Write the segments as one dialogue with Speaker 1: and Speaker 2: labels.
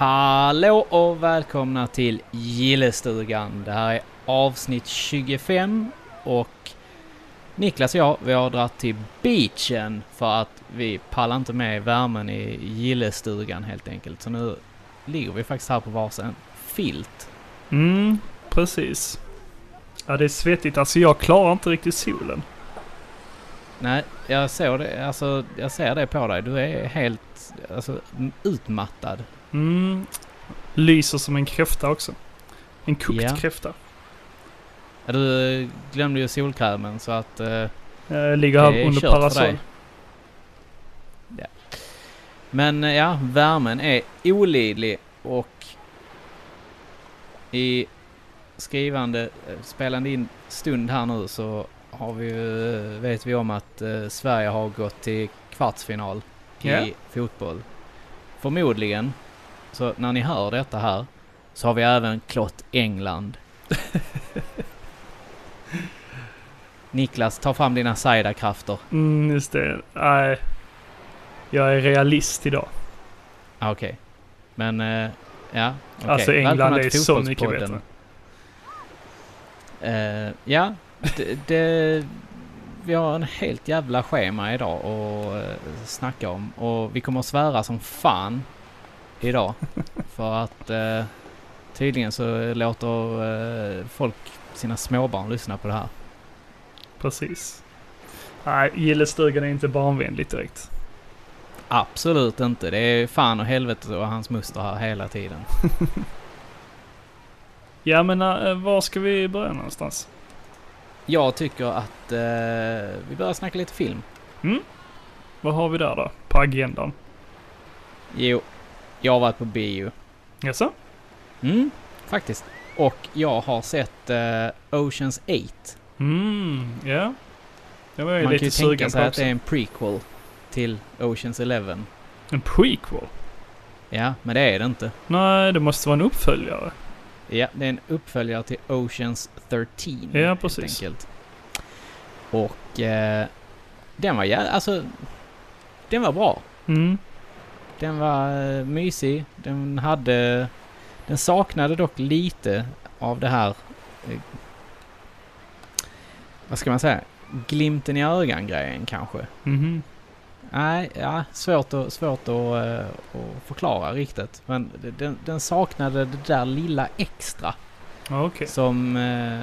Speaker 1: Hallå och välkomna till Gillestugan. Det här är avsnitt 25 och Niklas och jag, vi har dragit till beachen för att vi pallar inte med värmen i gillestugan helt enkelt. Så nu ligger vi faktiskt här på varsin filt.
Speaker 2: Mm, precis. Ja, det är svettigt. Alltså jag klarar inte riktigt solen.
Speaker 1: Nej, jag såg det, alltså jag ser det på dig. Du är helt, alltså utmattad.
Speaker 2: Mm. Lyser som en kräfta också. En kokt
Speaker 1: Ja.
Speaker 2: kräfta.
Speaker 1: Ja, Du eh, glömde ju solkrämen så att eh,
Speaker 2: Jag ligger här
Speaker 1: Det är
Speaker 2: under
Speaker 1: kört för
Speaker 2: parasoll.
Speaker 1: dig. Ja. Men eh, ja, värmen är olidlig och i skrivande, eh, spelande in stund här nu så har vi ju, eh, vet vi om att eh, Sverige har gått till kvartsfinal i
Speaker 2: Ja.
Speaker 1: fotboll. Förmodligen, så när ni hör detta här, så har vi även klott England. Niklas, ta fram dina sajda-krafter.
Speaker 2: Mm, just det. Nej. Jag är realist idag.
Speaker 1: Ah, Okej. Men, eh, ja. okej.
Speaker 2: Alltså, England
Speaker 1: Välkomna
Speaker 2: är
Speaker 1: till
Speaker 2: så mycket
Speaker 1: Fotbollspodden. Eh, ja, det, det, vi har en helt jävla schema idag att uh, snacka om. Och vi kommer att svära som fan idag. för att eh, tydligen så låter eh, folk sina småbarn lyssna på det här.
Speaker 2: Precis. Nej, gillestugan är inte barnvänligt direkt.
Speaker 1: Absolut inte. Det är fan och helvete och hans muster här hela tiden.
Speaker 2: Ja, men eh, var ska vi börja någonstans?
Speaker 1: Jag tycker att eh, vi börjar snacka lite film.
Speaker 2: Vad har vi där då? På agendan?
Speaker 1: Jo, jag har varit på bio.
Speaker 2: Jaså?
Speaker 1: Mm, faktiskt. Och jag har sett eh, Oceans 8.
Speaker 2: Mm, ja. Det var jag
Speaker 1: Man kan ju
Speaker 2: lite
Speaker 1: tänka
Speaker 2: sugen på
Speaker 1: sig att det
Speaker 2: också.
Speaker 1: är en prequel till Oceans 11.
Speaker 2: En prequel?
Speaker 1: Ja, men det är det inte.
Speaker 2: Nej, det måste vara en uppföljare.
Speaker 1: Ja, det är en uppföljare till Oceans 13.
Speaker 2: Ja,
Speaker 1: helt
Speaker 2: precis.
Speaker 1: enkelt. Och eh, den var jä- alltså, den var bra.
Speaker 2: Mm.
Speaker 1: Den var eh, mysig. Den hade... Den saknade dock lite av det här... eh, Vad ska man säga? Glimten i ögan-grejen kanske.
Speaker 2: Mhm.
Speaker 1: Nej, ja, svårt att, svårt att, eh, att förklara riktigt. Men det- den, den saknade det där lilla extra
Speaker 2: Ja, Okej.
Speaker 1: som eh,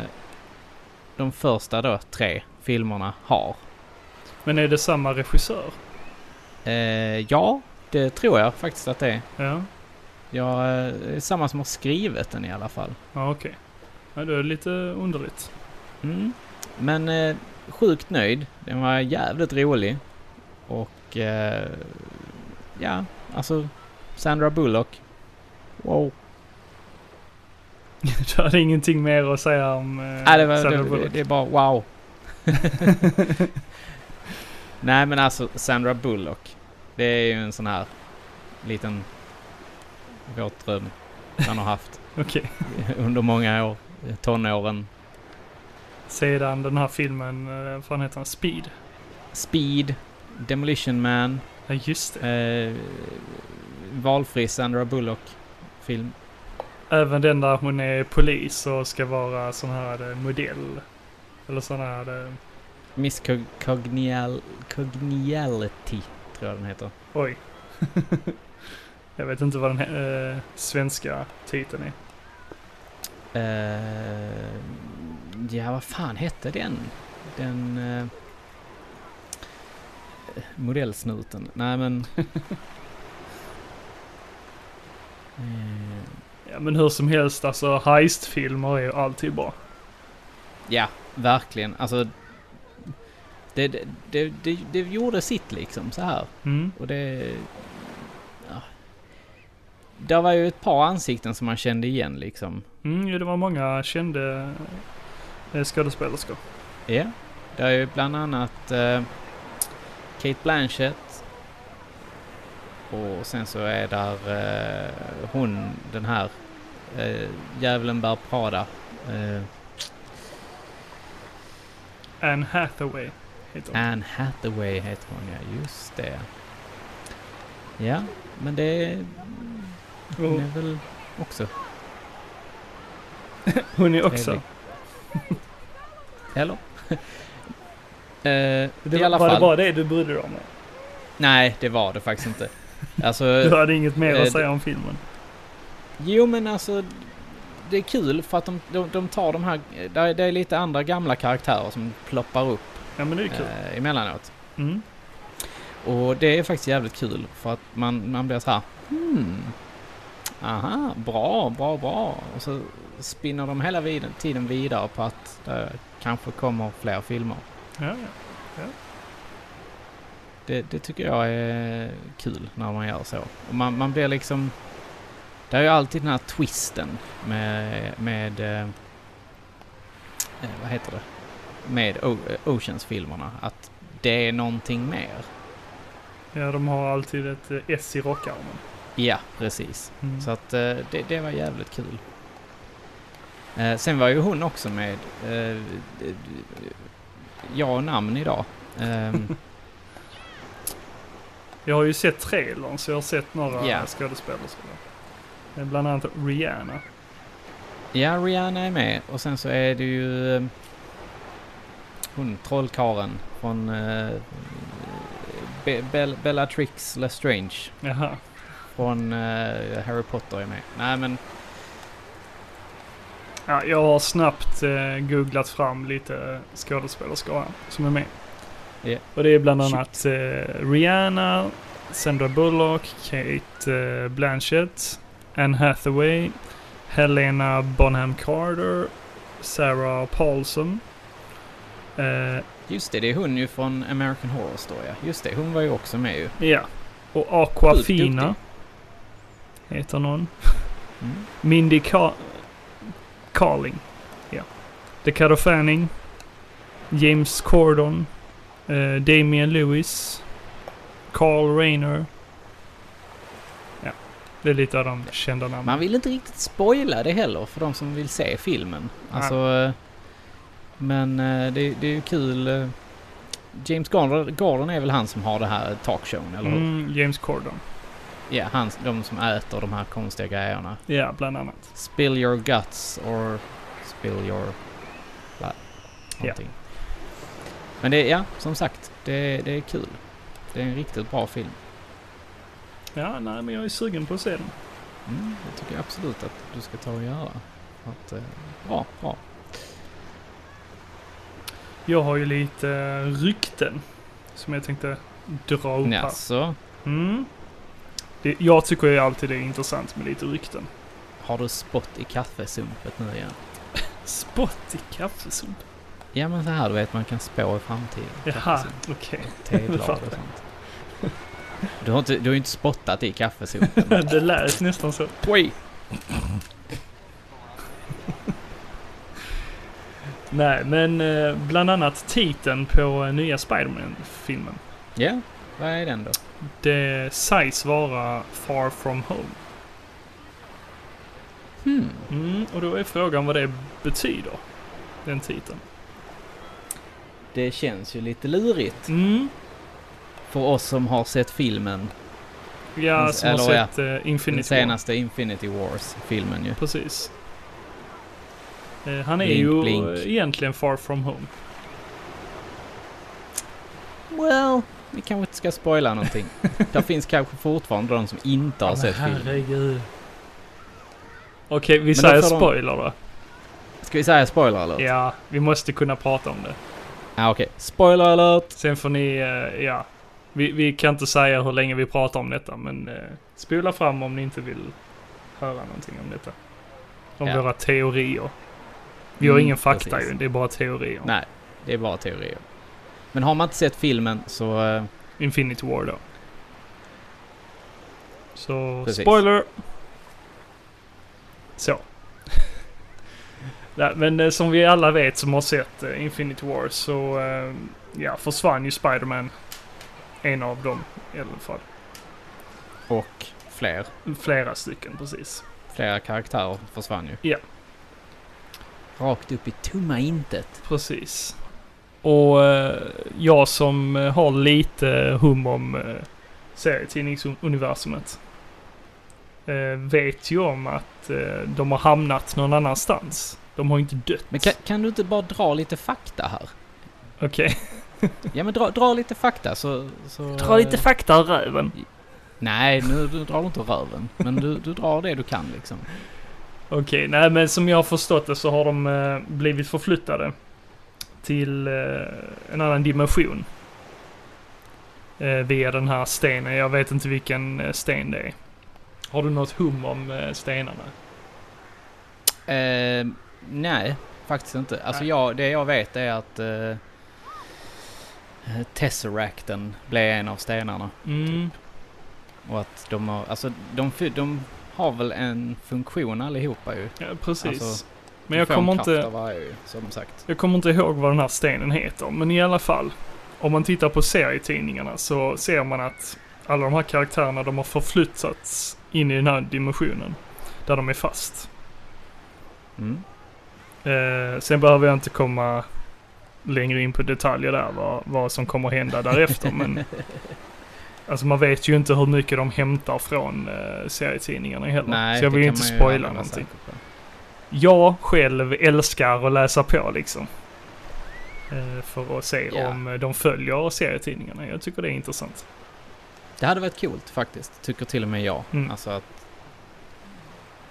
Speaker 1: de första då tre filmerna har.
Speaker 2: Men är det samma regissör?
Speaker 1: Eh, ja, det tror jag faktiskt att det är.
Speaker 2: Ja,
Speaker 1: Jag, eh, det är samma som har skrivit den i alla fall.
Speaker 2: ja okej. Ja, det är lite underligt.
Speaker 1: Mm. Men eh, sjukt nöjd. Den var jävligt rolig. Och eh, ja, alltså Sandra Bullock. Wow.
Speaker 2: Du hade ingenting mer att säga om eh,
Speaker 1: Nej, det, var,
Speaker 2: Sandra
Speaker 1: det, det,
Speaker 2: Bullock?
Speaker 1: det är bara wow. Nej men alltså Sandra Bullock. Det är ju en sån här liten våtdröm man har haft
Speaker 2: Okej.
Speaker 1: under många år. Tonåren.
Speaker 2: Sedan den här filmen, eh, vad fan heter den? Speed?
Speaker 1: Speed, Demolition Man.
Speaker 2: Ja, just det.
Speaker 1: Eh, valfri Sandra Bullock-film.
Speaker 2: Även den där hon är polis och ska vara sån här eh, modell. Eller sån här... eh,
Speaker 1: Miss Cog- Cognial- Cogniality, tror jag den heter.
Speaker 2: Oj. Jag vet inte vad den he- eh, svenska titeln är.
Speaker 1: Eh, ja, vad fan hette den? Den... Eh, modellsnuten. Nej, men... eh,
Speaker 2: Ja, men hur som helst, alltså heistfilmer är ju alltid bra.
Speaker 1: ja, verkligen. Alltså... Det, det, det, det, det gjorde sitt liksom, så här.
Speaker 2: Mm.
Speaker 1: Och det... Ja. Där var ju ett par ansikten som man kände igen liksom.
Speaker 2: Mm, ja, det var många kända eh, skådespelerskor.
Speaker 1: Ja. Det är ju bland annat eh, Kate Blanchett. Och sen så är där eh, hon, den här eh, djävulen bär Prada. Eh,
Speaker 2: Anne Hathaway heter hon.
Speaker 1: Anne Hathaway heter hon ja, just det. Ah, Ja, men det... Hon
Speaker 2: Och
Speaker 1: är väl också.
Speaker 2: Hon är också.
Speaker 1: Trevlig. Eller? Eh,
Speaker 2: Det,
Speaker 1: I alla fall.
Speaker 2: var
Speaker 1: Eh,
Speaker 2: det bara det du brydde dig om?
Speaker 1: Nej, det var det faktiskt inte. Alltså,
Speaker 2: Du hade inget mer
Speaker 1: eh,
Speaker 2: att säga om filmen?
Speaker 1: Jo men alltså det är kul för att de, de, de tar de här, det är, det är lite andra gamla karaktärer som ploppar upp
Speaker 2: Ja men det är kul.
Speaker 1: eh, emellanåt.
Speaker 2: Mm.
Speaker 1: Och det är faktiskt jävligt kul för att man, man blir så här hmm, aha, bra, bra, bra. Och så spinner de hela vid, tiden vidare på att det kanske kommer fler filmer.
Speaker 2: Ja, ja.
Speaker 1: Det, det tycker jag är kul när man gör så. Och man, man blir liksom... Det är ju alltid den här twisten med... med eh, eh, vad heter det? Med O- eh, Oceans-filmerna. Att det är någonting mer.
Speaker 2: ja, de har alltid ett eh, S i rockarmen.
Speaker 1: Ja, precis.
Speaker 2: Mm.
Speaker 1: Så att eh, det, det var jävligt kul. Eh, sen var ju hon också med. Eh, ja och namn idag. Ehm,
Speaker 2: Jag har ju sett trailern så jag har sett några
Speaker 1: Ja.
Speaker 2: skådespelerskor. Eh, Bland annat Rihanna.
Speaker 1: Ja, Rihanna är med och sen så är det ju eh, hon trollkaren från eh, Be- Bell- Bellatrix Lestrange
Speaker 2: Jaha.
Speaker 1: från eh, Harry Potter är med. Nej men
Speaker 2: Ja, jag har snabbt eh, googlat fram lite skådespelerskor här som är med.
Speaker 1: Ja.
Speaker 2: Och det är bland annat eh, Rihanna, Sandra Bullock, Kate eh, Blanchett, Anne Hathaway, Helena Bonham Carter, Sarah Paulson. Eh,
Speaker 1: just det, det är hon ju från American Horror Story. ja. Just det, hon var ju också med ju.
Speaker 2: ja. Och
Speaker 1: Sjukt
Speaker 2: Aquafina
Speaker 1: duktig.
Speaker 2: heter någon.
Speaker 1: Mm.
Speaker 2: Mindy Ca- Carling. Ja. Dakota Fanning. James Corden. Eh, Damian Lewis. Carl Rayner. Ja, det är lite av de kända namnen.
Speaker 1: Man vill inte riktigt spoila det heller för de som vill se filmen.
Speaker 2: Nej.
Speaker 1: Alltså, eh, men eh, det, det är ju kul. eh, James Gordon, Gordon är väl han som har det här talkshowen, eller hur?
Speaker 2: Mm, James Corden.
Speaker 1: Ja, han, de som äter de här konstiga grejerna.
Speaker 2: Ja, bland annat.
Speaker 1: Spill your guts or spill your... Bla, någonting. Men det, ja, som sagt, det, det är kul. Det är en riktigt bra film.
Speaker 2: Ja, nej, men jag är sugen på att se den.
Speaker 1: Mm, det tycker jag absolut att du ska ta och göra. Att, eh, bra, bra.
Speaker 2: Jag har ju lite eh, rykten som jag tänkte dra upp här.
Speaker 1: Jaså,
Speaker 2: Mm. Det, jag tycker ju alltid det är intressant med lite rykten.
Speaker 1: har du spott i kaffesumpet nu igen?
Speaker 2: Spott i kaffesump.
Speaker 1: Ja, men så här du vet, man kan spå i framtiden.
Speaker 2: Jaha,
Speaker 1: Kaffesump,
Speaker 2: okej.
Speaker 1: Teblad och sånt. Du har, inte, du har ju inte spottat i kaffesumpen.
Speaker 2: Det lät nästan så.
Speaker 1: Oj!
Speaker 2: Nej, men eh, bland annat titeln på eh, nya Spiderman-filmen.
Speaker 1: Ja, vad är den då?
Speaker 2: Det sägs vara Far From Home.
Speaker 1: Hmm.
Speaker 2: Mm, och då är frågan vad det betyder. Den titeln.
Speaker 1: Det känns ju lite lurigt
Speaker 2: Mm.
Speaker 1: för oss som har sett filmen.
Speaker 2: Ja,
Speaker 1: Men-
Speaker 2: som har
Speaker 1: Mm, eller ja,
Speaker 2: sett eh,
Speaker 1: Den
Speaker 2: Infinity
Speaker 1: senaste Infinity Wars-filmen ju.
Speaker 2: War. Precis. Eh, han är
Speaker 1: Blink,
Speaker 2: ju
Speaker 1: blink.
Speaker 2: eh, egentligen Far From Home.
Speaker 1: Well, vi kanske inte ska spoila någonting. Där finns kanske fortfarande de som inte har sett filmen.
Speaker 2: herregud. Okej, vi
Speaker 1: då
Speaker 2: säger
Speaker 1: får de-
Speaker 2: spoiler då.
Speaker 1: Ska vi säga spoiler alert?
Speaker 2: Ja, vi måste kunna prata om det.
Speaker 1: Ah, okej. Spoiler alert!
Speaker 2: Sen får ni, eh, ja. Vi, vi kan inte säga hur länge vi pratar om detta, men eh, spola fram om ni inte vill höra någonting om detta. Om
Speaker 1: Ja.
Speaker 2: våra teorier. Vi har
Speaker 1: Mm,
Speaker 2: ingen fakta
Speaker 1: precis.
Speaker 2: ju, det är bara teorier.
Speaker 1: Nej. Det är bara teorier. Men har man inte sett filmen så... eh,
Speaker 2: Infinity War då. Så,
Speaker 1: Precis.
Speaker 2: spoiler! Så. Nej, men eh, som vi alla vet som har sett eh, Infinity War så eh, ja, försvann ju Spider-Man. En av dem i alla fall.
Speaker 1: och fler.
Speaker 2: Flera stycken precis.
Speaker 1: Flera karaktärer försvann ju.
Speaker 2: Ja.
Speaker 1: Rakt upp i tomma intet.
Speaker 2: Precis. Och eh, jag som eh, har lite hum om eh, serietidningsuniversumet eh, vet ju om att eh, de har hamnat någon annanstans. De har inte dött.
Speaker 1: Men kan, kan du inte bara dra lite fakta här?
Speaker 2: Okej.
Speaker 1: Ja men dra, dra lite fakta så... så
Speaker 2: Dra lite
Speaker 1: eh,
Speaker 2: fakta ur röven.
Speaker 1: Nej, nu du drar du inte röven. Men du, du drar det du kan liksom.
Speaker 2: Okej, nej men som jag har förstått det så har de eh, blivit förflyttade till eh, en annan dimension. Eh, via den här stenen, jag vet inte vilken eh, sten det är. Har du något hum om eh, stenarna?
Speaker 1: Eh, nej, faktiskt inte. Alltså
Speaker 2: Nej.
Speaker 1: jag, det jag vet är att eh, Tesseracten blev en av stenarna.
Speaker 2: Mm.
Speaker 1: Och att de har, alltså de, fy- de har väl en funktion allihopa ju.
Speaker 2: Ja, precis.
Speaker 1: Alltså,
Speaker 2: men
Speaker 1: Du
Speaker 2: jag
Speaker 1: får en
Speaker 2: kommer,
Speaker 1: kraft
Speaker 2: inte,
Speaker 1: av varje ju, som sagt.
Speaker 2: jag kommer inte ihåg vad den här stenen heter, men i alla fall. Om man tittar på serietidningarna så ser man att alla de här karaktärerna de har förflyttats in i den här dimensionen. Där de är fast.
Speaker 1: Mm.
Speaker 2: Eh, sen behöver jag inte komma längre in på detaljer där vad, vad som kommer hända därefter. men alltså man vet ju inte hur mycket de hämtar från eh, serietidningarna heller.
Speaker 1: Nej,
Speaker 2: så jag
Speaker 1: det
Speaker 2: vill
Speaker 1: kan
Speaker 2: inte
Speaker 1: man ju aldrig
Speaker 2: spoila
Speaker 1: vara
Speaker 2: någonting.
Speaker 1: säker på.
Speaker 2: Jag själv älskar att läsa på liksom. Eh, för att se
Speaker 1: Ja.
Speaker 2: om de följer serietidningarna. Jag tycker det är intressant.
Speaker 1: Det hade varit coolt faktiskt, tycker till och med jag.
Speaker 2: Mm.
Speaker 1: Alltså att...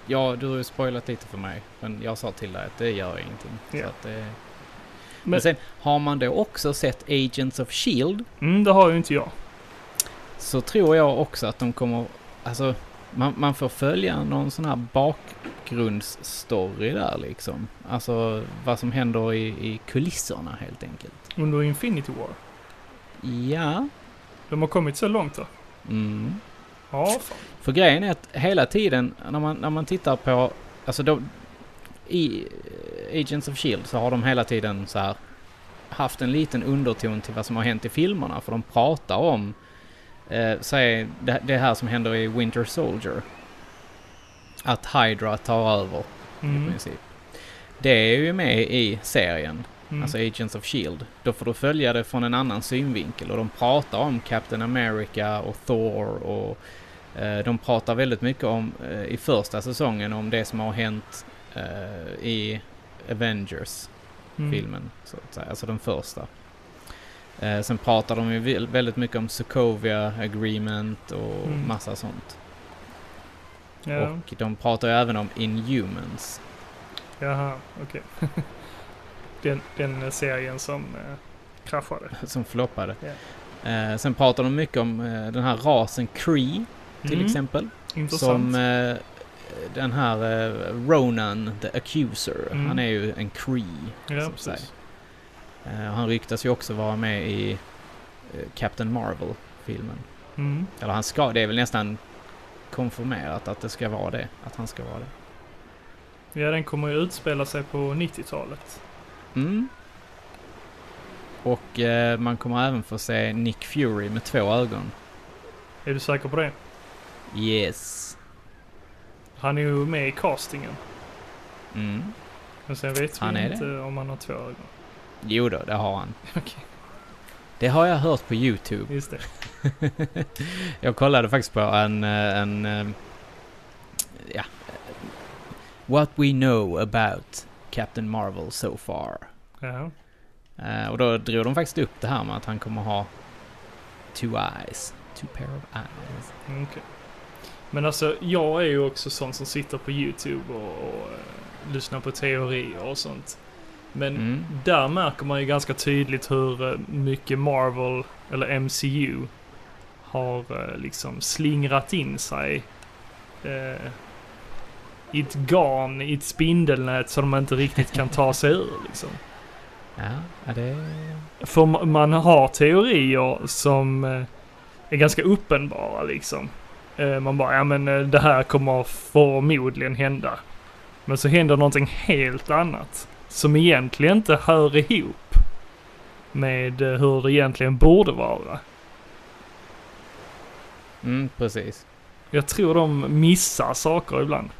Speaker 1: Ja, du har ju spoilat lite för mig. Men jag sa till dig att det gör ingenting.
Speaker 2: Ja.
Speaker 1: Så att det... men...
Speaker 2: Men-
Speaker 1: sen har man då också sett Agents of Shield
Speaker 2: Mm, det har ju inte jag.
Speaker 1: E så tror jag också att de kommer... Alltså, man, man får följa någon sån här bakgrundsstory där liksom. Alltså vad som händer i, i kulisserna helt enkelt.
Speaker 2: Under Infinity War.
Speaker 1: Ja.
Speaker 2: De har kommit så långt då.
Speaker 1: Mm.
Speaker 2: Ja, fan.
Speaker 1: För grejen är att hela tiden när man, när man tittar på, alltså då, i eh, Agents of Shield så har de hela tiden så här haft en liten underton till vad som har hänt i filmerna för de pratar om eh, säg det, det här som händer i Winter Soldier. Att Hydra tar över i
Speaker 2: Mm,
Speaker 1: princip. Det är ju med i serien,
Speaker 2: mm,
Speaker 1: alltså Agents of Shield. Då får du följa det från en annan synvinkel och de pratar om Captain America och Thor och eh, de pratar väldigt mycket om eh, i första säsongen om det som har hänt eh, i Avengers
Speaker 2: mm.
Speaker 1: filmen. Så att säga. Alltså den första. Eh, sen pratar de ju väl- väldigt mycket om Sokovia Agreement och
Speaker 2: Mm.
Speaker 1: massa sånt.
Speaker 2: Ja.
Speaker 1: Och de pratar ju även om Inhumans.
Speaker 2: Jaha, okej. den, den serien som eh, kraschade.
Speaker 1: som floppade. Eh, sen pratar de mycket om eh, den här rasen Cree till
Speaker 2: Mm,
Speaker 1: exempel.
Speaker 2: Intressant.
Speaker 1: Som eh, den här eh, Ronan the Accuser.
Speaker 2: Mm.
Speaker 1: Han är ju en Cree.
Speaker 2: ja,
Speaker 1: som
Speaker 2: precis.
Speaker 1: säger. Eh, och han ryktas ju också vara med i eh, Captain Marvel-filmen.
Speaker 2: Mm.
Speaker 1: Eller han ska, det är väl nästan konfirmerat att det ska vara det. Att han ska vara det.
Speaker 2: Ja, den kommer ju utspela sig på 90-talet.
Speaker 1: Mm. Och eh, man kommer även få se Nick Fury med två ögon.
Speaker 2: Är du säker på det?
Speaker 1: Yes.
Speaker 2: Han är ju med i castingen.
Speaker 1: Mm.
Speaker 2: Men sen vet
Speaker 1: Han
Speaker 2: vi
Speaker 1: är
Speaker 2: inte om han har två ögon.
Speaker 1: Jo då, det har han.
Speaker 2: Okej.
Speaker 1: Det har jag hört på YouTube.
Speaker 2: Just det.
Speaker 1: jag kollade faktiskt på en... eh, en eh, ja. What we know about Captain Marvel so far.
Speaker 2: Jaha.
Speaker 1: Eh, och då drog de faktiskt upp det här med att han kommer ha two eyes. Two pair of eyes.
Speaker 2: Mm, okej. Men alltså, jag är ju också sån som sitter på YouTube och, och eh, lyssnar på teorier och sånt. Men
Speaker 1: Mm.
Speaker 2: Där märker man ju ganska tydligt hur eh, mycket Marvel, eller MCU, har eh, liksom slingrat in sig eh, i ett garn, i ett spindelnät som de inte riktigt kan ta sig ur. Liksom.
Speaker 1: Ja, ja, det...
Speaker 2: För ma- man har teorier som eh, är ganska uppenbara liksom. Eh, Man bara, ja men eh, det här kommer förmodligen hända. Men så händer någonting helt annat. Som egentligen inte hör ihop med eh, hur det egentligen borde vara.
Speaker 1: Mm, precis.
Speaker 2: Jag tror de missar saker ibland.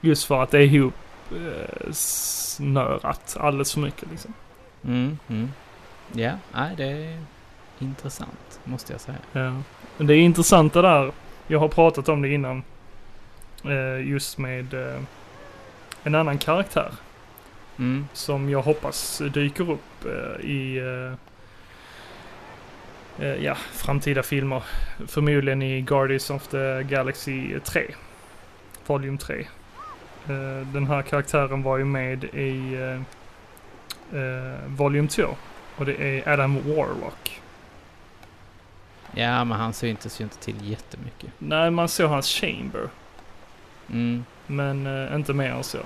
Speaker 2: Just för att det är ihop eh, snörat alldeles för mycket liksom.
Speaker 1: Mm, mm. Ja, nej, det är intressant, måste jag säga.
Speaker 2: Ja. Men det är intressant det där. Jag har pratat om det innan. eh, just med eh, en annan karaktär
Speaker 1: Mm.
Speaker 2: som jag hoppas dyker upp eh, i eh, eh, ja, framtida filmer. Förmodligen i Guardians of the Galaxy 3, Volume 3. Eh, den här karaktären var ju med i eh, eh, Volume 2 och det är Adam Warlock.
Speaker 1: Ja, men han syntes ju inte till jättemycket.
Speaker 2: Nej, man såg hans chamber.
Speaker 1: Mm.
Speaker 2: Men eh, inte mer än så.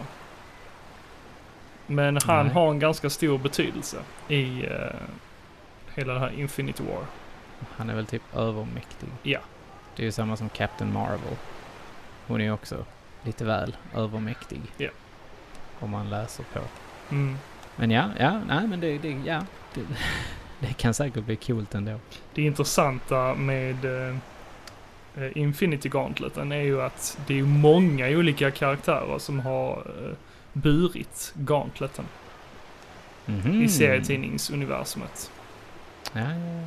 Speaker 2: Men han
Speaker 1: Nej.
Speaker 2: har en ganska stor betydelse i eh, hela det här Infinity War.
Speaker 1: Han är väl typ övermäktig.
Speaker 2: Ja.
Speaker 1: Det är ju samma som Captain Marvel. Hon är ju också lite väl övermäktig.
Speaker 2: Ja.
Speaker 1: Om man läser på.
Speaker 2: Mm.
Speaker 1: Men ja, ja, nej men det, det ja. Det, det kan säkert bli coolt ändå.
Speaker 2: Det intressanta med eh, eh, Infinity Gauntleten är ju att det är många olika karaktärer som har eh, burit Gauntleten
Speaker 1: Mhm.
Speaker 2: i serietidningsuniversumet.
Speaker 1: Ja, ja, ja.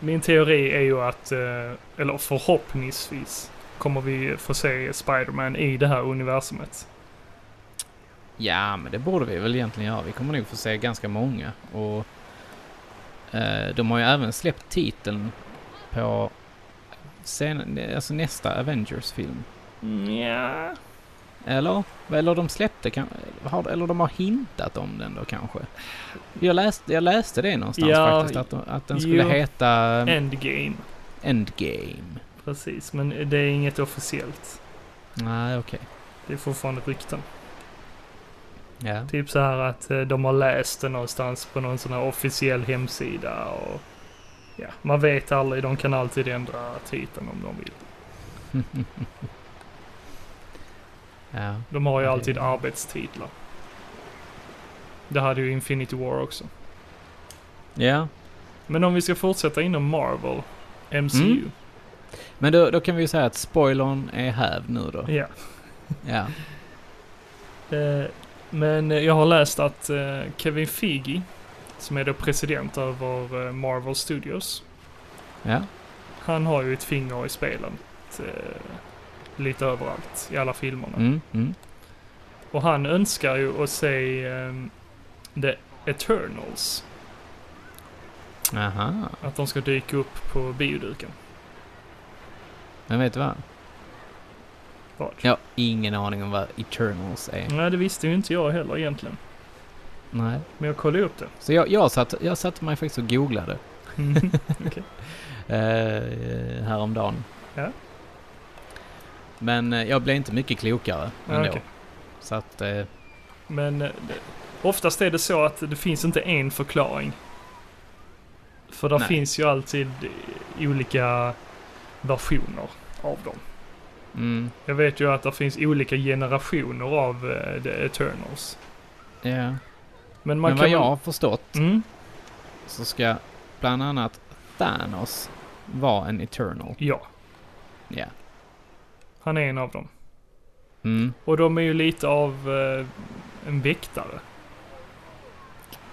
Speaker 2: Min teori är ju att, eh, eller förhoppningsvis, kommer vi få se Spider-Man i det här universumet.
Speaker 1: ja, men det borde vi väl egentligen göra. Vi kommer nog få se ganska många. Och eh, de har ju även släppt titeln på sen, alltså nästa Avengers-film.
Speaker 2: Mm, ja.
Speaker 1: Eller? Eller de släppte kan, har, Eller de har hintat om den då kanske? Jag läste, jag läste det någonstans
Speaker 2: Ja,
Speaker 1: faktiskt. Att, de- att den skulle
Speaker 2: jo.
Speaker 1: heta um,
Speaker 2: Endgame.
Speaker 1: Endgame.
Speaker 2: Precis, men det är inget officiellt.
Speaker 1: Nej, okej.
Speaker 2: Det är fortfarande rykten.
Speaker 1: Ja.
Speaker 2: Typ så här att eh, de har läst det någonstans på någon sån här officiell hemsida och... Ja, man vet aldrig. De kan alltid ändra titeln om de vill.
Speaker 1: ja.
Speaker 2: De har ju
Speaker 1: Ja, det-
Speaker 2: alltid arbetstitlar. Det hade ju Infinity War också.
Speaker 1: Ja.
Speaker 2: Men om vi ska fortsätta inom Marvel, MCU.
Speaker 1: Mm. Men då, då kan vi ju säga att spoilern är hävd nu då.
Speaker 2: Ja.
Speaker 1: Ja.
Speaker 2: Eh, Men jag har läst att eh, Kevin Feige, som är då president över eh, Marvel Studios,
Speaker 1: Ja.
Speaker 2: Han har ju ett finger i spelen. Eh, lite överallt i alla filmerna.
Speaker 1: Mm, mm.
Speaker 2: Och han önskar ju att se eh, The Eternals.
Speaker 1: Aha.
Speaker 2: Att de ska dyka upp på bioduken.
Speaker 1: Men vet du vad?
Speaker 2: Vad?
Speaker 1: Jag har ingen aning om vad Eternals är.
Speaker 2: Nej, det visste ju inte jag heller egentligen.
Speaker 1: Nej.
Speaker 2: Men jag kollade upp det.
Speaker 1: Så jag, jag, satt, jag satte mig faktiskt och googlade.
Speaker 2: Mhm.
Speaker 1: eh, häromdagen.
Speaker 2: Ja.
Speaker 1: Men eh, jag blev inte mycket klokare
Speaker 2: Ja,
Speaker 1: ändå.
Speaker 2: okej.
Speaker 1: Så att, eh,
Speaker 2: Men eh, det- oftast är det så att det finns inte en förklaring. För det
Speaker 1: Nej.
Speaker 2: finns ju alltid eh, olika versioner av dem.
Speaker 1: mm,
Speaker 2: Jag vet ju att det finns olika generationer av eh, The Eternals.
Speaker 1: ja.
Speaker 2: Men man
Speaker 1: Men vad
Speaker 2: kan...
Speaker 1: jag har förstått
Speaker 2: Mm,
Speaker 1: så ska bland annat Thanos vara en Eternal.
Speaker 2: ja,
Speaker 1: Ja.
Speaker 2: han är en av dem.
Speaker 1: Mm,
Speaker 2: Och de är ju lite av eh, en väktare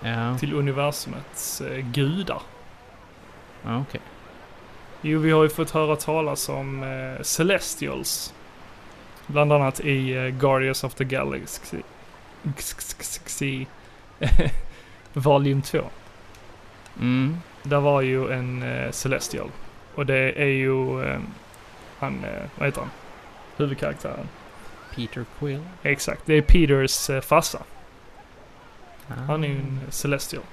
Speaker 1: ja.
Speaker 2: till universumets eh, gudar.
Speaker 1: ja, Okej.
Speaker 2: Jo, vi har ju fått höra talas om eh, Celestials. Bland annat i eh, Guardians of the Galaxy... Galaxy... Volume 2.
Speaker 1: Mm,
Speaker 2: Där var ju en eh, Celestial. Och det är ju eh, han, eh, vad heter han? Huvudkaraktären.
Speaker 1: Peter Quill.
Speaker 2: Exakt, det är Peters eh, farsa.
Speaker 1: Ah.
Speaker 2: Han är ju en Celestial.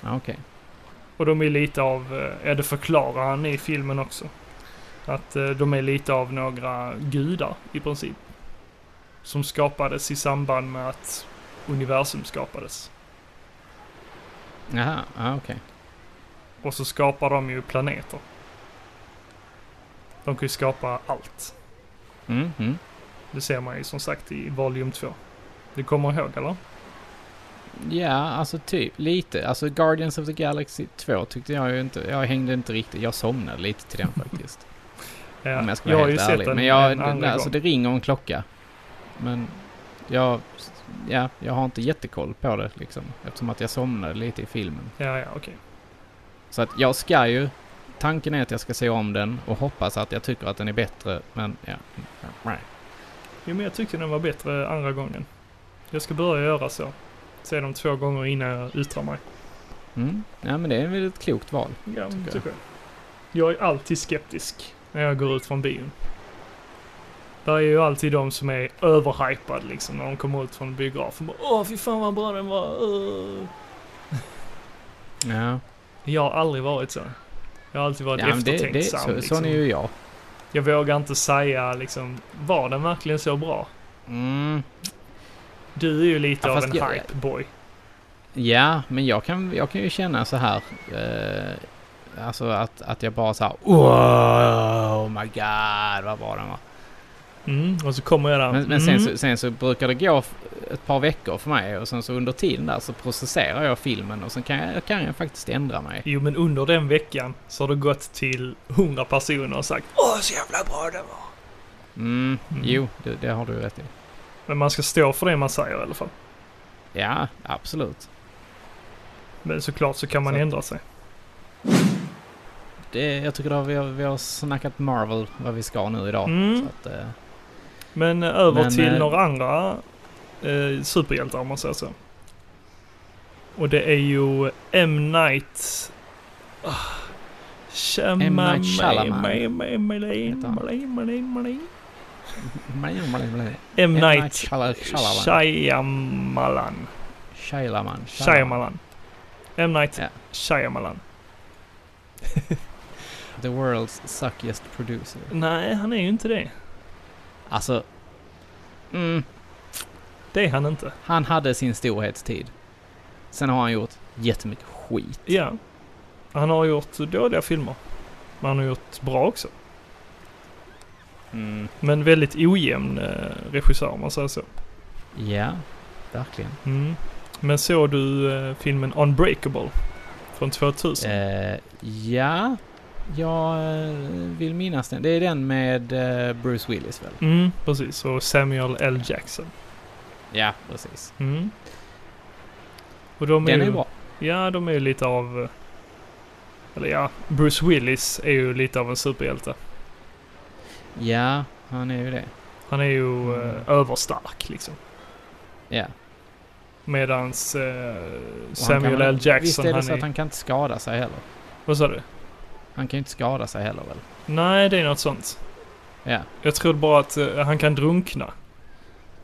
Speaker 1: Ja, Okej.
Speaker 2: Och de är lite av, eh, ja det förklarar han i filmen också. Att eh, de är lite av några gudar i princip. Som skapades i samband med att universum skapades.
Speaker 1: Jaha, ja, ah, okej.
Speaker 2: Och så skapar de ju planeter. De kan ju skapa allt.
Speaker 1: Mm, mm.
Speaker 2: Det ser man ju som sagt i Volume 2. Du kommer ihåg eller?
Speaker 1: Ja, alltså typ lite. Alltså Guardians of the Galaxy 2 tyckte jag ju inte. Jag hängde inte riktigt. Jag somnade lite till den faktiskt.
Speaker 2: Ja,
Speaker 1: Om jag ska vara helt ärlig. men jag, nej, alltså det ringer en klocka. Men jag, ja, jag har inte jättekoll på det liksom. Eftersom att jag somnade lite i filmen.
Speaker 2: Ja, ja, okej.
Speaker 1: Så att jag ska ju tanken är att jag ska se om den och hoppas att jag tycker att den är bättre, men ja. Nej.
Speaker 2: Jo, men jag tyckte den var bättre andra gången. Jag ska börja göra så. Se dem två gånger innan jag yttrar mig.
Speaker 1: Mm. Ja, men det är väl ett klokt val.
Speaker 2: Ja,
Speaker 1: Tycker jag.
Speaker 2: tycker jag. Jag är alltid skeptisk när jag går ut från bion. Där är ju alltid de som är överhypade liksom när de kommer ut från biografen. Bara, Åh, fy fan vad bra den var! Uh.
Speaker 1: Ja,
Speaker 2: Jag har aldrig varit så. Jag har alltid varit
Speaker 1: ja men det,
Speaker 2: eftertänksam.
Speaker 1: det, så,
Speaker 2: liksom.
Speaker 1: sån är ju jag.
Speaker 2: Jag vågar inte säga liksom, var den verkligen så bra?
Speaker 1: Mm.
Speaker 2: Du är ju lite
Speaker 1: Ja,
Speaker 2: av
Speaker 1: fast
Speaker 2: en
Speaker 1: jag-
Speaker 2: hypeboy.
Speaker 1: Ja, men jag kan, jag kan ju känna så här. Eh, alltså att, att jag bara så här. Oh, oh my god, vad var den va?
Speaker 2: Mm, och så kommer jag där.
Speaker 1: Men, men sen,
Speaker 2: mm.
Speaker 1: så, sen så brukar det gå f- ett par veckor för mig och sen så under tiden där så processerar jag filmen och sen kan jag, kan jag faktiskt ändra mig.
Speaker 2: Jo, men under den veckan så har du gått till 100 personer och sagt Åh, så jävla bra den var!
Speaker 1: Mm,
Speaker 2: Mm.
Speaker 1: Jo, det, det har du rätt i.
Speaker 2: Men man ska stå för det man säger i alla fall.
Speaker 1: Ja, absolut.
Speaker 2: Men såklart så kan man
Speaker 1: Så-
Speaker 2: ändra sig.
Speaker 1: Det, jag tycker att vi, har, vi har snackat Marvel vad vi ska nu idag.
Speaker 2: Mm.
Speaker 1: Så att, eh,
Speaker 2: Men eh, över
Speaker 1: Men,
Speaker 2: till
Speaker 1: eh,
Speaker 2: några andra eh, superhjältar om man säger så. Och det är ju M. Night... Ah. Shama-
Speaker 1: M. Night Shyamalan.
Speaker 2: Ma- ma- Malay-
Speaker 1: Heter han.
Speaker 2: Malay- Malay- Malay.
Speaker 1: M.
Speaker 2: M. Night
Speaker 1: Shala- Shalaman.
Speaker 2: Shyamalan.
Speaker 1: Shalaman.
Speaker 2: Shyamalan. M. Night
Speaker 1: Ja.
Speaker 2: Shyamalan.
Speaker 1: The world's suckiest producer.
Speaker 2: Nej, han är ju inte det.
Speaker 1: Alltså... Mm,
Speaker 2: Det är han inte.
Speaker 1: han hade sin storhetstid. Sen har han gjort jättemycket skit.
Speaker 2: Ja. Han har gjort dåliga filmer. Men han har gjort bra också.
Speaker 1: Mm.
Speaker 2: Men väldigt ojämn eh, regissör om man säger så.
Speaker 1: Ja, verkligen.
Speaker 2: Mm. Men såg du eh, filmen Unbreakable? Från 2000?
Speaker 1: Eh, ja, jag eh, vill minnas den. Det är den med eh, Bruce Willis väl?
Speaker 2: Mm, precis. Och Samuel L. Jackson.
Speaker 1: Ja, precis.
Speaker 2: Mm. Och de
Speaker 1: Den
Speaker 2: ju,
Speaker 1: är bra.
Speaker 2: Ja, de är ju lite av... eh, Eller ja, Bruce Willis är ju lite av en superhjälte.
Speaker 1: Ja, han är ju det.
Speaker 2: Han är ju eh,
Speaker 1: Mm.
Speaker 2: överstark liksom.
Speaker 1: Ja.
Speaker 2: Medans eh,
Speaker 1: Och han kan
Speaker 2: Samuel
Speaker 1: väl-
Speaker 2: L. Jackson,
Speaker 1: Visst är det så
Speaker 2: är...
Speaker 1: att han kan inte skada sig heller?
Speaker 2: Vad sa du?
Speaker 1: Han kan ju inte skada sig heller väl?
Speaker 2: Nej, det är något sånt.
Speaker 1: Ja.
Speaker 2: Jag trodde bara att eh, han kan drunkna.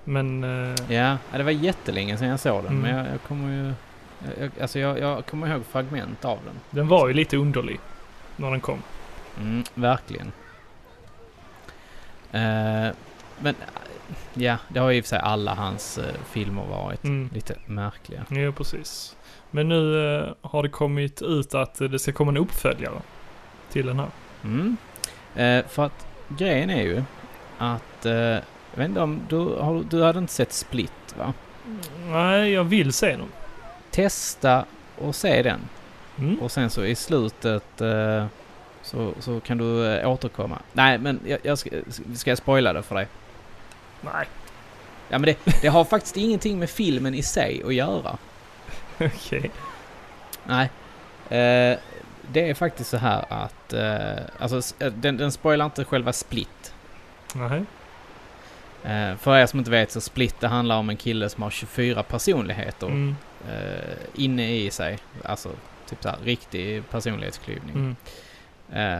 Speaker 2: Men... eh,
Speaker 1: Ja, ja, det var jättelänge sedan jag såg den,
Speaker 2: Mm.
Speaker 1: men jag, jag kommer ju... jag- Jag, alltså jag, jag kommer ihåg fragment av den.
Speaker 2: Den var ju lite underlig när den kom.
Speaker 1: Mm, verkligen. Eh, men eh, ja, det har ju i och för sig alla hans eh, filmer varit.
Speaker 2: Mm.
Speaker 1: Lite märkliga.
Speaker 2: Ja, precis. Men nu eh, har det kommit ut att eh, det ska komma en uppföljare till den här.
Speaker 1: Mm. Eh, för att grejen är ju att... Eh, jag vet inte om du, har, du hade inte sett Split va?
Speaker 2: Nej, jag vill se den.
Speaker 1: Testa och se den.
Speaker 2: Mm.
Speaker 1: Och sen så i slutet eh, så, så kan du eh, återkomma. Nej, men jag, jag ska, ska jag spoila det för dig?
Speaker 2: Nej,
Speaker 1: Ja, men det, det har faktiskt ingenting med filmen i sig att göra.
Speaker 2: okej.
Speaker 1: Nej. Eh, det är faktiskt så här att... Eh, alltså, s- eh, den, den spoilar inte själva Split.
Speaker 2: Nej.
Speaker 1: Eh, för er som inte vet så Split, det handlar om en kille som har 24 personligheter
Speaker 2: Mm.
Speaker 1: eh, inne i sig. Alltså, typ så här riktig personlighetsklyvning.
Speaker 2: Mm.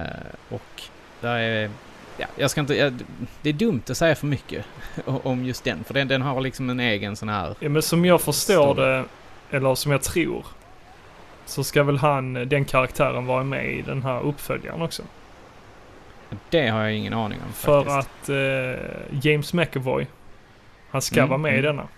Speaker 1: Eh, och där är... Ja, jag ska inte... Jag, det är dumt att säga för mycket o- om just den, för den, den har liksom en egen sån här...
Speaker 2: Ja, men som jag förstår
Speaker 1: Stor.
Speaker 2: det, eller som jag tror, så ska väl han, den karaktären, vara med i den här uppföljaren också.
Speaker 1: Det har jag ingen aning om
Speaker 2: För
Speaker 1: faktiskt.
Speaker 2: att eh, James McAvoy, han ska
Speaker 1: Mm,
Speaker 2: vara med i
Speaker 1: mm.
Speaker 2: denna.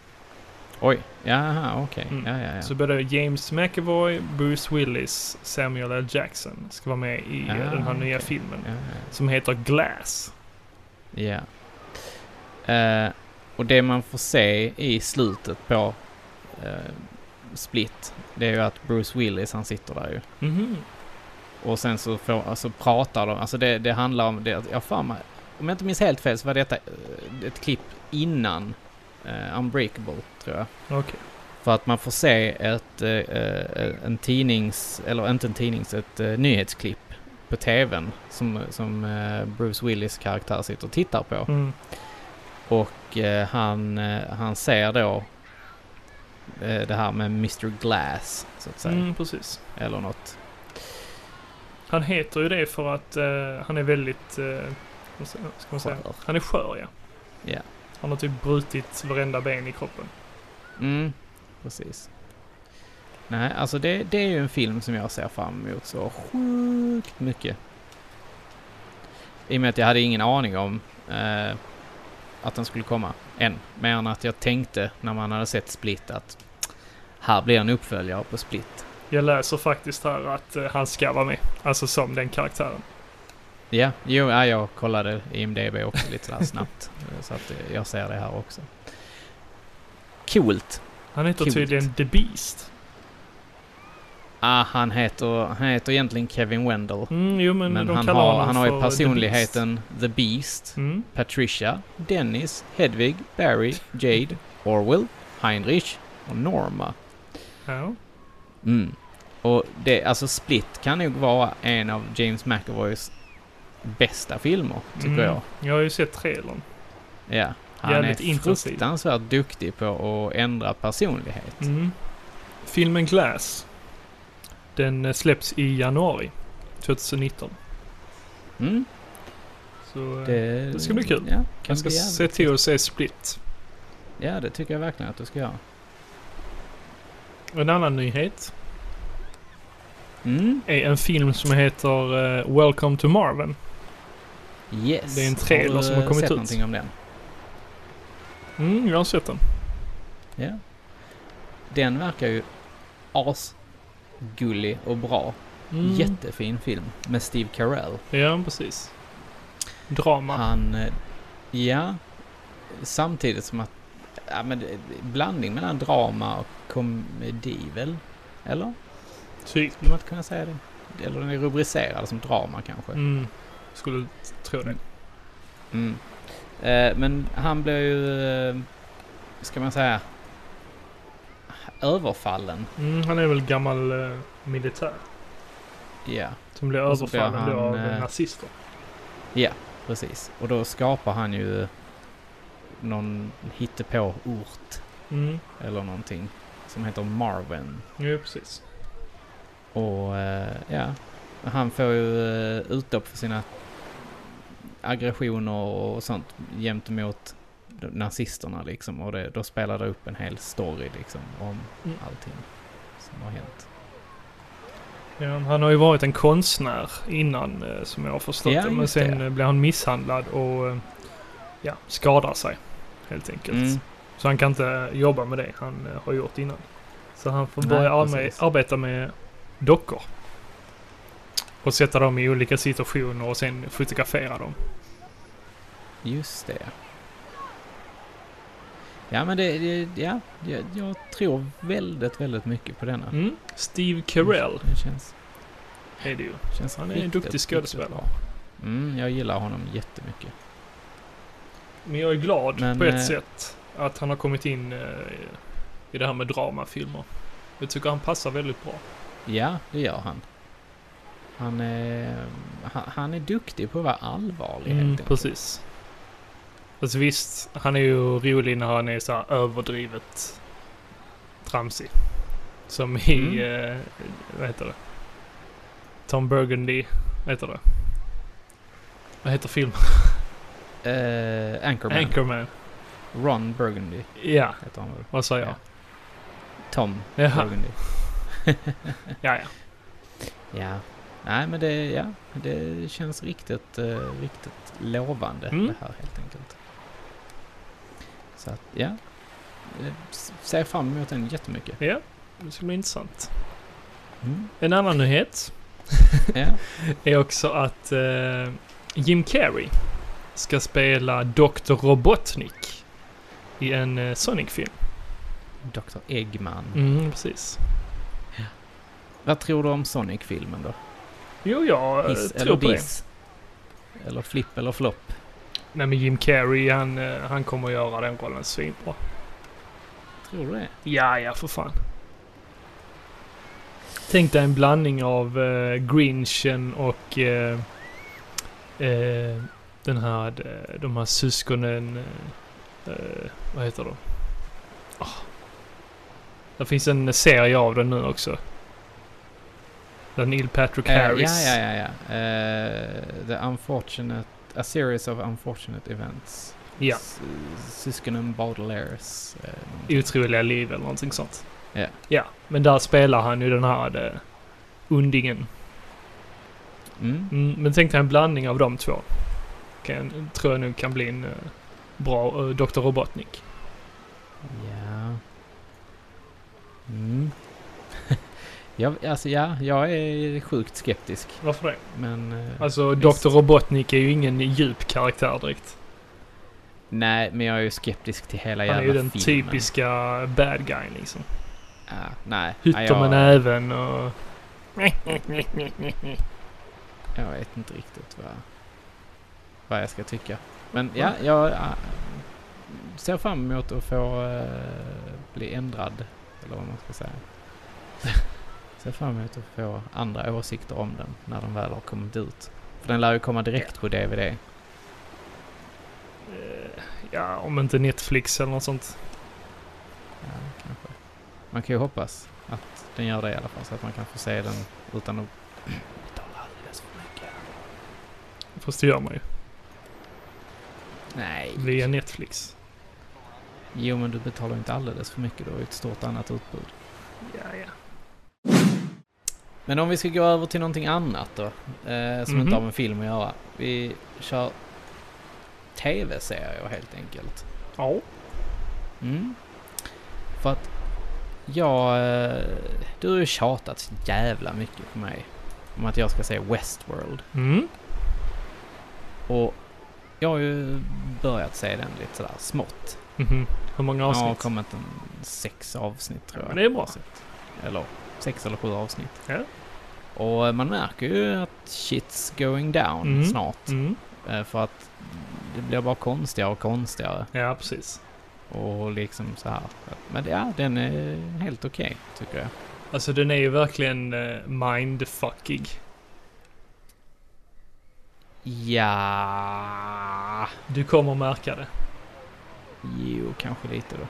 Speaker 1: Oj, jaha, okej.
Speaker 2: Mm.
Speaker 1: Ja, ja, ja.
Speaker 2: Så både James McAvoy, Bruce Willis, Samuel L. Jackson ska vara med i eh,
Speaker 1: Ah,
Speaker 2: den här nya
Speaker 1: okej.
Speaker 2: filmen.
Speaker 1: ja, ja.
Speaker 2: Som heter Glass.
Speaker 1: Ja. Eh, och det man får se i slutet på eh, Split, det är ju att Bruce Willis, han sitter där ju.
Speaker 2: Mhm.
Speaker 1: Och sen så får, alltså, pratar de, alltså det, det handlar om, det, jag fan mig, om jag inte minns helt fel så var detta eh, ett klipp innan eh, Unbreakable, tror jag.
Speaker 2: Okej.
Speaker 1: För att man får se ett, eh, eh, en tidnings, eller inte en tidnings, ett eh, nyhetsklipp på tvn som, som eh, Bruce Willis karaktär sitter och tittar på.
Speaker 2: Mm.
Speaker 1: Och eh, han, eh, han ser då eh, det här med Mr Glass, så att säga.
Speaker 2: Mm, precis.
Speaker 1: Eller något.
Speaker 2: Han heter ju det för att eh, han är väldigt... Eh, vad ska vad ska man säga?
Speaker 1: Skör.
Speaker 2: Han är skör, ja.
Speaker 1: Ja.
Speaker 2: Han har typ brutit varenda ben i kroppen.
Speaker 1: Mm, precis. Nej, alltså det, det är ju en film som jag ser fram emot så sjukt mycket. I och med att jag hade ingen aning om eh, att den skulle komma än. Mer än att jag tänkte när man hade sett Split att här blir en uppföljare på Split.
Speaker 2: Jag läser faktiskt här att eh, han ska vara med. Alltså som den karaktären.
Speaker 1: Ja, jo, ja, jag kollade IMDB också lite sådär snabbt. eh, så att eh, jag ser det här också. Coolt!
Speaker 2: Han heter
Speaker 1: Kul.
Speaker 2: tydligen The Beast.
Speaker 1: Ah, han heter, han heter egentligen Kevin Wendell.
Speaker 2: Mm, jo, men,
Speaker 1: Men,
Speaker 2: de
Speaker 1: han,
Speaker 2: kallar
Speaker 1: har,
Speaker 2: honom
Speaker 1: han har ju
Speaker 2: för The Beast.
Speaker 1: personligheten The Beast,
Speaker 2: Mm.
Speaker 1: Patricia, Dennis, Hedvig, Barry, Jade, Orwell, Heinrich och Norma.
Speaker 2: Ja.
Speaker 1: Mm. Och det, alltså Split kan nog vara en av James McAvoys bästa filmer, tycker
Speaker 2: Mm.
Speaker 1: jag.
Speaker 2: Jag har ju sett trailern.
Speaker 1: Ja. Han
Speaker 2: Jävligt
Speaker 1: är
Speaker 2: intensiv.
Speaker 1: fruktansvärt duktig på att ändra personlighet.
Speaker 2: Mm. Filmen Glass. Den eh, släpps i januari 2019.
Speaker 1: Mm.
Speaker 2: Så eh,
Speaker 1: Det,
Speaker 2: Det ska bli kul.
Speaker 1: Ja, kan
Speaker 2: jag ska
Speaker 1: bli jävligt
Speaker 2: se till att se Split.
Speaker 1: Ja, det tycker jag verkligen att du ska göra.
Speaker 2: En annan nyhet
Speaker 1: Mm.
Speaker 2: är en film som heter eh, Welcome to Marvin.
Speaker 1: Yes.
Speaker 2: Det är en trailer
Speaker 1: du,
Speaker 2: som har
Speaker 1: eh,
Speaker 2: kommit
Speaker 1: sett
Speaker 2: ut.
Speaker 1: någonting om den?
Speaker 2: Mm, jag har sett den.
Speaker 1: Ja. Den verkar ju asgullig och bra.
Speaker 2: Mm.
Speaker 1: Jättefin film med Steve Carell.
Speaker 2: Ja, precis. Drama.
Speaker 1: Han... eh, Ja. Samtidigt som att... Ja, men det- det- blandning mellan drama och komedi väl? Eller?
Speaker 2: Typ.
Speaker 1: Skulle man inte kunna säga det? Eller den är rubricerad som drama kanske.
Speaker 2: Mm. Skulle tro det.
Speaker 1: Mm. Eh, men han blir ju... eh, Ska man säga... Överfallen.
Speaker 2: Mm, han är väl gammal eh, militär.
Speaker 1: Ja.
Speaker 2: Som blir
Speaker 1: Och så blir
Speaker 2: överfallen då
Speaker 1: han,
Speaker 2: av eh,
Speaker 1: eh,
Speaker 2: nazister.
Speaker 1: Precis. Och då skapar han ju någon hittepå-ort
Speaker 2: Mm.
Speaker 1: eller någonting som heter Marvin.
Speaker 2: Jo, precis.
Speaker 1: Och eh, ja, han får ju eh, utlopp för sina aggressioner och sånt gentemot de- nazisterna liksom. Och det, då spelar det upp en hel story liksom om
Speaker 2: Mm.
Speaker 1: allting som har hänt.
Speaker 2: Ja, han har ju varit en konstnär innan eh, som jag har förstått
Speaker 1: Ja,
Speaker 2: det. Men
Speaker 1: just
Speaker 2: sen
Speaker 1: det.
Speaker 2: eh, blev han misshandlad och eh, ja, skadar sig helt enkelt.
Speaker 1: Mm.
Speaker 2: Så han kan inte jobba med det han eh, har gjort innan. Så han får
Speaker 1: Nej,
Speaker 2: börja arme-
Speaker 1: precis.
Speaker 2: arbeta med dockor. Och sätta dem i olika situationer och sen fotografera dem.
Speaker 1: Just det. Ja, men det, det ja, jag, jag tror väldigt, väldigt mycket på denna.
Speaker 2: Mm. Steve Carell
Speaker 1: Det känns
Speaker 2: är det ju.
Speaker 1: Känns
Speaker 2: Han är en
Speaker 1: riktigt,
Speaker 2: duktig
Speaker 1: riktigt
Speaker 2: skådespelare.
Speaker 1: bra. Mm, jag gillar honom jättemycket.
Speaker 2: Men jag är glad
Speaker 1: Men,
Speaker 2: på ett
Speaker 1: eh,
Speaker 2: sätt att han har kommit in eh, i det här med dramafilmer. Jag tycker han passar väldigt bra.
Speaker 1: Ja, det gör han. Han är, han, han är duktig på att vara allvarlig helt
Speaker 2: Mm,
Speaker 1: enkelt.
Speaker 2: precis. Alltså visst, han är ju rolig när han är så här överdrivet tramsig. Som i,
Speaker 1: Mm.
Speaker 2: eh, vad heter det? Tom Burgundy, vad heter det? Vad heter filmen?
Speaker 1: Eh, Anchorman.
Speaker 2: Anchorman.
Speaker 1: Ron Burgundy
Speaker 2: Ja,
Speaker 1: heter han väl?
Speaker 2: vad sa jag?
Speaker 1: Tom
Speaker 2: Jaha,
Speaker 1: Burgundy.
Speaker 2: ja, ja.
Speaker 1: Ja. Nej, men det, ja, det känns riktigt, eh, riktigt lovande
Speaker 2: Mm.
Speaker 1: det här helt enkelt. Så att, ja. Eh, s- Ser fram emot den jättemycket.
Speaker 2: Ja, det ska bli intressant.
Speaker 1: Mm.
Speaker 2: En annan nyhet
Speaker 1: Ja.
Speaker 2: är också att eh, Jim Carrey ska spela Dr. Robotnik i en eh, Sonic-film.
Speaker 1: Dr. Eggman.
Speaker 2: Mm, precis.
Speaker 1: Vad tror du om Sonic-filmen då?
Speaker 2: Jo, jag eh,
Speaker 1: Hiss eller
Speaker 2: tror på det.
Speaker 1: diss? Eller flipp eller flopp?
Speaker 2: Nej, men Jim Carrey, han, eh, han kommer göra den rollen svinbra.
Speaker 1: Tror du det?
Speaker 2: Ja, ja, för fan. Tänk dig en blandning av eh, Grinchen och eh, eh, den här, eh, de här syskonen... eh, Eh, vad heter de? Ah. Det finns en serie av den nu också. Där Neil Patrick
Speaker 1: Eh,
Speaker 2: Harris.
Speaker 1: ja, ja, ja. ja. Eh, the unfortunate... A series of unfortunate events.
Speaker 2: Ja,
Speaker 1: S- Syskonen Baudelaires. eh, någonting.
Speaker 2: Otroliga liv eller någonting sånt.
Speaker 1: Ja.
Speaker 2: Ja, men där spelar han ju den här eh, undingen.
Speaker 1: Mm.
Speaker 2: Mm, men tänk dig en blandning av de två. Kan, tror jag nog kan bli en eh, bra uh, Dr. Robotnik.
Speaker 1: Ja. Mm. jag, alltså, ja, jag är sjukt skeptisk.
Speaker 2: Varför det?
Speaker 1: Men... eh,
Speaker 2: Alltså,
Speaker 1: Visst.
Speaker 2: Dr. Robotnik är ju ingen djup karaktär direkt.
Speaker 1: nej, men jag är ju skeptisk till hela
Speaker 2: Han
Speaker 1: jävla
Speaker 2: är ju den
Speaker 1: filmen.
Speaker 2: typiska bad guyen liksom.
Speaker 1: Ja, nej. nej,
Speaker 2: Hytter med
Speaker 1: jag,
Speaker 2: näven och...
Speaker 1: jag vet inte riktigt vad, vad jag ska tycka. Men ja, jag äh, ser fram emot att få eh, bli ändrad. Eller vad man ska säga. ser fram emot att få andra åsikter om den när den väl har kommit ut. För den lär ju komma direkt på DVD.
Speaker 2: Eh, Ja, om inte Netflix eller något sånt.
Speaker 1: Ja, kanske. Man kan ju hoppas att den gör det i alla fall så att man kan få se den utan att betala alldeles för mycket.
Speaker 2: Fast det gör man ju.
Speaker 1: Nej.
Speaker 2: Via Netflix.
Speaker 1: Jo, men du betalar ju inte alldeles för mycket. Du har ju ett stort annat utbud.
Speaker 2: Ja, ja.
Speaker 1: Men om vi ska gå över till någonting annat då, eh, som
Speaker 2: Mhm.
Speaker 1: inte har med film att göra. Vi kör tv-serier helt enkelt.
Speaker 2: Ja.
Speaker 1: Mm. För att jag... Eh, du har ju tjatat så jävla mycket på mig om att jag ska se Westworld.
Speaker 2: Mm.
Speaker 1: Och jag har ju börjat se den lite sådär smått.
Speaker 2: Mhm. Hur många
Speaker 1: Ja, det har
Speaker 2: avsnitt?
Speaker 1: kommit en sex avsnitt tror
Speaker 2: Ja,
Speaker 1: jag.
Speaker 2: men det är bra.
Speaker 1: Eller sex eller sju avsnitt.
Speaker 2: Ja.
Speaker 1: Och eh, man märker ju att shit's going down
Speaker 2: Mm.
Speaker 1: snart.
Speaker 2: Mm.
Speaker 1: Eh, För att det blir bara konstigare och konstigare.
Speaker 2: Ja, precis.
Speaker 1: Och liksom så här. Men ja, den är helt okej tycker jag.
Speaker 2: Alltså den är ju verkligen eh, mindfuckig.
Speaker 1: Ja,
Speaker 2: Du kommer märka det.
Speaker 1: jo kanske lite då.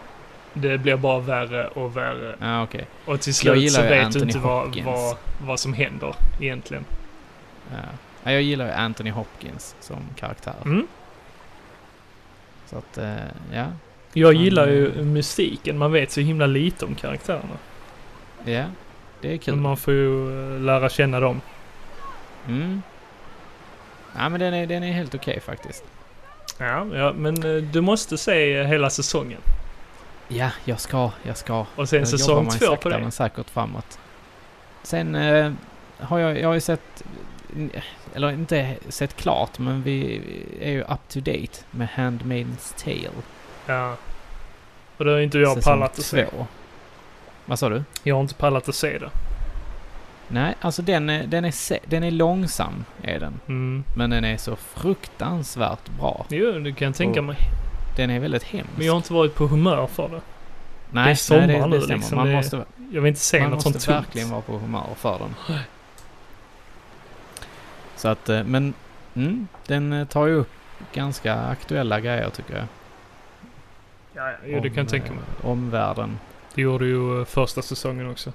Speaker 2: Det blir bara värre och värre.
Speaker 1: Ja, ah, okej.
Speaker 2: Och till
Speaker 1: Jag
Speaker 2: slut
Speaker 1: gillar
Speaker 2: så
Speaker 1: ju
Speaker 2: vet du
Speaker 1: Anthony
Speaker 2: inte vad,
Speaker 1: Hopkins.
Speaker 2: vad, vad som händer egentligen.
Speaker 1: Ja. Ja, Jag gillar ju Anthony Hopkins som karaktär.
Speaker 2: Mm.
Speaker 1: Så att, eh, ja.
Speaker 2: Jag
Speaker 1: Han,
Speaker 2: gillar
Speaker 1: eh,
Speaker 2: ju musiken. Man vet så himla lite om karaktärerna.
Speaker 1: Ja, det är kul.
Speaker 2: Men man får ju eh, lära känna dem.
Speaker 1: Mm. Ja, men den är, den är helt okej faktiskt.
Speaker 2: Ja, ja men eh, du måste se eh, hela säsongen.
Speaker 1: Ja, jag ska, jag ska.
Speaker 2: Och sen
Speaker 1: Där
Speaker 2: säsong
Speaker 1: jobbar man
Speaker 2: två
Speaker 1: sakta
Speaker 2: på det.
Speaker 1: men säkert framåt. Sen eh, har jag, jag har ju sett, eh, eller inte sett klart, men vi är ju up to date med Handmaid's Tale.
Speaker 2: Ja. Och det har inte jag
Speaker 1: säsong
Speaker 2: pallat att se.
Speaker 1: två. Vad sa du?
Speaker 2: Jag har inte pallat att se det.
Speaker 1: Nej, alltså den är, den är, se- den är långsam, är den.
Speaker 2: Mm.
Speaker 1: Men den är så fruktansvärt bra.
Speaker 2: Jo, det kan jag tänka
Speaker 1: Och-
Speaker 2: mig.
Speaker 1: Den är väldigt hemsk.
Speaker 2: Men jag har inte varit på humör för det.
Speaker 1: nej,
Speaker 2: det är sommar
Speaker 1: nej, det,
Speaker 2: nu,
Speaker 1: det stämmer.
Speaker 2: liksom.
Speaker 1: man
Speaker 2: Det är
Speaker 1: måste,
Speaker 2: Jag vill inte se
Speaker 1: man
Speaker 2: något
Speaker 1: måste
Speaker 2: sånt tungt.
Speaker 1: verkligen vara på humör för den. Så att, eh, men mm, den eh, tar ju upp ganska aktuella grejer tycker jag.
Speaker 2: Ja, ja, jo, det kan jag tänka mig.
Speaker 1: eh, Omvärlden.
Speaker 2: Det gjorde ju eh, första säsongen också.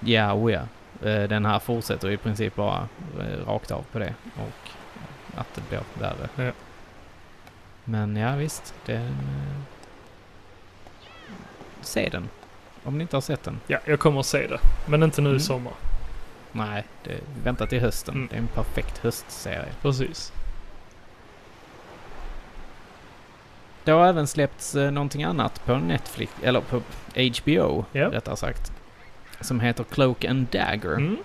Speaker 1: Ja, oh ja. Eh, Den här fortsätter i princip bara eh, rakt av på det och att det blir värre.
Speaker 2: Ja.
Speaker 1: Men ja, visst. Den, eh, se den. Om ni inte har sett den.
Speaker 2: Ja, jag kommer att se det. Men inte nu i
Speaker 1: Mm.
Speaker 2: sommar.
Speaker 1: Nej, det, vänta till hösten.
Speaker 2: Mm.
Speaker 1: Det är en perfekt höstserie.
Speaker 2: Precis.
Speaker 1: Det har även släppts eh, någonting annat på Netflix, eller på HBO
Speaker 2: Ja.
Speaker 1: rättare sagt. Som heter Cloak and Dagger.
Speaker 2: Mm.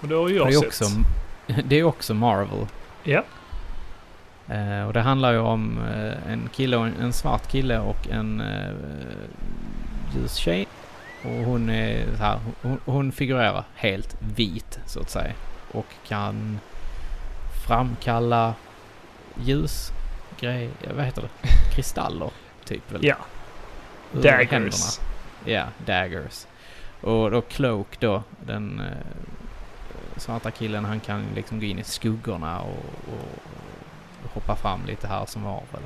Speaker 2: Och det har ju
Speaker 1: det,
Speaker 2: jag
Speaker 1: är
Speaker 2: sett.
Speaker 1: också, det är också Marvel.
Speaker 2: Ja.
Speaker 1: Eh, och det handlar ju om eh, en kille, och en, en svart kille och en eh, ljus tjej. Och hon är så här, hon, hon figurerar helt vit så att säga. Och kan framkalla ljus, grej, vad heter det? Kristaller typ väl?
Speaker 2: Ja.
Speaker 1: Ur händerna.
Speaker 2: Daggers.
Speaker 1: Ja, daggers. Och då Cloak då, den eh, svarta killen, han kan liksom gå in i skuggorna och, och hoppa fram lite här som avel.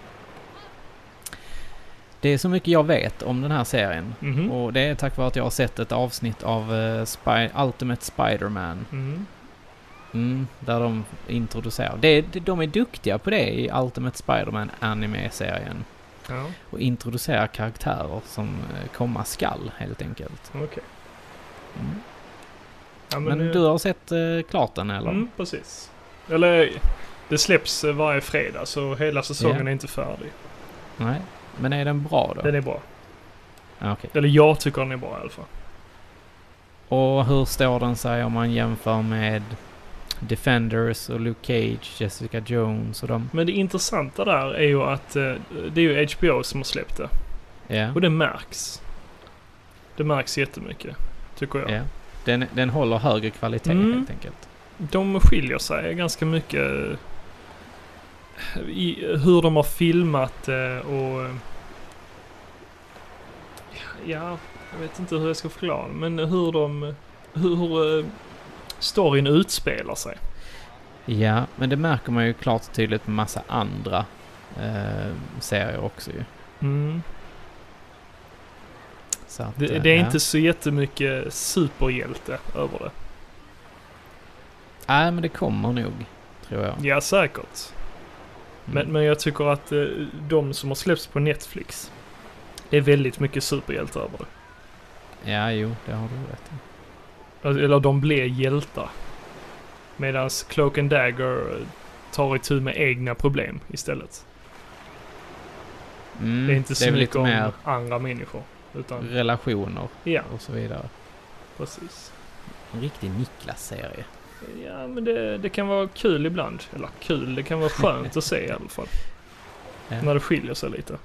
Speaker 1: Det är så mycket jag vet om den här serien.
Speaker 2: Mhm.
Speaker 1: Och det är tack vare att jag har sett ett avsnitt av eh, Spy- Ultimate Spider-Man.
Speaker 2: Mm.
Speaker 1: Mm, där de introducerar. Det, det- de är duktiga på det i Ultimate Spider-Man anime-serien.
Speaker 2: Ja,
Speaker 1: Och introducerar karaktärer som eh, komma skall helt enkelt.
Speaker 2: okej.
Speaker 1: Mm.
Speaker 2: Ja,
Speaker 1: Men,
Speaker 2: eh,
Speaker 1: du har sett eh, klart den eller?
Speaker 2: Mm, precis. Eller, det släpps eh, varje fredag så hela säsongen
Speaker 1: Ja.
Speaker 2: är inte färdig.
Speaker 1: Nej. Men är den bra då?
Speaker 2: Den är bra.
Speaker 1: Ja, okej.
Speaker 2: Eller jag tycker den är bra i alla fall.
Speaker 1: Och hur står den sig om man jämför med Defenders och Luke Cage, Jessica Jones och dem?
Speaker 2: Men det intressanta där är ju att eh, det är ju HBO som har släppt det.
Speaker 1: Ja.
Speaker 2: Och det märks. Det märks jättemycket, tycker jag.
Speaker 1: ja. Den, den håller högre kvalitet
Speaker 2: Mm.
Speaker 1: helt enkelt.
Speaker 2: De skiljer sig ganska mycket eh, i hur de har filmat eh, och... eh, Ja, jag vet inte hur jag ska förklara det, men hur de... Hur, hur eh, storyn utspelar sig.
Speaker 1: Ja, men det märker man ju klart och tydligt med massa andra eh, serier också ju. Så att,
Speaker 2: Det,
Speaker 1: eh,
Speaker 2: det är
Speaker 1: ja.
Speaker 2: inte så jättemycket superhjälte över det.
Speaker 1: Nej, men det kommer nog, tror jag.
Speaker 2: Ja, säkert. Men,
Speaker 1: Mm.
Speaker 2: men jag tycker att eh, de som har släppts på Netflix, det är väldigt mycket superhjälte över det.
Speaker 1: Ja, jo, det har du rätt i.
Speaker 2: Alltså, Eller de blir hjältar. Medan Cloak and Dagger eh, tar itu med egna problem istället.
Speaker 1: Mm,
Speaker 2: det är inte så
Speaker 1: väl
Speaker 2: mycket
Speaker 1: lite
Speaker 2: om
Speaker 1: mer Mm.
Speaker 2: andra människor. Utan,
Speaker 1: relationer
Speaker 2: ja,
Speaker 1: och så vidare.
Speaker 2: precis.
Speaker 1: En riktig Niklas-serie.
Speaker 2: Ja, men det, det kan vara kul ibland. Eller kul, det kan vara skönt att se i alla fall.
Speaker 1: Ja.
Speaker 2: När det skiljer sig lite.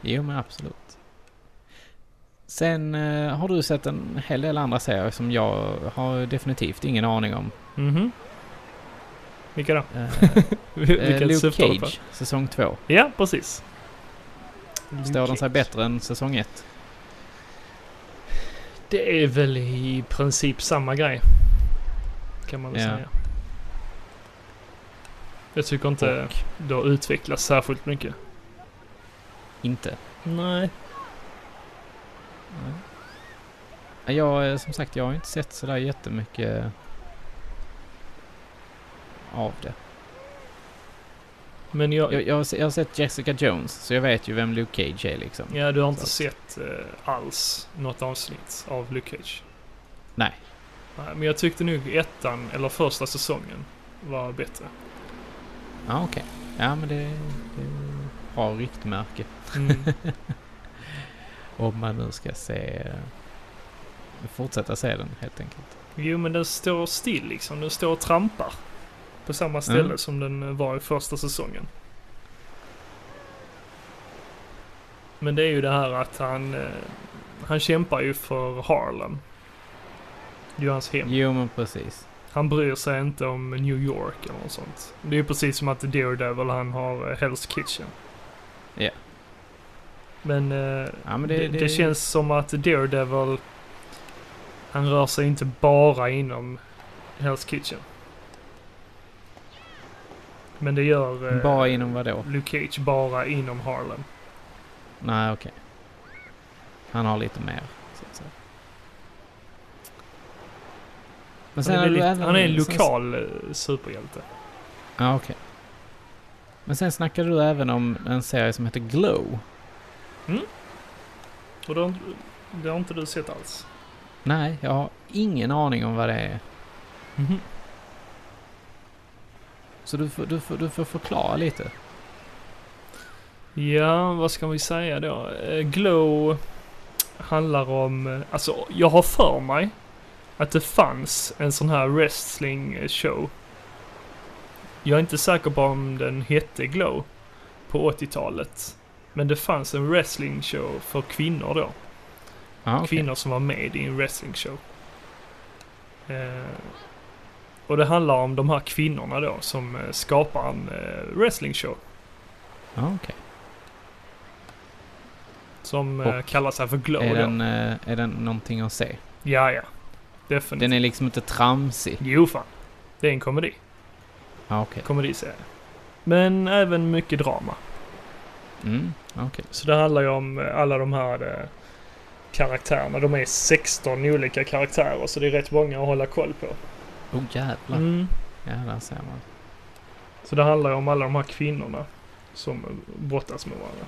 Speaker 1: Jo, men absolut. Sen eh, har du sett en hel del andra serier som jag har definitivt ingen aning om.
Speaker 2: Mhm. Vilka då?
Speaker 1: Eh, eh,
Speaker 2: Vilka
Speaker 1: Luke
Speaker 2: syftar du på?
Speaker 1: Cage, säsong 2.
Speaker 2: Ja, precis.
Speaker 1: Står den sig
Speaker 2: Cage.
Speaker 1: bättre än säsong 1?
Speaker 2: Det är väl i princip samma grej. Kan man väl
Speaker 1: Ja.
Speaker 2: säga. Jag tycker inte
Speaker 1: Och
Speaker 2: det har utvecklats särskilt mycket.
Speaker 1: inte.
Speaker 2: Nej.
Speaker 1: Nej. Jag, eh, som sagt, jag har inte sett sådär jättemycket av det.
Speaker 2: Men jag...
Speaker 1: Jag, jag, har se- jag har sett Jessica Jones, så jag vet ju vem Luke Cage är liksom.
Speaker 2: ja, du har inte
Speaker 1: Så.
Speaker 2: sett eh, alls något avsnitt av Luke Cage?
Speaker 1: Nej.
Speaker 2: Nej, men jag tyckte nog ettan, eller första säsongen, var bättre.
Speaker 1: Ja, okej. Ja, men det, det är ett bra riktmärke.
Speaker 2: Mm.
Speaker 1: Om man nu ska se... Fortsätta se den helt enkelt.
Speaker 2: jo, men den står still liksom. Den står och trampar. På samma ställe
Speaker 1: Mm.
Speaker 2: som den eh, var i första säsongen. Men det är ju det här att han... eh, Han kämpar ju för Harlem. Det är ju hans hem.
Speaker 1: Jo men precis.
Speaker 2: Han bryr sig inte om New York eller något sånt. Det är ju precis som att Daredevil han har eh, Hell's Kitchen.
Speaker 1: Ja.
Speaker 2: Men, eh,
Speaker 1: Ja, men det,
Speaker 2: det, det, känns som att Daredevil han rör sig inte bara inom Hell's Kitchen. Men det gör eh,
Speaker 1: Bara inom vadå?
Speaker 2: Luke Cage bara inom Harlem.
Speaker 1: Nej okej. Han har lite mer. Så att säga. Men
Speaker 2: Han är,
Speaker 1: har du
Speaker 2: väldigt,
Speaker 1: även-
Speaker 2: han är en
Speaker 1: sen-
Speaker 2: lokal eh, superhjälte.
Speaker 1: Ja okej. Men sen snackade du även om en serie som heter Glow.
Speaker 2: Och det har, inte- det har inte du sett alls.
Speaker 1: Nej, jag har ingen aning om vad det är. Mhm. Så du får, du får, du får förklara lite.
Speaker 2: Ja, vad ska vi säga då? Eh, Glow handlar om... eh, Alltså, jag har för mig att det fanns en sån här wrestling show. Jag är inte säker på om den hette Glow på 80-talet. Men det fanns en wrestling show för kvinnor då.
Speaker 1: Ja, Ah, okej.
Speaker 2: Kvinnor som var med i en wrestling show. Eh, och det handlar om de här kvinnorna då som eh, skapar
Speaker 1: Ah,
Speaker 2: en eh, wrestling show.
Speaker 1: Ja, okej.
Speaker 2: Som
Speaker 1: Och
Speaker 2: eh, kallar sig för Glow.
Speaker 1: Är
Speaker 2: då.
Speaker 1: den, eh, är den någonting att se?
Speaker 2: Ja, ja. Definitivt.
Speaker 1: Den är liksom inte tramsig.
Speaker 2: Jo, fan. Det är en komedi.
Speaker 1: Ah, Okej.
Speaker 2: Komediserie. Men även mycket drama.
Speaker 1: Mm, okej.
Speaker 2: Så det handlar ju om eh, alla de här eh, karaktärerna. De är 16 olika karaktärer så det är rätt många att hålla koll på.
Speaker 1: Oh jävlar.
Speaker 2: Mm.
Speaker 1: Jävlar ser man.
Speaker 2: Så det handlar ju om alla de här kvinnorna som eh, brottas med varandra.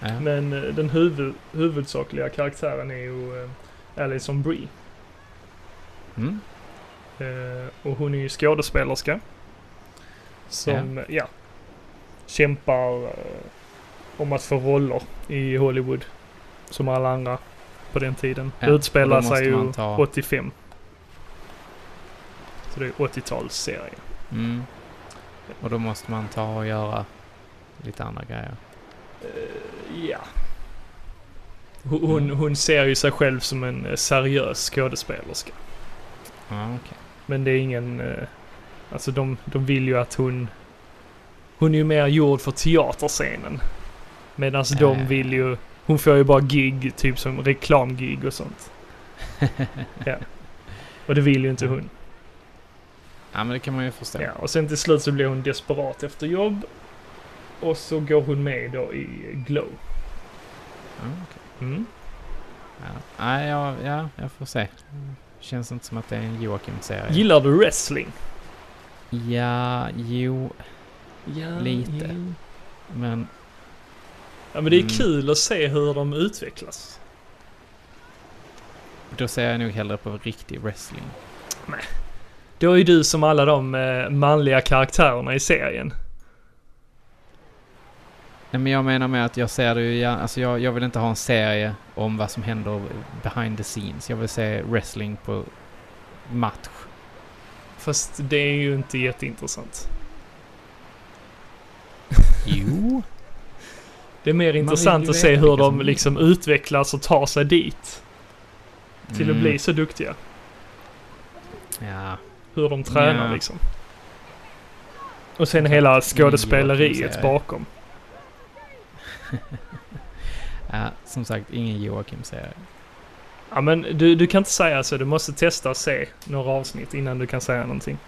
Speaker 1: Ja.
Speaker 2: Men eh, den huvud, huvudsakliga karaktären är ju eh, Alison Brie.
Speaker 1: Mm.
Speaker 2: Eh, och hon är ju skådespelerska. Som, ja, kämpar eh, om att få roller i Hollywood. Som alla andra på den tiden.
Speaker 1: Ja,
Speaker 2: det
Speaker 1: och
Speaker 2: utspelar
Speaker 1: då måste
Speaker 2: sig ju
Speaker 1: man ta-
Speaker 2: 85. Så det är 80-talsserie.
Speaker 1: Mm. Och då måste man ta och göra lite andra grejer.
Speaker 2: Ja. Hon, hon- hon ser ju sig själv som en eh, seriös skådespelerska.
Speaker 1: Ja, okej.
Speaker 2: Men det är ingen... eh, Alltså de, de vill ju att hon... Hon är ju mer gjord för teaterscenen. Medan
Speaker 1: Ja, ja,
Speaker 2: de
Speaker 1: ja.
Speaker 2: vill ju... Hon får ju bara gig, typ som reklamgig och sånt. ja. Och det vill ju inte hon.
Speaker 1: Mm, Ja, men det kan man ju förstå.
Speaker 2: Ja, och sen till slut så blir hon desperat efter jobb. Och så går hon med då i Glow.
Speaker 1: Ja, okej.
Speaker 2: Mm.
Speaker 1: ja. Nej, ja, ja, jag får se. Känns inte som att det är en Joakim-serie.
Speaker 2: Gillar du wrestling?
Speaker 1: ja, jo,
Speaker 2: Ja,
Speaker 1: Lite.
Speaker 2: jo.
Speaker 1: men...
Speaker 2: Ja, men det är
Speaker 1: Mm.
Speaker 2: kul att se hur de utvecklas.
Speaker 1: Då ser jag nog hellre på riktig wrestling.
Speaker 2: Då är du som alla de eh, manliga karaktärerna i serien.
Speaker 1: Nej, men jag menar med att jag ser det ju gärna, alltså jag, jag vill inte ha en serie om vad som händer behind the scenes. Jag vill se wrestling på match.
Speaker 2: Fast det är ju inte jätteintressant.
Speaker 1: Jo.
Speaker 2: Det är mer intressant
Speaker 1: ju
Speaker 2: att se
Speaker 1: veta
Speaker 2: hur
Speaker 1: vilka
Speaker 2: de
Speaker 1: som-
Speaker 2: liksom utvecklas och tar sig dit. Till att
Speaker 1: Mm.
Speaker 2: bli så duktiga.
Speaker 1: Ja.
Speaker 2: Hur de tränar
Speaker 1: Ja.
Speaker 2: liksom. Och sen hela
Speaker 1: Joakim
Speaker 2: skådespeleriet
Speaker 1: säger.
Speaker 2: bakom.
Speaker 1: ja, som sagt, ingen Joakim-serie.
Speaker 2: Ja men du, du kan inte säga så. Du måste testa och se några avsnitt innan du kan säga någonting.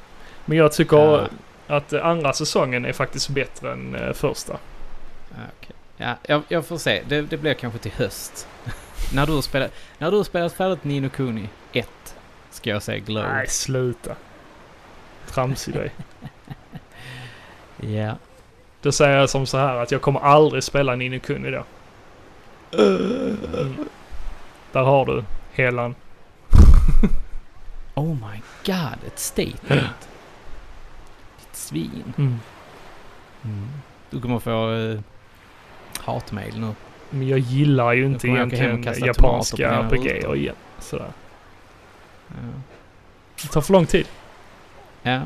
Speaker 2: Men jag tycker
Speaker 1: Ja.
Speaker 2: att eh, andra säsongen är faktiskt bättre än eh, första.
Speaker 1: Ja, okej. ja, jag, jag får se. Det, det blir kanske till höst. när, du har spelat, när du har spelat färdigt Nino Kuni 1 ska jag säga Glow.
Speaker 2: Nej, sluta. Tramsig dig.
Speaker 1: Ja.
Speaker 2: Då säger jag som så här att jag kommer aldrig spela Nino Kuni då. Mm. Där har du helan.
Speaker 1: Oh my god, ett statement. Ditt svin. Mm. Du kommer få uh, hatmail nu.
Speaker 2: Men jag gillar ju inte
Speaker 1: kommer jag åka hem och
Speaker 2: egentligen
Speaker 1: kasta
Speaker 2: japanska
Speaker 1: tomater på dina
Speaker 2: RPG
Speaker 1: rutor.
Speaker 2: igen. Sådär.
Speaker 1: Ja.
Speaker 2: Det tar för lång tid.
Speaker 1: ja.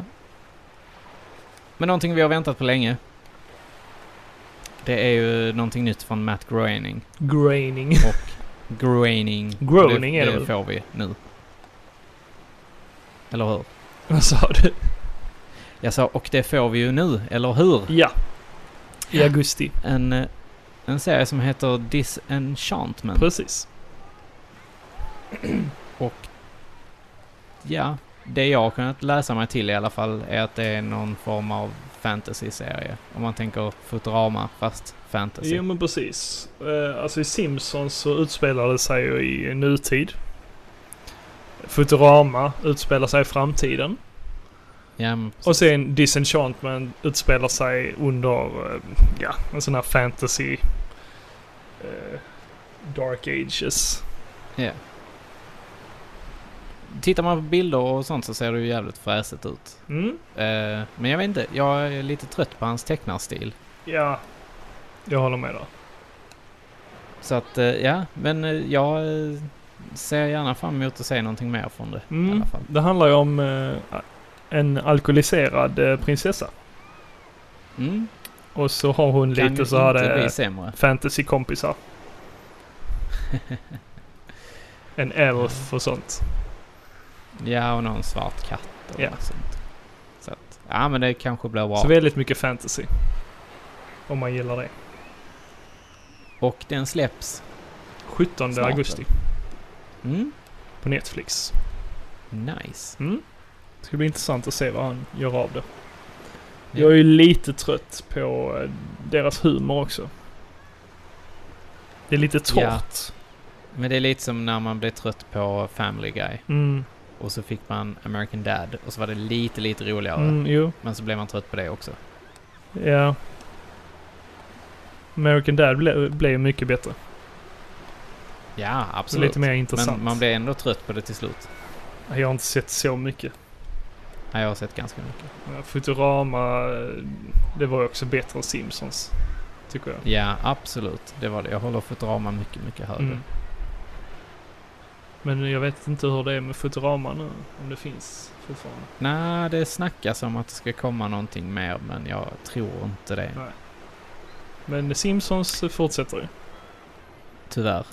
Speaker 1: Men någonting vi har väntat på länge. Det är ju någonting nytt från Matt Groening.
Speaker 2: Graining.
Speaker 1: Groening.
Speaker 2: Groening
Speaker 1: det,
Speaker 2: är det
Speaker 1: det
Speaker 2: väl?
Speaker 1: får vi nu. Eller hur?
Speaker 2: Vad sa du?
Speaker 1: Jag sa, och det får vi ju nu, eller hur?
Speaker 2: Ja. I augusti.
Speaker 1: En, eh, en serie som heter Disenchantment.
Speaker 2: Precis.
Speaker 1: Ja, det jag har kunnat läsa mig till i alla fall är att det är någon form av fantasy-serie. Om man tänker Futurama, fast fantasy.
Speaker 2: Jo men precis. Eh, Alltså i Simpsons så utspelar det sig ju i nutid. Futurama utspelar sig i framtiden.
Speaker 1: Ja, men precis.
Speaker 2: Och sen Disenchantment utspelar sig under, eh, ja, en sån här fantasy... eh, dark ages.
Speaker 1: Ja. Tittar man på bilder och sånt så ser det ju jävligt fräsigt ut.
Speaker 2: Mm,
Speaker 1: Eh, men jag vet inte, jag är lite trött på hans tecknarstil.
Speaker 2: ja. Jag håller med där.
Speaker 1: Så att, eh, ja, men eh, jag eh, ser gärna fram emot att se någonting mer från det i
Speaker 2: Mm,
Speaker 1: alla fall.
Speaker 2: det handlar ju om eh, en alkoholiserad eh, prinsessa.
Speaker 1: Mm,
Speaker 2: Och så har hon
Speaker 1: kan
Speaker 2: lite
Speaker 1: ju
Speaker 2: så här
Speaker 1: inte bli
Speaker 2: eh,
Speaker 1: sämre.
Speaker 2: fantasykompisar. en elf och sånt.
Speaker 1: Ja, och någon svart katt och
Speaker 2: Ja.
Speaker 1: något sånt. Så att, ja men det kanske blir bra.
Speaker 2: Så väldigt mycket fantasy. Om man gillar det.
Speaker 1: Och den släpps
Speaker 2: 17
Speaker 1: Snart,
Speaker 2: augusti
Speaker 1: Mm,
Speaker 2: på Netflix.
Speaker 1: nice.
Speaker 2: Mm. Det ska bli intressant att se vad han gör av det.
Speaker 1: Ja.
Speaker 2: Jag är ju lite trött på eh, deras humor också. Det är lite torrt.
Speaker 1: Ja. Men det är lite som när man blev trött på Family Guy
Speaker 2: Mm,
Speaker 1: och så fick man American Dad och så var det lite, lite roligare.
Speaker 2: mm, jo.
Speaker 1: Men så blev man trött på det också.
Speaker 2: Ja. American Dad ble- blev ju mycket bättre.
Speaker 1: Ja,
Speaker 2: Så
Speaker 1: absolut.
Speaker 2: lite mer intressant.
Speaker 1: Men man blir ändå trött på det till slut.
Speaker 2: Jag har inte sett så mycket.
Speaker 1: Ja, jag har sett ganska mycket.
Speaker 2: Ja, Futurama, eh, det var ju också bättre än Simpsons. Tycker jag.
Speaker 1: Ja, absolut. Det var det. Jag håller Futurama mycket, mycket högre.
Speaker 2: Mm. Men jag vet inte hur det är med Futurama nu. Om det finns fortfarande.
Speaker 1: Nej, det snackas om att det ska komma någonting mer, men jag tror inte det.
Speaker 2: Nej. Men Simpsons fortsätter ju.
Speaker 1: Tyvärr.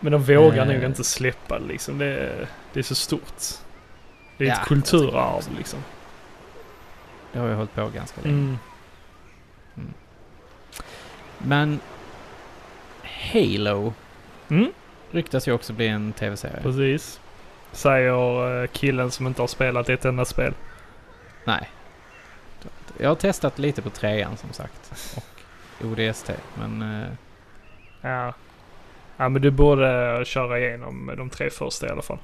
Speaker 2: Men de vågar
Speaker 1: Eh.
Speaker 2: nog inte släppa det liksom. Det är, det är så stort. Det är
Speaker 1: Ja,
Speaker 2: ett kulturarv liksom.
Speaker 1: Det har jag hållit på ganska länge.
Speaker 2: Mm.
Speaker 1: Men Halo
Speaker 2: Mm,
Speaker 1: ryktas ju också bli en tv-serie.
Speaker 2: precis. Säger eh, killen som inte har spelat ett enda spel.
Speaker 1: Nej. Jag har testat lite på trean som sagt. Och ODST. Men eh,
Speaker 2: Ja. Ja men du borde köra igenom de tre första i alla fall.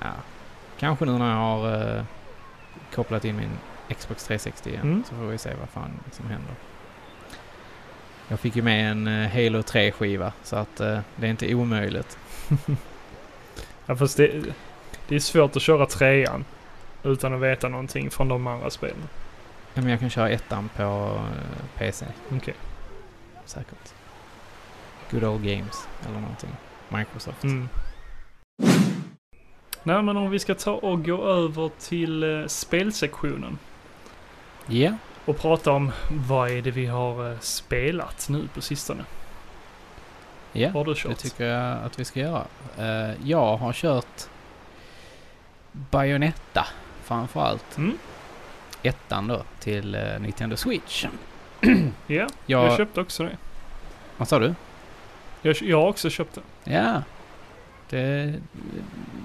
Speaker 1: ja. kanske nu när jag har eh, kopplat in min Xbox 360 igen
Speaker 2: Mm.
Speaker 1: så får vi se vad fan som händer. Jag fick ju med en eh, Halo 3-skiva så att eh, det är inte omöjligt.
Speaker 2: Ja fast det, det är svårt att köra trean. Utan att veta någonting från de andra spelen.
Speaker 1: Ja, men jag kan köra ettan på eh, PC.
Speaker 2: Okej.
Speaker 1: Säkert. Good old games eller någonting. Microsoft.
Speaker 2: Mm. Nej men om vi ska ta och gå över till eh, spelsektionen.
Speaker 1: Ja.
Speaker 2: och prata om vad är det vi har eh, spelat nu på sistone.
Speaker 1: Ja,
Speaker 2: Har du
Speaker 1: det
Speaker 2: kört?
Speaker 1: tycker jag att vi ska göra. Eh, jag har kört Bayonetta framförallt.
Speaker 2: Mm.
Speaker 1: Ettan då till eh, Nintendo Switch.
Speaker 2: Ja, jag
Speaker 1: Jag,
Speaker 2: köpte också det.
Speaker 1: vad sa du?
Speaker 2: Jag, jag har också köpt det.
Speaker 1: Ja. Det,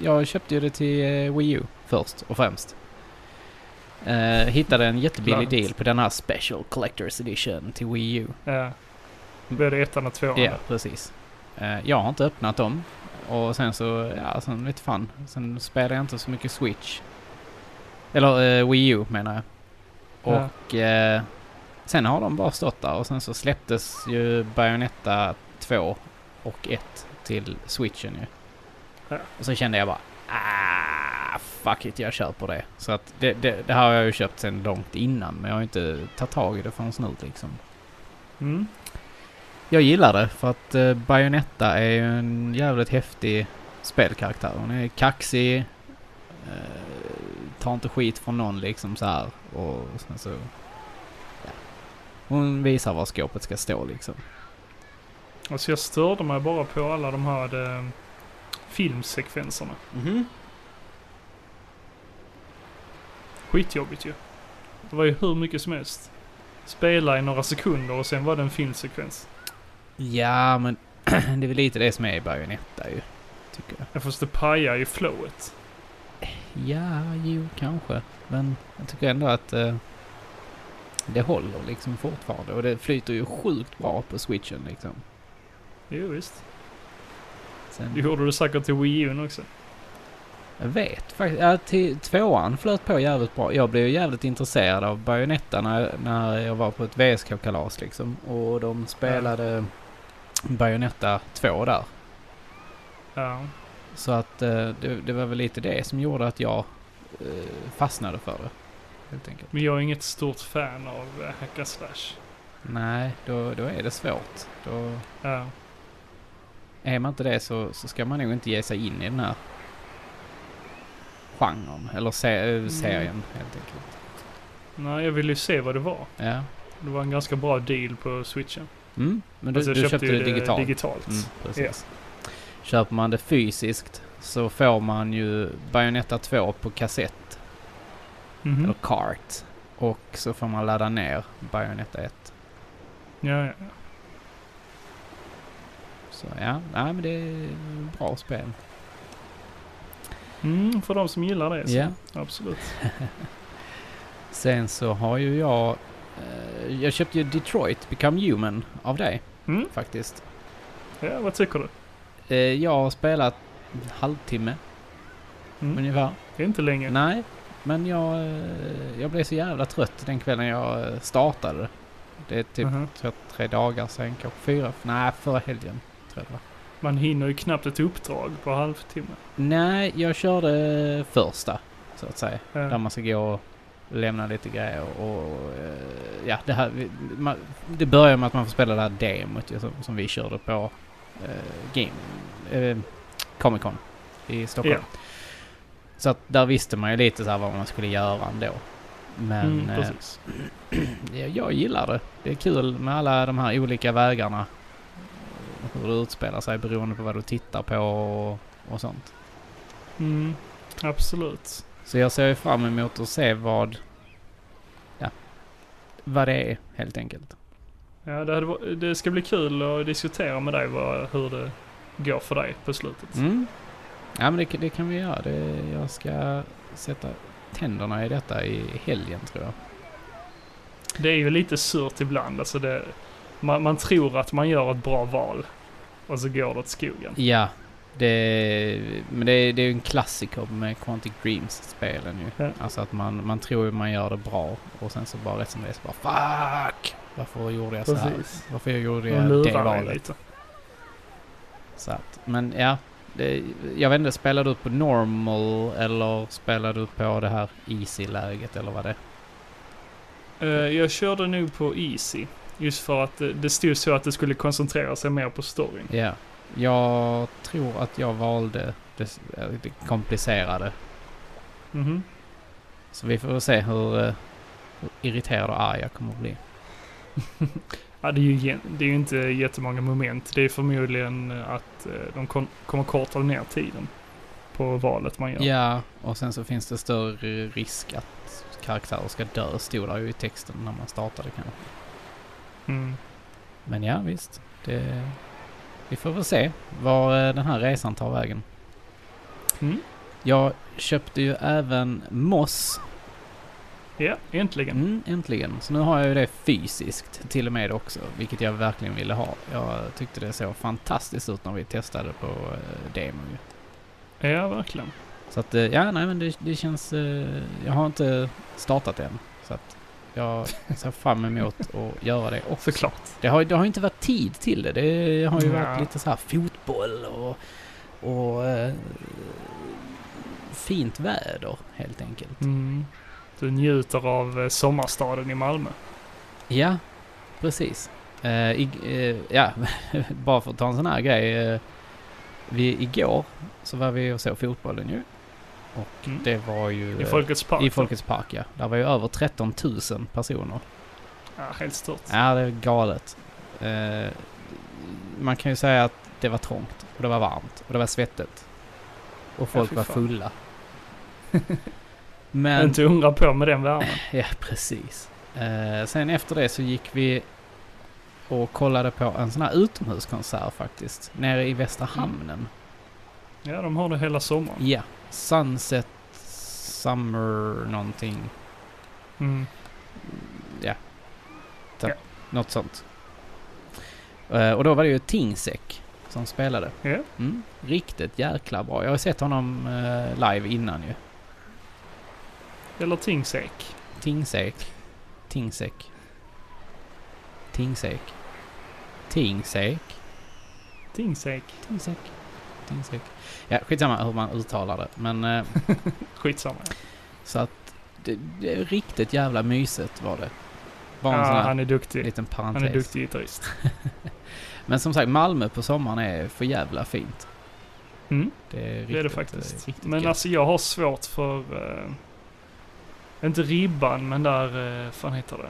Speaker 1: jag köpte ju det till eh, Wii U först och främst. Eh, hittade en jättebillig
Speaker 2: Klart.
Speaker 1: deal på den här Special Collector's Edition till Wii U.
Speaker 2: Eh, både ettan och tvåan.
Speaker 1: Ja, precis. Eh, jag har inte öppnat dem. Och sen så, ja, sen vet fan. Sen spelar jag inte så mycket Switch. Eller eh, Wii U menar jag.
Speaker 2: Ja.
Speaker 1: Och eh, sen har de bara stått där och sen så släpptes ju Bayonetta 2 och 1 till Switchen ju.
Speaker 2: Ja.
Speaker 1: Och så kände jag bara ah, fuck it, jag köper det. Så att det, det, det här har jag ju köpt sen långt innan men jag har inte tagit tag i det förrän nu liksom.
Speaker 2: Mm.
Speaker 1: Jag gillar det för att eh, Bayonetta är ju en jävligt häftig spelkaraktär. Hon är kaxig, eh, tar inte skit från någon liksom så här och sen så... Ja. Hon visar var skåpet ska stå liksom.
Speaker 2: Alltså jag störde mig bara på alla de här eh, filmsekvenserna. Skitjobbigt ju. Det var ju hur mycket som helst. Spela i några sekunder och sen var det en filmsekvens.
Speaker 1: Ja, men det är väl lite det som är Bayonetta ju, tycker jag.
Speaker 2: Ja, Fast det pajar ju flowet.
Speaker 1: Ja, jo, kanske. Men jag tycker ändå att eh, det håller liksom fortfarande och det flyter ju sjukt bra på switchen liksom.
Speaker 2: Jo, visst.
Speaker 1: Sen...
Speaker 2: Det gjorde du säkert till Wii U också.
Speaker 1: Jag vet faktiskt. Ja, till tvåan flöt på jävligt bra. Jag blev ju jävligt intresserad av Bayonetta när, när jag var på ett VSK-kalas liksom. Och de spelade Bayonetta 2 där.
Speaker 2: Ja.
Speaker 1: Så att eh, det, det var väl lite det som gjorde att jag eh, fastnade för det. Helt enkelt.
Speaker 2: Men jag är inget stort fan av eh, hack and slash.
Speaker 1: Nej, då, då är det svårt. Då
Speaker 2: Ja.
Speaker 1: är man inte det så, så ska man nog inte ge sig in i den här genren. Eller se,
Speaker 2: Mm.
Speaker 1: eh, serien helt enkelt.
Speaker 2: Nej, jag ville ju se vad det var.
Speaker 1: Ja.
Speaker 2: Det var en ganska bra deal på switchen.
Speaker 1: Mm. Men du,
Speaker 2: Alltså, jag
Speaker 1: du köpte
Speaker 2: ju
Speaker 1: det digitalt.
Speaker 2: digitalt.
Speaker 1: Mm, precis. Köper man det fysiskt så får man ju Bayonetta 2 på kassett,
Speaker 2: Mhm.
Speaker 1: eller kart. Och så får man ladda ner Bayonetta 1.
Speaker 2: Ja, ja, ja.
Speaker 1: Så ja, nej men det är bra spel.
Speaker 2: Mm, för de som gillar det. Så.
Speaker 1: Ja.
Speaker 2: Absolut.
Speaker 1: Sen så har ju jag... eh, Jag köpte ju Detroit Become Human av dig
Speaker 2: Mm.
Speaker 1: faktiskt.
Speaker 2: Ja, vad tycker du?
Speaker 1: Eh, Jag har spelat en halvtimme
Speaker 2: Mm.
Speaker 1: ungefär.
Speaker 2: Det är inte länge.
Speaker 1: Nej, men jag, eh, jag blev så jävla trött den kvällen jag eh, startade. Det är typ
Speaker 2: Mhm.
Speaker 1: tror jag, tre dagar sen, kanske fyra. Nej, förra helgen tror jag det var.
Speaker 2: Man hinner ju knappt ett uppdrag på halvtimme.
Speaker 1: Nej, jag körde första så att säga.
Speaker 2: Ja.
Speaker 1: Där man ska gå och lämna lite grejer och... och eh, ja, det här... vi- Man, det börjar med att man får spela det här demot ju, som, som vi körde på eh, Game... Eh, Comic Con i Stockholm. Så att där visste man ju lite så här vad man skulle göra ändå. Men
Speaker 2: mm,
Speaker 1: eh,
Speaker 2: precis.
Speaker 1: jag, jag gillar det. Det är kul med alla de här olika vägarna. Hur det utspelar sig beroende på vad du tittar på och, och sånt.
Speaker 2: Mm, absolut.
Speaker 1: Så jag ser ju fram emot att se vad... Ja. Vad det är, helt enkelt.
Speaker 2: Ja, det, hade, varit- det ska bli kul att diskutera med dig vad, hur det går för dig på slutet.
Speaker 1: Mm. Ja, men det, det kan vi göra. Det, jag ska sätta tänderna i detta i helgen, tror jag.
Speaker 2: Det är ju lite surt ibland. Alltså det, man, man tror att man gör ett bra val och så går det åt skogen.
Speaker 1: Ja. Det, men det, det är ju en klassiker med Quantic Dreams-spelen ju.
Speaker 2: Ja.
Speaker 1: Alltså att man, man tror ju man gör det bra och sen så bara rätt som det är så bara FUCK! Varför gjorde jag så här?
Speaker 2: Precis.
Speaker 1: Varför jag gjorde
Speaker 2: Och
Speaker 1: jag det
Speaker 2: lurar dig
Speaker 1: valet?
Speaker 2: lite.
Speaker 1: Så att, men ja. Det, jag vet inte, spelar du på normal eller spelar du på det här easy-läget eller vad det är?
Speaker 2: Eh, jag körde nog på Easy. Just för att eh, det, det stod så att det skulle koncentrera sig mer på storyn.
Speaker 1: Ja. Jag tror att jag valde det, det komplicerade.
Speaker 2: Mhm.
Speaker 1: Så vi får väl se hur, eh, hur irriterad och arg jag kommer att bli.
Speaker 2: Ja, det, är ju, gen- det är ju inte jättemånga moment. Det är förmodligen att eh, de kon- kommer korta ner tiden på valet man gör.
Speaker 1: Ja. och sen så finns det större risk att karaktärer ska dö, stod där ju i texten när man startade kanske.
Speaker 2: Mm.
Speaker 1: Men ja, visst. Det, vi får väl se var eh, den här resan tar vägen.
Speaker 2: Mm.
Speaker 1: Jag köpte ju även Moss.
Speaker 2: Ja, äntligen.
Speaker 1: Mm, äntligen. Så nu har jag ju det fysiskt till och med också, vilket jag verkligen ville ha. Jag tyckte det såg fantastiskt ut när vi testade på eh, demon. ju. Mm.
Speaker 2: Ja, verkligen.
Speaker 1: Så att, eh, ja, nej men det, det känns... eh, Jag har inte startat än. Så att jag ser fram emot att göra det också.
Speaker 2: Såklart.
Speaker 1: Det har, det har inte varit tid till det. Det har ju varit
Speaker 2: Nej.
Speaker 1: lite så här fotboll och, och eh, fint väder helt enkelt.
Speaker 2: Mm. Du njuter av eh, sommarstaden i Malmö.
Speaker 1: Ja, precis. Eh, ig- eh, ja, bara för att ta en sån här grej. eh, vi, igår så var vi och såg fotbollen ju. Och
Speaker 2: Mm.
Speaker 1: det var ju...
Speaker 2: I
Speaker 1: eh,
Speaker 2: Folkets park.
Speaker 1: I Folkets park, ja. Där var ju över 13 000 personer.
Speaker 2: Ja, helt stört.
Speaker 1: Ja, det är galet. Eh, man kan ju säga att det var trångt och det var varmt och det var svettigt. Och folk
Speaker 2: fy
Speaker 1: var
Speaker 2: fan.
Speaker 1: fulla. Men...
Speaker 2: Inte undra på med den värmen.
Speaker 1: Ja, precis. Eh, sen efter det så gick vi och kollade på en sån här utomhuskonsert faktiskt. Nere i Västra
Speaker 2: Mm.
Speaker 1: hamnen.
Speaker 2: Ja, de har det hela sommaren.
Speaker 1: Ja. Sunset Summer någonting.
Speaker 2: Mm.
Speaker 1: Ja. Ta-
Speaker 2: Ja.
Speaker 1: Något sånt. Eh, och då var det ju Tingsek som spelade.
Speaker 2: Ja.
Speaker 1: Mm. Riktigt jäkla bra. Jag har sett honom eh, live innan ju.
Speaker 2: Eller Tingsek.
Speaker 1: Tingsek. Tingsek. Tingsek. Tingsek.
Speaker 2: Tingsek.
Speaker 1: Tingsek. Tingsek. Ja, skitsamma hur man uttalar det. Men eh,
Speaker 2: Skitsamma.
Speaker 1: så att det, det är riktigt jävla mysigt var det. Bara en
Speaker 2: Ja,
Speaker 1: sån här
Speaker 2: han är duktig.
Speaker 1: liten
Speaker 2: Han är
Speaker 1: parentes.
Speaker 2: duktig gitarrist.
Speaker 1: Men som sagt, Malmö på sommaren är för jävla fint.
Speaker 2: Mm.
Speaker 1: Det är, riktigt,
Speaker 2: Det är det
Speaker 1: eh,
Speaker 2: faktiskt.
Speaker 1: Riktigt
Speaker 2: men
Speaker 1: gött.
Speaker 2: alltså jag har svårt för... eh, inte ribban, men där... Uh, fan heter det?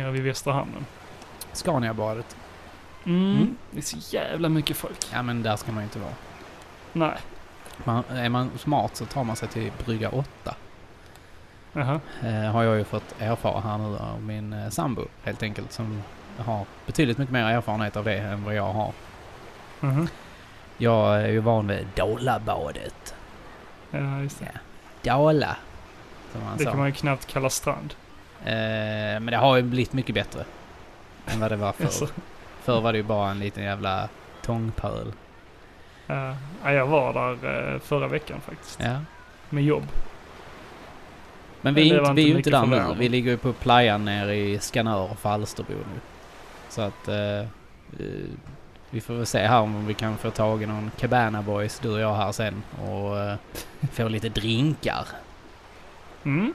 Speaker 2: Nere vid Västra hamnen.
Speaker 1: Scaniabadet.
Speaker 2: Mm.
Speaker 1: Mm.
Speaker 2: Det är så jävla mycket folk.
Speaker 1: Ja men där ska man ju inte vara.
Speaker 2: Nej.
Speaker 1: Man, är man smart så tar man sig till brygga 8.
Speaker 2: Jaha.
Speaker 1: Eh, har jag ju fått erfara här nu av min eh, sambo helt enkelt som har betydligt mycket mer erfarenhet av det än vad jag har.
Speaker 2: Mhm.
Speaker 1: Jag är ju van vid Dalabadet.
Speaker 2: Ja, just det.
Speaker 1: Dala, som man
Speaker 2: Det
Speaker 1: sa.
Speaker 2: kan man ju knappt kalla strand.
Speaker 1: Eh, men det har ju blivit mycket bättre än vad det var förr.
Speaker 2: Alltså,
Speaker 1: Förr var det ju bara en liten jävla tångpöl.
Speaker 2: ja. Ja, jag var där eh, förra veckan faktiskt.
Speaker 1: Ja.
Speaker 2: Med jobb.
Speaker 1: Men
Speaker 2: Men
Speaker 1: vi
Speaker 2: det
Speaker 1: är
Speaker 2: var
Speaker 1: inte, vi är ju inte
Speaker 2: inte mycket
Speaker 1: där
Speaker 2: för
Speaker 1: nu.
Speaker 2: världen.
Speaker 1: Vi ligger ju på playan nere i Skanör och Falsterbo nu. Så att eh, eh, vi får väl se här om vi kan få tag i någon Cabana Boys, du och jag här sen. Och eh, få lite drinkar.
Speaker 2: Mm,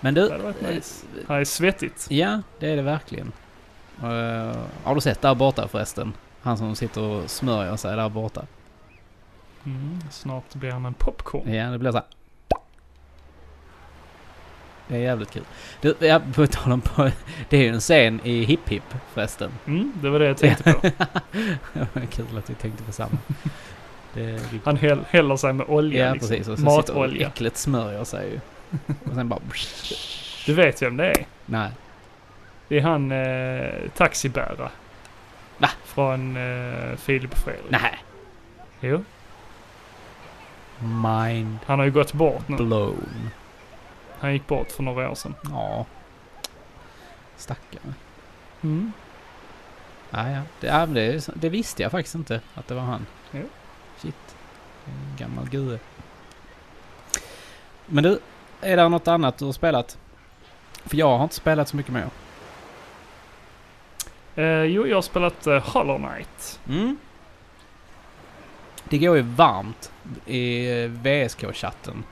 Speaker 1: Men
Speaker 2: det
Speaker 1: du, eh,
Speaker 2: hade varit nice. Här är svettigt.
Speaker 1: ja det är det verkligen. Eh, har du sett där borta förresten? Han som sitter och smörjer sig där borta.
Speaker 2: Mm, snart blir han en popcorn.
Speaker 1: Ja, det blir så här. Det är jävligt kul. Du, jag på tal om på, Det är ju en scen i Hip Hip förresten.
Speaker 2: Mm, det var det jag tänkte på.
Speaker 1: kul att vi tänkte på samma. Det är riktigt-
Speaker 2: Han häll, häller sig med olja.
Speaker 1: ja,
Speaker 2: liksom.
Speaker 1: precis. Och så sitter
Speaker 2: Matolja.
Speaker 1: och äckligt smörjer sig ju. Och sen bara...
Speaker 2: Du vet vem det är?
Speaker 1: Nej.
Speaker 2: Det är han eh, taxibärare.
Speaker 1: Va?
Speaker 2: Från eh, Filip och Fredrik.
Speaker 1: Nej.
Speaker 2: Jo,
Speaker 1: Mind
Speaker 2: han har ju gått bort nu.
Speaker 1: blown.
Speaker 2: Han gick bort för några år sedan.
Speaker 1: Ja. Stackarn.
Speaker 2: Mm.
Speaker 1: Ja, ja. Det, ja, men det, är så- det visste jag faktiskt inte att det var han.
Speaker 2: Jo.
Speaker 1: Shit. En gammal gure. Men du, är det något annat du har spelat? För jag har inte spelat så mycket mer.
Speaker 2: Eh, jo, jag har spelat eh, Hollow Knight.
Speaker 1: Mm. Det går ju varmt i eh, VSK-chatten.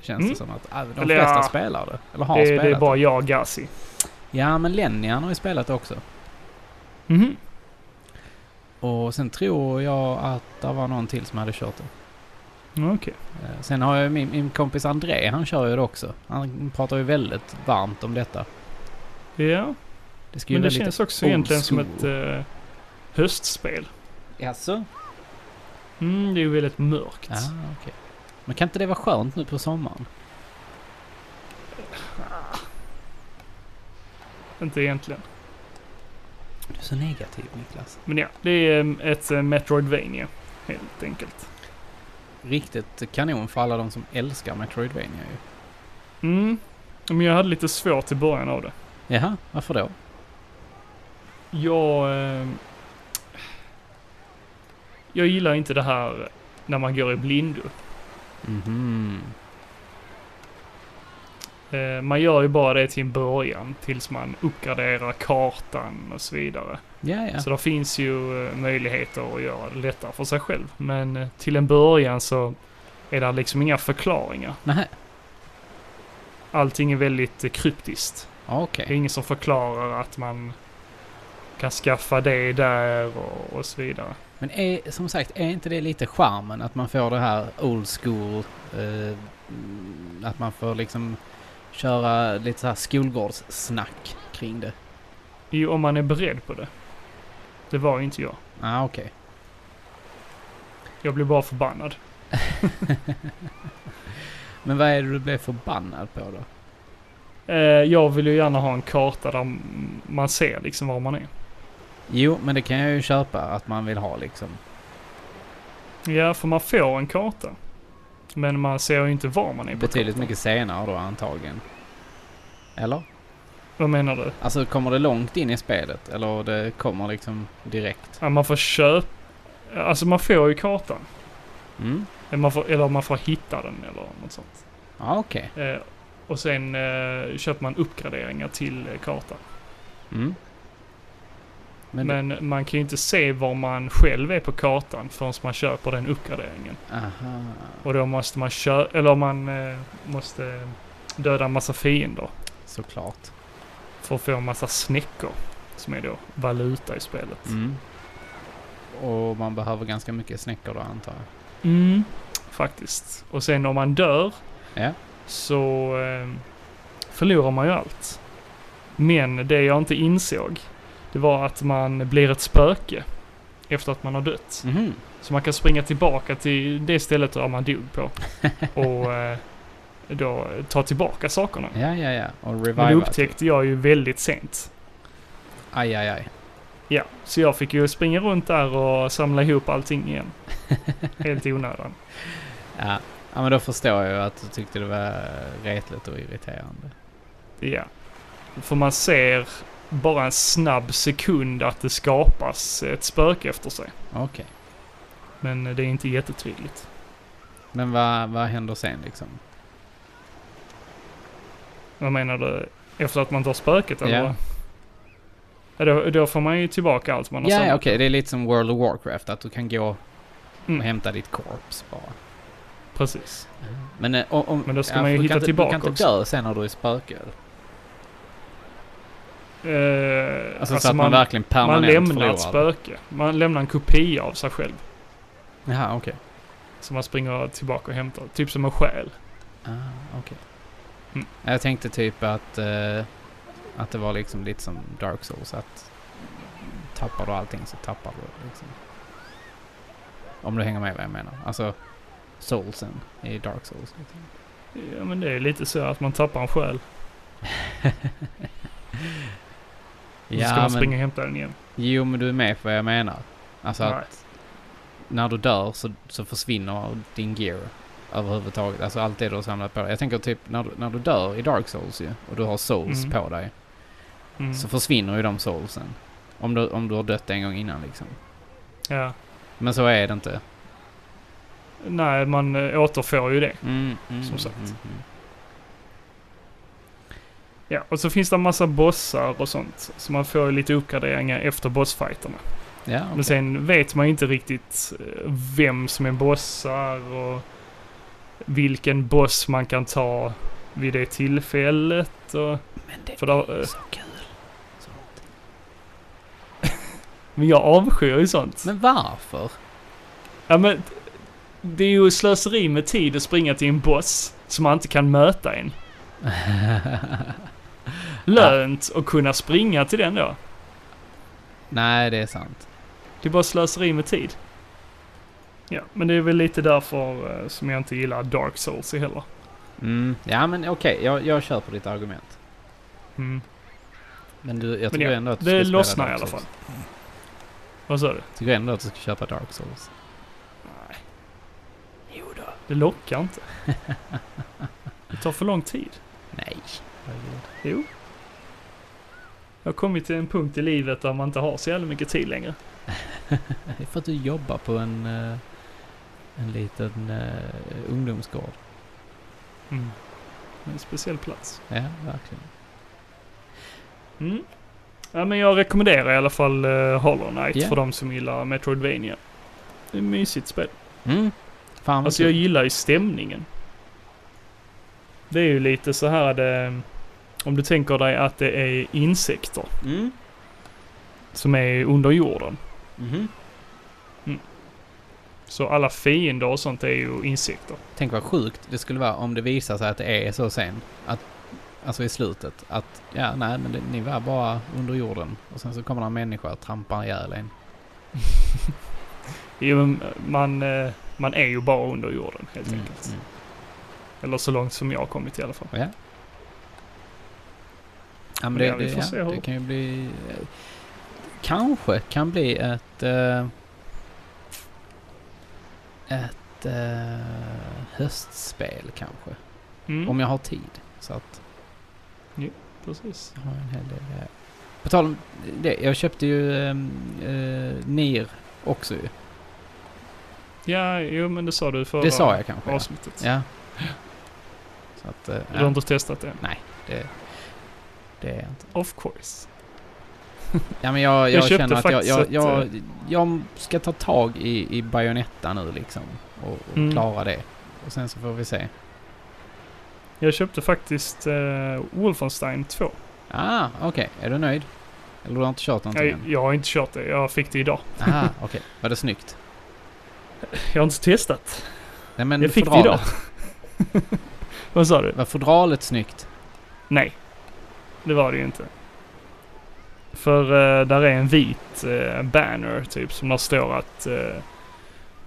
Speaker 1: Känns
Speaker 2: Mm.
Speaker 1: det som att ah, de
Speaker 2: Eller
Speaker 1: flesta
Speaker 2: ja,
Speaker 1: spelar det. Eller har
Speaker 2: Det,
Speaker 1: spelat
Speaker 2: det
Speaker 1: det.
Speaker 2: är bara jag och Gazi.
Speaker 1: Ja, men Lenny han har ju spelat det också.
Speaker 2: Mhm.
Speaker 1: Och sen tror jag att det var någon till som hade kört det.
Speaker 2: Mm, Okej.
Speaker 1: Eh, Sen har jag min, min kompis André, han kör ju det också. Han pratar ju väldigt varmt om detta.
Speaker 2: Ja,
Speaker 1: Det ska ju
Speaker 2: men det
Speaker 1: vara
Speaker 2: känns också
Speaker 1: old
Speaker 2: egentligen som
Speaker 1: school.
Speaker 2: ett eh, höstspel.
Speaker 1: lite... Jaså?
Speaker 2: Mm, det är ju väldigt mörkt.
Speaker 1: Ja, okej. Men kan inte det vara skönt nu på sommaren?
Speaker 2: Inte egentligen.
Speaker 1: Du är så negativ, Niklas.
Speaker 2: Men ja, det är eh, ett eh, Metroidvania. Helt enkelt.
Speaker 1: Riktigt kanon för alla de som älskar Metroidvania ju.
Speaker 2: Mm. Men jag hade lite svårt i början av det.
Speaker 1: Jaha, varför då?
Speaker 2: Jag... Eh, jag gillar inte det här när man går i blindo.
Speaker 1: Mhm.
Speaker 2: Eh, man gör ju bara det till en början tills man uppgraderar kartan och så vidare.
Speaker 1: Ja, ja.
Speaker 2: Så det finns ju eh, möjligheter att göra det lättare för sig själv. Men eh, till en början så är det liksom inga förklaringar.
Speaker 1: Nähä,
Speaker 2: Allting är väldigt eh, kryptiskt.
Speaker 1: okej.
Speaker 2: Det är ingen som förklarar att man kan skaffa det där och, och så vidare.
Speaker 1: Men är, som sagt, är inte det lite charmen att man får det här old school... Eh, mm, att man får liksom köra lite så här skolgårdssnack kring det?
Speaker 2: Jo, om man är beredd på det. Det var ju inte jag.
Speaker 1: Ah, okej.
Speaker 2: Jag blev bara förbannad.
Speaker 1: Men vad är det du blev förbannad på då?
Speaker 2: Eh, jag vill ju gärna ha en karta där m- man ser liksom var man är.
Speaker 1: Jo, men det kan jag ju köpa att man vill ha liksom.
Speaker 2: Ja, för man får en karta. Men man ser ju inte var man är på
Speaker 1: Betydligt
Speaker 2: kartan.
Speaker 1: mycket senare då antagligen. Eller?
Speaker 2: Vad menar du?
Speaker 1: Alltså kommer det långt in i spelet? Eller det kommer liksom direkt?
Speaker 2: Ja, man får köpa... Alltså man får ju kartan.
Speaker 1: Mm?
Speaker 2: Eh, Man får, eller man får hitta den eller något sånt.
Speaker 1: Ja, ah, okej.
Speaker 2: Eh, och sen eh, köper man uppgraderingar till eh, kartan.
Speaker 1: Mm. Men...
Speaker 2: Men, man kan ju inte se var man själv är på kartan förrän man köper den uppgraderingen.
Speaker 1: Aha.
Speaker 2: Och då måste man köpa... Eller man eh, måste döda en massa fiender.
Speaker 1: Såklart.
Speaker 2: För att få en massa snäckor. Som är då valuta i spelet.
Speaker 1: Mm. Och man behöver ganska mycket snäckor då antar jag.
Speaker 2: Mm, faktiskt. Och sen om man dör
Speaker 1: Ja.
Speaker 2: så eh, förlorar man ju allt. Men det jag inte insåg, det var att man blir ett spöke efter att man har dött.
Speaker 1: Mhm.
Speaker 2: Så man kan springa tillbaka till det stället där man dog på och eh, då ta tillbaka sakerna.
Speaker 1: Ja, ja, ja. Och
Speaker 2: Men det
Speaker 1: reviva.
Speaker 2: upptäckte jag ju väldigt sent.
Speaker 1: Aj, aj, aj.
Speaker 2: Ja, så jag fick ju springa runt där och samla ihop allting igen. Helt i onödan.
Speaker 1: Ja. ja, men då förstår jag ju att du tyckte det var retligt och irriterande.
Speaker 2: Ja. För man ser bara en snabb sekund att det skapas ett spöke efter sig.
Speaker 1: Okej.
Speaker 2: Men det är inte jättetydligt.
Speaker 1: Men vad, vad händer sen liksom?
Speaker 2: Vad menar du? Efter att man tar spöket eller?
Speaker 1: Ja.
Speaker 2: Ja, då, då får man ju tillbaka allt man har
Speaker 1: Ja,
Speaker 2: samlat.
Speaker 1: ja, okej. Det är lite som World of Warcraft, att du kan gå och
Speaker 2: Mm.
Speaker 1: hämta ditt korps bara.
Speaker 2: Precis.
Speaker 1: Men, eh, om- om,
Speaker 2: Men då ska
Speaker 1: ja,
Speaker 2: man ju
Speaker 1: för du
Speaker 2: hitta
Speaker 1: kan inte-
Speaker 2: tillbaka
Speaker 1: Du kan inte
Speaker 2: också.
Speaker 1: dö sen när du är Alltså, spöke. eller?
Speaker 2: Eh,
Speaker 1: Alltså, så att man, verkligen
Speaker 2: man
Speaker 1: permanent
Speaker 2: lämnar ett
Speaker 1: förlorar.
Speaker 2: spöke. Man lämnar en kopia av sig själv.
Speaker 1: Jaha, okej.
Speaker 2: Som man springer tillbaka och hämtar. Typ som en själ.
Speaker 1: Ah, okej.
Speaker 2: Mm.
Speaker 1: Jag tänkte typ att, eh, att det var liksom lite som Dark Souls, att tappar du allting så tappar du liksom. Om du hänger med vad jag menar. Alltså, soulsen i Dark Souls. Liksom.
Speaker 2: Ja, men det är lite så att man tappar en själ. Ja, så ska man
Speaker 1: men-
Speaker 2: springa och hämta den igen.
Speaker 1: Jo, men du är med på vad jag menar. Alltså
Speaker 2: Nej.
Speaker 1: att när du dör så, så försvinner din gear överhuvudtaget. Alltså allt det du har samlat på dig. Jag tänker typ när du, när du dör i Dark Souls ju och du har souls
Speaker 2: Mm.
Speaker 1: på dig
Speaker 2: Mm.
Speaker 1: så försvinner ju de soulsen. Om du, om du har dött en gång innan liksom.
Speaker 2: Ja.
Speaker 1: Men så är det inte.
Speaker 2: Nej, man eh, återfår ju det.
Speaker 1: Mm, mm,
Speaker 2: Som sagt.
Speaker 1: mm, mm.
Speaker 2: Ja, och så finns det en massa bossar och sånt. Så man får ju lite uppgraderingar efter bossfighterna.
Speaker 1: Ja, okej.
Speaker 2: Men sen vet man ju inte riktigt eh, vem som är bossar och vilken boss man kan ta vid det tillfället. Och,
Speaker 1: Men det
Speaker 2: för då,
Speaker 1: är
Speaker 2: eh,
Speaker 1: så kul. Så.
Speaker 2: men jag avskyr ju sånt.
Speaker 1: Men varför?
Speaker 2: Ja, men det är ju slöseri med tid att springa till en boss som man inte kan möta än. Lönt att kunna springa till den då.
Speaker 1: Nej, det är sant.
Speaker 2: Det är bara slöseri med tid. Ja, men det är väl lite därför eh, som jag inte gillar Dark Souls heller.
Speaker 1: Mm. Ja, men okej. Jag, jag kör på ditt argument.
Speaker 2: Mm.
Speaker 1: Men du, jag
Speaker 2: Men
Speaker 1: tycker
Speaker 2: ja,
Speaker 1: ändå att du
Speaker 2: det
Speaker 1: ska spela
Speaker 2: lossnar i
Speaker 1: Dark
Speaker 2: alla
Speaker 1: Souls.
Speaker 2: Vad sa du?
Speaker 1: Tycker ändå att du ska köpa Dark Souls.
Speaker 2: Nej. Jo då. Det lockar inte. Det tar för lång tid.
Speaker 1: Nej.
Speaker 2: Jo. Jag har kommit till en punkt i livet där man inte har så jävla mycket tid längre.
Speaker 1: Det är för att du jobbar på en, eh, en liten eh, ungdomsgård.
Speaker 2: Mm. En speciell plats.
Speaker 1: Ja, verkligen.
Speaker 2: Mm. Ja, men jag rekommenderar i alla fall eh, Hollow Knight
Speaker 1: Ja.
Speaker 2: för de som gillar Metroidvania. Det är ett mysigt spel.
Speaker 1: Mm. Fan vad
Speaker 2: Alltså jag
Speaker 1: kul.
Speaker 2: gillar ju stämningen. Det är ju lite så här det... Om du tänker dig att det är insekter
Speaker 1: Mm.
Speaker 2: som är under jorden.
Speaker 1: Mhm.
Speaker 2: Så alla fiender och sånt är ju insekter.
Speaker 1: Tänk vad sjukt det skulle vara om det visar sig att det är så sen. Att, alltså i slutet. Att ja, nej men det, ni var bara under jorden. Och sen så kommer det en människa och trampar ihjäl en.
Speaker 2: Jo, men Man, eh, man är ju bara under jorden helt
Speaker 1: Mm,
Speaker 2: enkelt.
Speaker 1: mm.
Speaker 2: Eller så långt som jag har kommit i alla fall.
Speaker 1: Ja. Ja, men
Speaker 2: Men
Speaker 1: det,
Speaker 2: ja, vi
Speaker 1: det,
Speaker 2: får se
Speaker 1: ja,
Speaker 2: hur-
Speaker 1: det kan ju bli... eh, Kanske kan bli ett... eh, ett eh, höstspel kanske.
Speaker 2: Mm,
Speaker 1: Om jag har tid. Så att
Speaker 2: precis.
Speaker 1: jag har en hel del... eh. På tal om det, jag köpte ju um, NIR också ju.
Speaker 2: Ja, jo men det sa du förra
Speaker 1: Det sa jag kanske. Ja.
Speaker 2: avsnittet.
Speaker 1: ja. Så att... eh,
Speaker 2: Du har inte testat det?
Speaker 1: det är jag inte.
Speaker 2: Of course.
Speaker 1: Ja, men jag, jag,
Speaker 2: Jag köpte
Speaker 1: känner att jag, jag,
Speaker 2: faktiskt
Speaker 1: jag,
Speaker 2: ett, eh,
Speaker 1: jag ska ta tag i, i Bayonetta nu liksom. Och, och
Speaker 2: Mm.
Speaker 1: klara det. Och sen så får vi se.
Speaker 2: Jag köpte faktiskt eh, Wolfenstein 2.
Speaker 1: Ah, okej. Är du nöjd? Eller du har inte kört någonting
Speaker 2: Jag,
Speaker 1: än?
Speaker 2: jag har inte kört det, jag fick det idag.
Speaker 1: Ah, okej. Var det snyggt?
Speaker 2: Jag har inte testat.
Speaker 1: Nej, men
Speaker 2: jag fick det
Speaker 1: fodralet.
Speaker 2: idag. Vad sa du?
Speaker 1: Var fodralet snyggt?
Speaker 2: Nej. Det var det ju inte. För eh, där är en vit eh, banner typ som där står att... eh,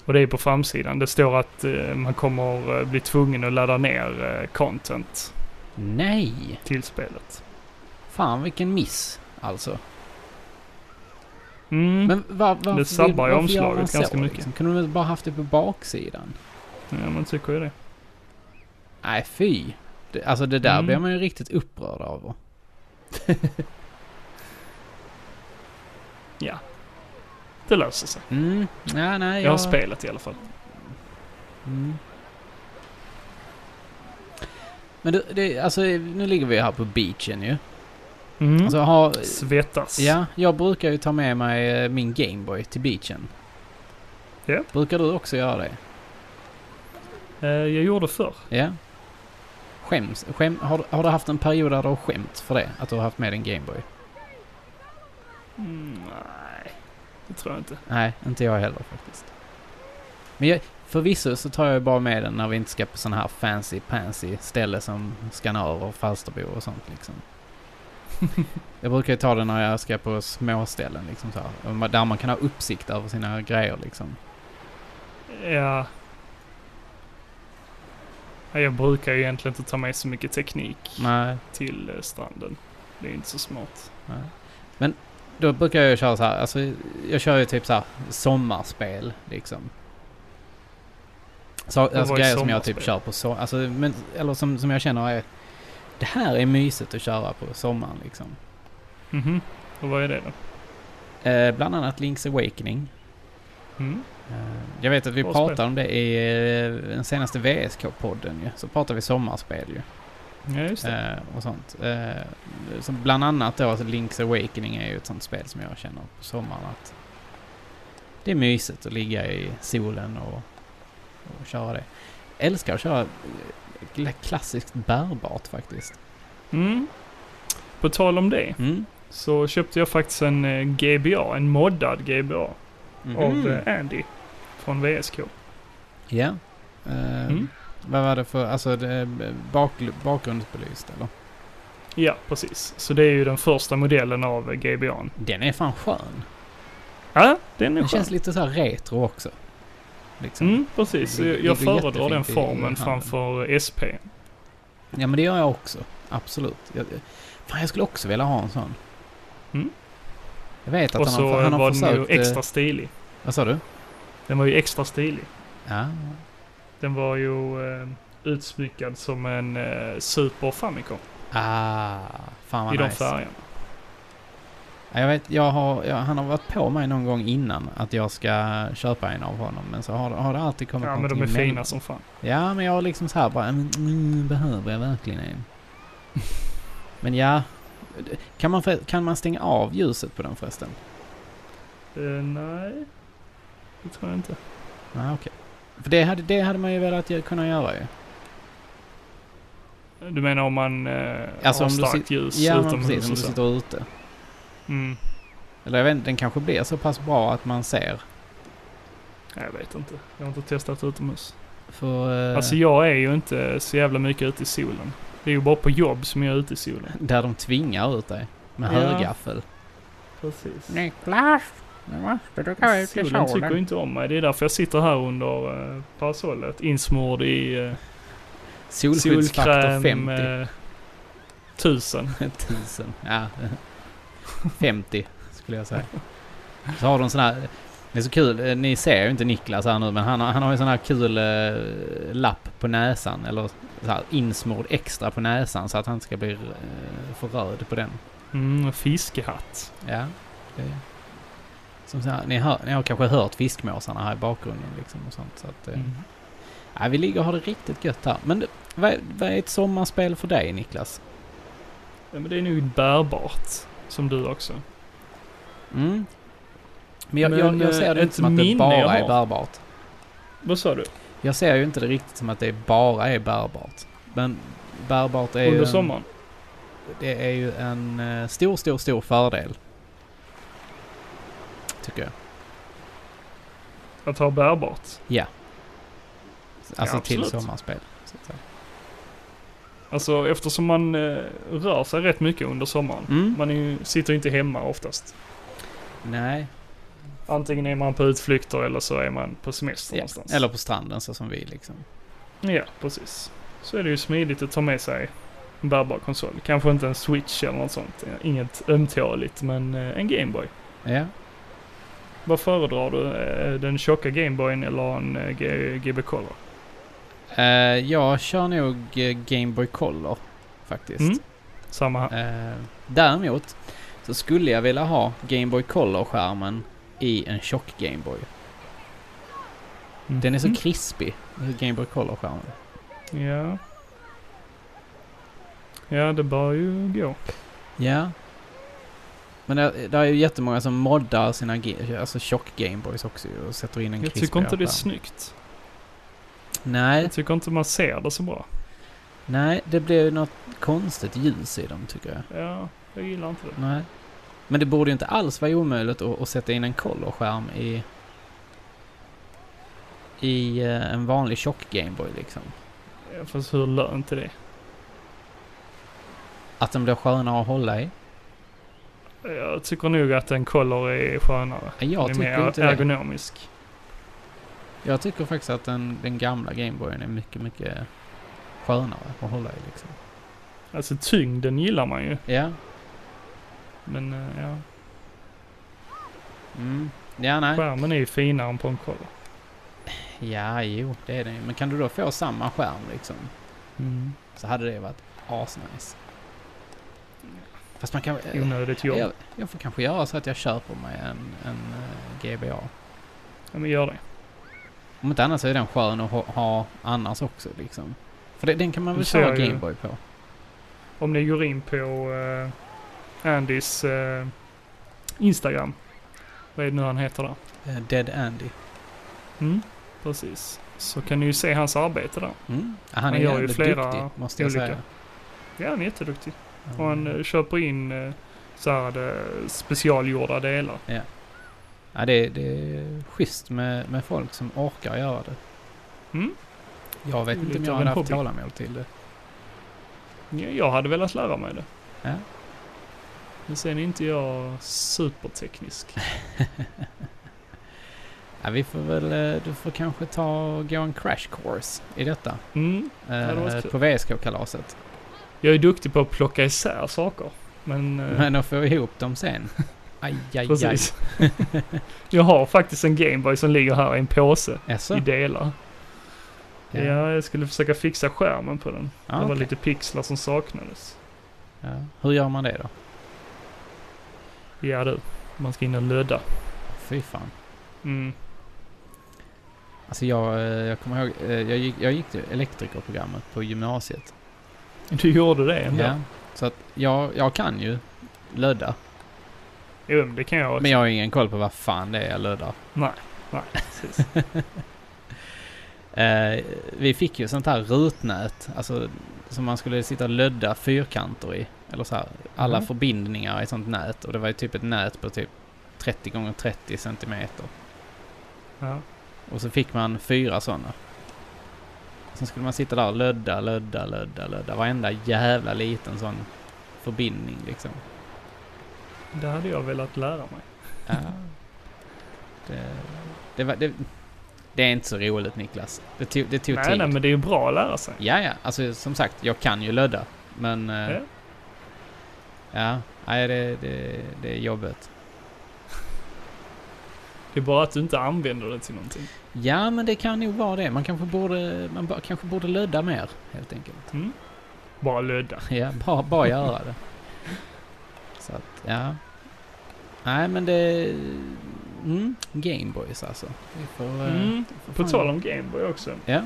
Speaker 2: och det är på framsidan. Det står att eh, man kommer eh, bli tvungen att ladda ner eh, content
Speaker 1: Nej!
Speaker 2: till spelet.
Speaker 1: Fan vilken miss, alltså.
Speaker 2: Mm.
Speaker 1: Men var, varför,
Speaker 2: Det sabbar
Speaker 1: vill-
Speaker 2: ju
Speaker 1: varför gör
Speaker 2: omslaget
Speaker 1: man så, liksom?
Speaker 2: ganska mycket.
Speaker 1: Kunde de inte bara haft det på baksidan?
Speaker 2: Ja, man tycker ju det.
Speaker 1: Nej, fy. Det, alltså det där
Speaker 2: Mm.
Speaker 1: blir man ju riktigt upprörd av.
Speaker 2: Det löser sig.
Speaker 1: Mm. Ja, nej,
Speaker 2: Jag har spelat i alla fall.
Speaker 1: Mm. Men det, det, alltså nu ligger vi här på beachen ju.
Speaker 2: Mm.
Speaker 1: Alltså har...
Speaker 2: Svettas.
Speaker 1: Ja, jag brukar ju ta med mig eh, min Gameboy till beachen.
Speaker 2: Ja.
Speaker 1: Brukar du också göra det?
Speaker 2: Eh, jag gjorde förr.
Speaker 1: Ja. Skäms, skäm, har, du- har du haft en period där du har skämt för det? Att du har haft med dig en Gameboy?
Speaker 2: Mm, nej, det tror jag inte.
Speaker 1: Nej, inte jag heller faktiskt. Men jag, förvisso så tar jag ju bara med den när vi inte ska på sådana här fancy pansy ställe som Skanör och Falsterbo och sånt liksom. jag brukar ju ta den när jag ska på små ställen liksom så här, och ma- Där man kan ha uppsikt över sina grejer liksom.
Speaker 2: Ja. Ja, Jag brukar ju egentligen inte ta med så mycket teknik
Speaker 1: Nej.
Speaker 2: till eh, stranden. Det är inte så smart.
Speaker 1: nej. Men då brukar jag ju köra så här, alltså jag kör ju typ så här sommarspel liksom. Så, alltså
Speaker 2: är
Speaker 1: grejer som jag typ
Speaker 2: sommarspel?
Speaker 1: kör på so- alltså, men, eller som, som jag känner är, det här är mysigt att köra på sommaren liksom.
Speaker 2: Mhm. Och vad är det då?
Speaker 1: Eh, bland annat Link's Awakening.
Speaker 2: Mm.
Speaker 1: Eh, jag vet att vi
Speaker 2: Bra
Speaker 1: pratade
Speaker 2: spel.
Speaker 1: om det i eh, den senaste VSK-podden ju. Så pratade vi sommarspel ju.
Speaker 2: Ja, just det.
Speaker 1: Eh, och sånt. Eh, så bland annat då alltså Link's Awakening är ju ett sånt spel som jag känner på sommaren att det är mysigt att ligga i solen och, och köra det. Älskar att köra eh, klassiskt bärbart faktiskt.
Speaker 2: Mm. På tal om det
Speaker 1: Mm.
Speaker 2: så köpte jag faktiskt en eh, GBA, en moddad GBA
Speaker 1: Mhm.
Speaker 2: av eh, Andy från VSK.
Speaker 1: Ja. Eh,
Speaker 2: Mm.
Speaker 1: Vad var det för, alltså det, bak, bakgrundsbelyst eller?
Speaker 2: Ja, precis. Så det är ju den första modellen av eh, GBA'n.
Speaker 1: Den är fan skön.
Speaker 2: Ja, den är
Speaker 1: Den
Speaker 2: skön.
Speaker 1: känns lite så här retro också. Liksom.
Speaker 2: Mm, precis.
Speaker 1: Det- det
Speaker 2: jag jag
Speaker 1: ligger
Speaker 2: föredrar den
Speaker 1: jättefint i handen.
Speaker 2: formen framför SP.
Speaker 1: Ja men det gör jag också. Absolut. Jag, fan jag skulle också vilja ha en sån.
Speaker 2: Mm.
Speaker 1: Jag vet att
Speaker 2: Och
Speaker 1: han
Speaker 2: så
Speaker 1: har, han har
Speaker 2: var den ju
Speaker 1: försökt... eh,
Speaker 2: extra stilig.
Speaker 1: Vad sa du?
Speaker 2: Den var ju extra stilig.
Speaker 1: Ja.
Speaker 2: Den var ju eh, utsmyckad som en eh, Super Famicom
Speaker 1: Ah, fan vad
Speaker 2: i de
Speaker 1: nice.
Speaker 2: färgerna.
Speaker 1: Ja, Jag vet, jag har, jag, han har varit på mig någon gång innan att jag ska köpa en av honom. Men så har, har det alltid kommit
Speaker 2: Ja, men
Speaker 1: någonting
Speaker 2: de är
Speaker 1: emellan.
Speaker 2: fina som fan.
Speaker 1: Ja, men jag har liksom så här bara, men, mm, behöver jag verkligen en? men ja, kan man, för- kan man stänga av ljuset på den förresten?
Speaker 2: Eh, nej, det tror jag inte.
Speaker 1: Nej, okej. För det hade, det hade man ju velat gö- kunna göra ju.
Speaker 2: Du menar om man eh,
Speaker 1: Alltså,
Speaker 2: har
Speaker 1: om du
Speaker 2: starkt ljus
Speaker 1: Ja, men precis,
Speaker 2: utomhus
Speaker 1: om
Speaker 2: och
Speaker 1: du
Speaker 2: så?
Speaker 1: sitter ute.
Speaker 2: Mm,
Speaker 1: Eller jag vet inte, den kanske blir så pass bra att man ser.
Speaker 2: nej, jag vet inte. Jag har inte testat utomhus.
Speaker 1: För, eh,
Speaker 2: Alltså jag är ju inte så jävla mycket ute i solen. Det är ju bara på jobb som jag är ute i solen.
Speaker 1: där de tvingar ut dig med
Speaker 2: Ja.
Speaker 1: högaffel.
Speaker 2: Precis.
Speaker 1: Niklas! Nu måste du
Speaker 2: Solen tycker inte om mig. Det är därför jag sitter här under eh, parasollet insmord i eh,
Speaker 1: Solskyddsfaktor 50.
Speaker 2: eh, tusen.
Speaker 1: 1000.
Speaker 2: eh.
Speaker 1: Ja. 50 skulle jag säga. Så har de sån här... Det är så kul. eh, Ni ser ju inte Niklas här nu men han har, han har ju sån här kul eh, lapp på näsan. Eller så här insmord extra på näsan så att han ska bli eh, för röd på den.
Speaker 2: Mm, fiskehatt.
Speaker 1: Ja. Det är. Som så här, ni, hör, ni har kanske hört fiskmåsarna här i bakgrunden liksom och sånt. Så att, eh,
Speaker 2: Mm.
Speaker 1: ja, vi ligger och har det riktigt gött här. Men det- vad, är- vad är ett sommarspel för dig Niklas?
Speaker 2: Ja, men det är nog bärbart. Som du också.
Speaker 1: Mm. Men jag,
Speaker 2: Men,
Speaker 1: jag, jag
Speaker 2: eh,
Speaker 1: ser det
Speaker 2: ett
Speaker 1: inte som att det
Speaker 2: minne jag
Speaker 1: bara är
Speaker 2: har.
Speaker 1: bärbart.
Speaker 2: Vad sa du?
Speaker 1: Jag ser ju inte det riktigt som att det bara är bärbart. Men bärbart är eh, ju
Speaker 2: Under
Speaker 1: en,
Speaker 2: sommaren?
Speaker 1: Det är ju en eh, stor, stor, stor fördel. Tycker jag.
Speaker 2: Att ha bärbart?
Speaker 1: Alltså
Speaker 2: Ja,
Speaker 1: till
Speaker 2: absolut.
Speaker 1: sommarspel. Så att säga.
Speaker 2: Alltså eftersom man eh, rör sig rätt mycket under sommaren.
Speaker 1: Mm.
Speaker 2: Man är ju, sitter ju inte hemma oftast.
Speaker 1: Nej.
Speaker 2: Antingen är man på utflykter eller så är man på semester
Speaker 1: Ja.
Speaker 2: någonstans.
Speaker 1: Eller på stranden så som vi liksom.
Speaker 2: Ja, precis. Så är det ju smidigt att ta med sig en bärbar konsol. Kanske inte en Switch eller något sånt. Inget ömtåligt, men eh, en Gameboy.
Speaker 1: Ja.
Speaker 2: Vad föredrar du? eh, Den tjocka Gameboyen eller en eh, G- GB Color?
Speaker 1: Eh, jag kör nog eh, Game Boy Color faktiskt.
Speaker 2: Mm. Samma här.
Speaker 1: Eh, däremot så skulle jag vilja ha Game Boy Color-skärmen i en tjock Game Boy. Den är så
Speaker 2: Mhm.
Speaker 1: krispig, Game Boy Color-skärmen.
Speaker 2: Ja. Ja, det bör ju gå.
Speaker 1: Ja. Men det, det är ju jättemånga som moddar sina ge- alltså tjock Gameboys också ju och sätter in en
Speaker 2: Jag
Speaker 1: krispigare
Speaker 2: tycker inte det är
Speaker 1: skärm.
Speaker 2: snyggt.
Speaker 1: Nej,
Speaker 2: Jag tycker inte man ser det så bra.
Speaker 1: nej, det blir ju något konstigt ljus i dem tycker jag.
Speaker 2: Ja, jag gillar inte det.
Speaker 1: Nej. Men det borde ju inte alls vara omöjligt att, att sätta in en color-skärm i... I eh, en vanlig tjock Gameboy liksom.
Speaker 2: Ja, Fast hur lönt är det?
Speaker 1: Att den blir skönare att hålla i.
Speaker 2: Jag tycker nog att en Color är skönare.
Speaker 1: Ja, Jag
Speaker 2: den är
Speaker 1: tycker
Speaker 2: mer
Speaker 1: inte det.
Speaker 2: ergonomisk.
Speaker 1: Jag tycker faktiskt att den, den gamla Gameboyen är mycket, mycket skönare att hålla i liksom.
Speaker 2: Alltså tyngden gillar man ju.
Speaker 1: Ja.
Speaker 2: Men eh, ja,
Speaker 1: Mm. Ja, nej.
Speaker 2: skärmen är ju finare än på en Color.
Speaker 1: Ja, jo, det är den ju. Men kan du då få samma skärm liksom? Så hade det varit asnice. Fast man kan... eh,
Speaker 2: Onödigt jobb.
Speaker 1: Jag, jag får kanske göra så att jag köper mig en, en eh, GBA.
Speaker 2: Ja, men gör det.
Speaker 1: Om inte annars så är den skön att ha, ha annars också liksom. För det, den kan man
Speaker 2: Du
Speaker 1: väl
Speaker 2: ser
Speaker 1: köra
Speaker 2: ju-
Speaker 1: Gameboy på?
Speaker 2: Om ni går in på eh, Andys eh, Instagram. Vad är det nu han heter där?
Speaker 1: Eh, Dead Andy.
Speaker 2: Mm, precis. Så kan ni ju se hans arbete där.
Speaker 1: Mm. Ah, Han
Speaker 2: Han
Speaker 1: är
Speaker 2: gör ju
Speaker 1: jävligt
Speaker 2: flera
Speaker 1: duktig, måste jag
Speaker 2: olika.
Speaker 1: säga.
Speaker 2: Ja, han är jätteduktig.
Speaker 1: Mm.
Speaker 2: Och han eh, köper in eh, så här eh, specialgjorda delar.
Speaker 1: Ja, det, är- det är schysst med, med folk som orkar göra det.
Speaker 2: Mm.
Speaker 1: Jag vet
Speaker 2: Det
Speaker 1: inte
Speaker 2: är
Speaker 1: om jag
Speaker 2: lite av
Speaker 1: hade
Speaker 2: en
Speaker 1: haft
Speaker 2: hobby.
Speaker 1: tålamod till det.
Speaker 2: Ja, jag hade velat lära mig det.
Speaker 1: Ja.
Speaker 2: Men sen är inte jag superteknisk.
Speaker 1: Ja, vi får väl... eh, Du får kanske ta och gå en crash course i detta.
Speaker 2: Mm. det var
Speaker 1: Eh,
Speaker 2: kul.
Speaker 1: på VSK-kalaset.
Speaker 2: Jag är duktig på att plocka isär saker. Men... eh,
Speaker 1: Men att få ihop dem sen. Aj, aj, aj.
Speaker 2: Precis. jag har faktiskt en Gameboy som ligger här i en påse
Speaker 1: Jaså?
Speaker 2: i delar.
Speaker 1: Ja.
Speaker 2: Ja, Ah, jag skulle försöka fixa skärmen på den.
Speaker 1: Ja,
Speaker 2: det var
Speaker 1: okej.
Speaker 2: lite pixlar som saknades.
Speaker 1: Ja. Hur gör man det då?
Speaker 2: Ja du, man ska in och lödda.
Speaker 1: Fy fan.
Speaker 2: Mm.
Speaker 1: Alltså jag, eh, jag kommer ihåg, eh, jag gick, jag gick till elektrikerprogrammet på gymnasiet.
Speaker 2: Du gjorde det ändå?
Speaker 1: Ja. Så att jag, jag kan ju lödda.
Speaker 2: Jo, men det kan jag också.
Speaker 1: Men jag har ingen koll på vad fan det är jag löddar.
Speaker 2: Nej, precis.
Speaker 1: Eh, vi fick ju sånt här rutnät, alltså som man skulle sitta och lödda fyrkanter i. Eller så här, alla
Speaker 2: Mhm.
Speaker 1: förbindningar i sånt nät. Och det var ju typ ett nät på typ 30 gånger 30 centimeter.
Speaker 2: ja.
Speaker 1: Och så fick man fyra sådana. Sen skulle man sitta där och lödda, lödda, lödda, lödda. Varenda jävla liten sån förbindning liksom.
Speaker 2: Det hade jag velat lära mig.
Speaker 1: Ja. Det, det, var, det, det är inte så roligt Niklas. Det tog, det tog
Speaker 2: Nej,
Speaker 1: tid.
Speaker 2: nej, men det är ju bra att lära sig.
Speaker 1: Ja, ja. Alltså som sagt, jag kan ju lödda. Men... eh,
Speaker 2: Ja.
Speaker 1: Ja. Nej, det, det, det är jobbigt.
Speaker 2: Det är bara att du inte använder det till någonting.
Speaker 1: Ja, men det kan nog vara det. Man kanske borde, man bara, kanske borde lödda mer, helt enkelt.
Speaker 2: Mm. Bara lödda.
Speaker 1: Ja, bara, bara göra det. Så att, ja. Nej, men det... Mm, Gameboys alltså. Vi får... eh,
Speaker 2: Mm.
Speaker 1: får
Speaker 2: På
Speaker 1: fan-
Speaker 2: tal om Gameboy också.
Speaker 1: Ja.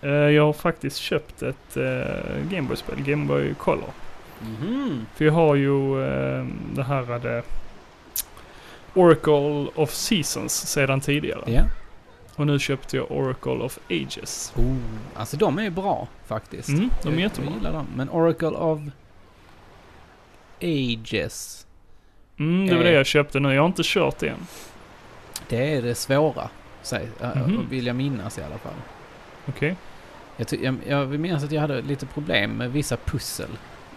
Speaker 2: Eh, Jag har faktiskt köpt ett eh, Gameboy-spel, Gameboy Color.
Speaker 1: Mhm.
Speaker 2: För jag har ju eh, det här hade Oracle of Seasons sedan tidigare.
Speaker 1: Ja.
Speaker 2: Och nu köpte jag Oracle of Ages.
Speaker 1: Oh, alltså de är ju bra faktiskt.
Speaker 2: Mm, de är
Speaker 1: jag,
Speaker 2: jättebra.
Speaker 1: jag gillar dem. Men Oracle of Ages.
Speaker 2: Mm, det var
Speaker 1: Eh.
Speaker 2: det jag köpte nu. Jag har inte kört det än.
Speaker 1: Det är det svåra. Säg, äh,
Speaker 2: Mhm.
Speaker 1: Vill jag minnas i alla fall.
Speaker 2: Okej.
Speaker 1: Jag, ty- jag, jag minns att jag hade lite problem med vissa pussel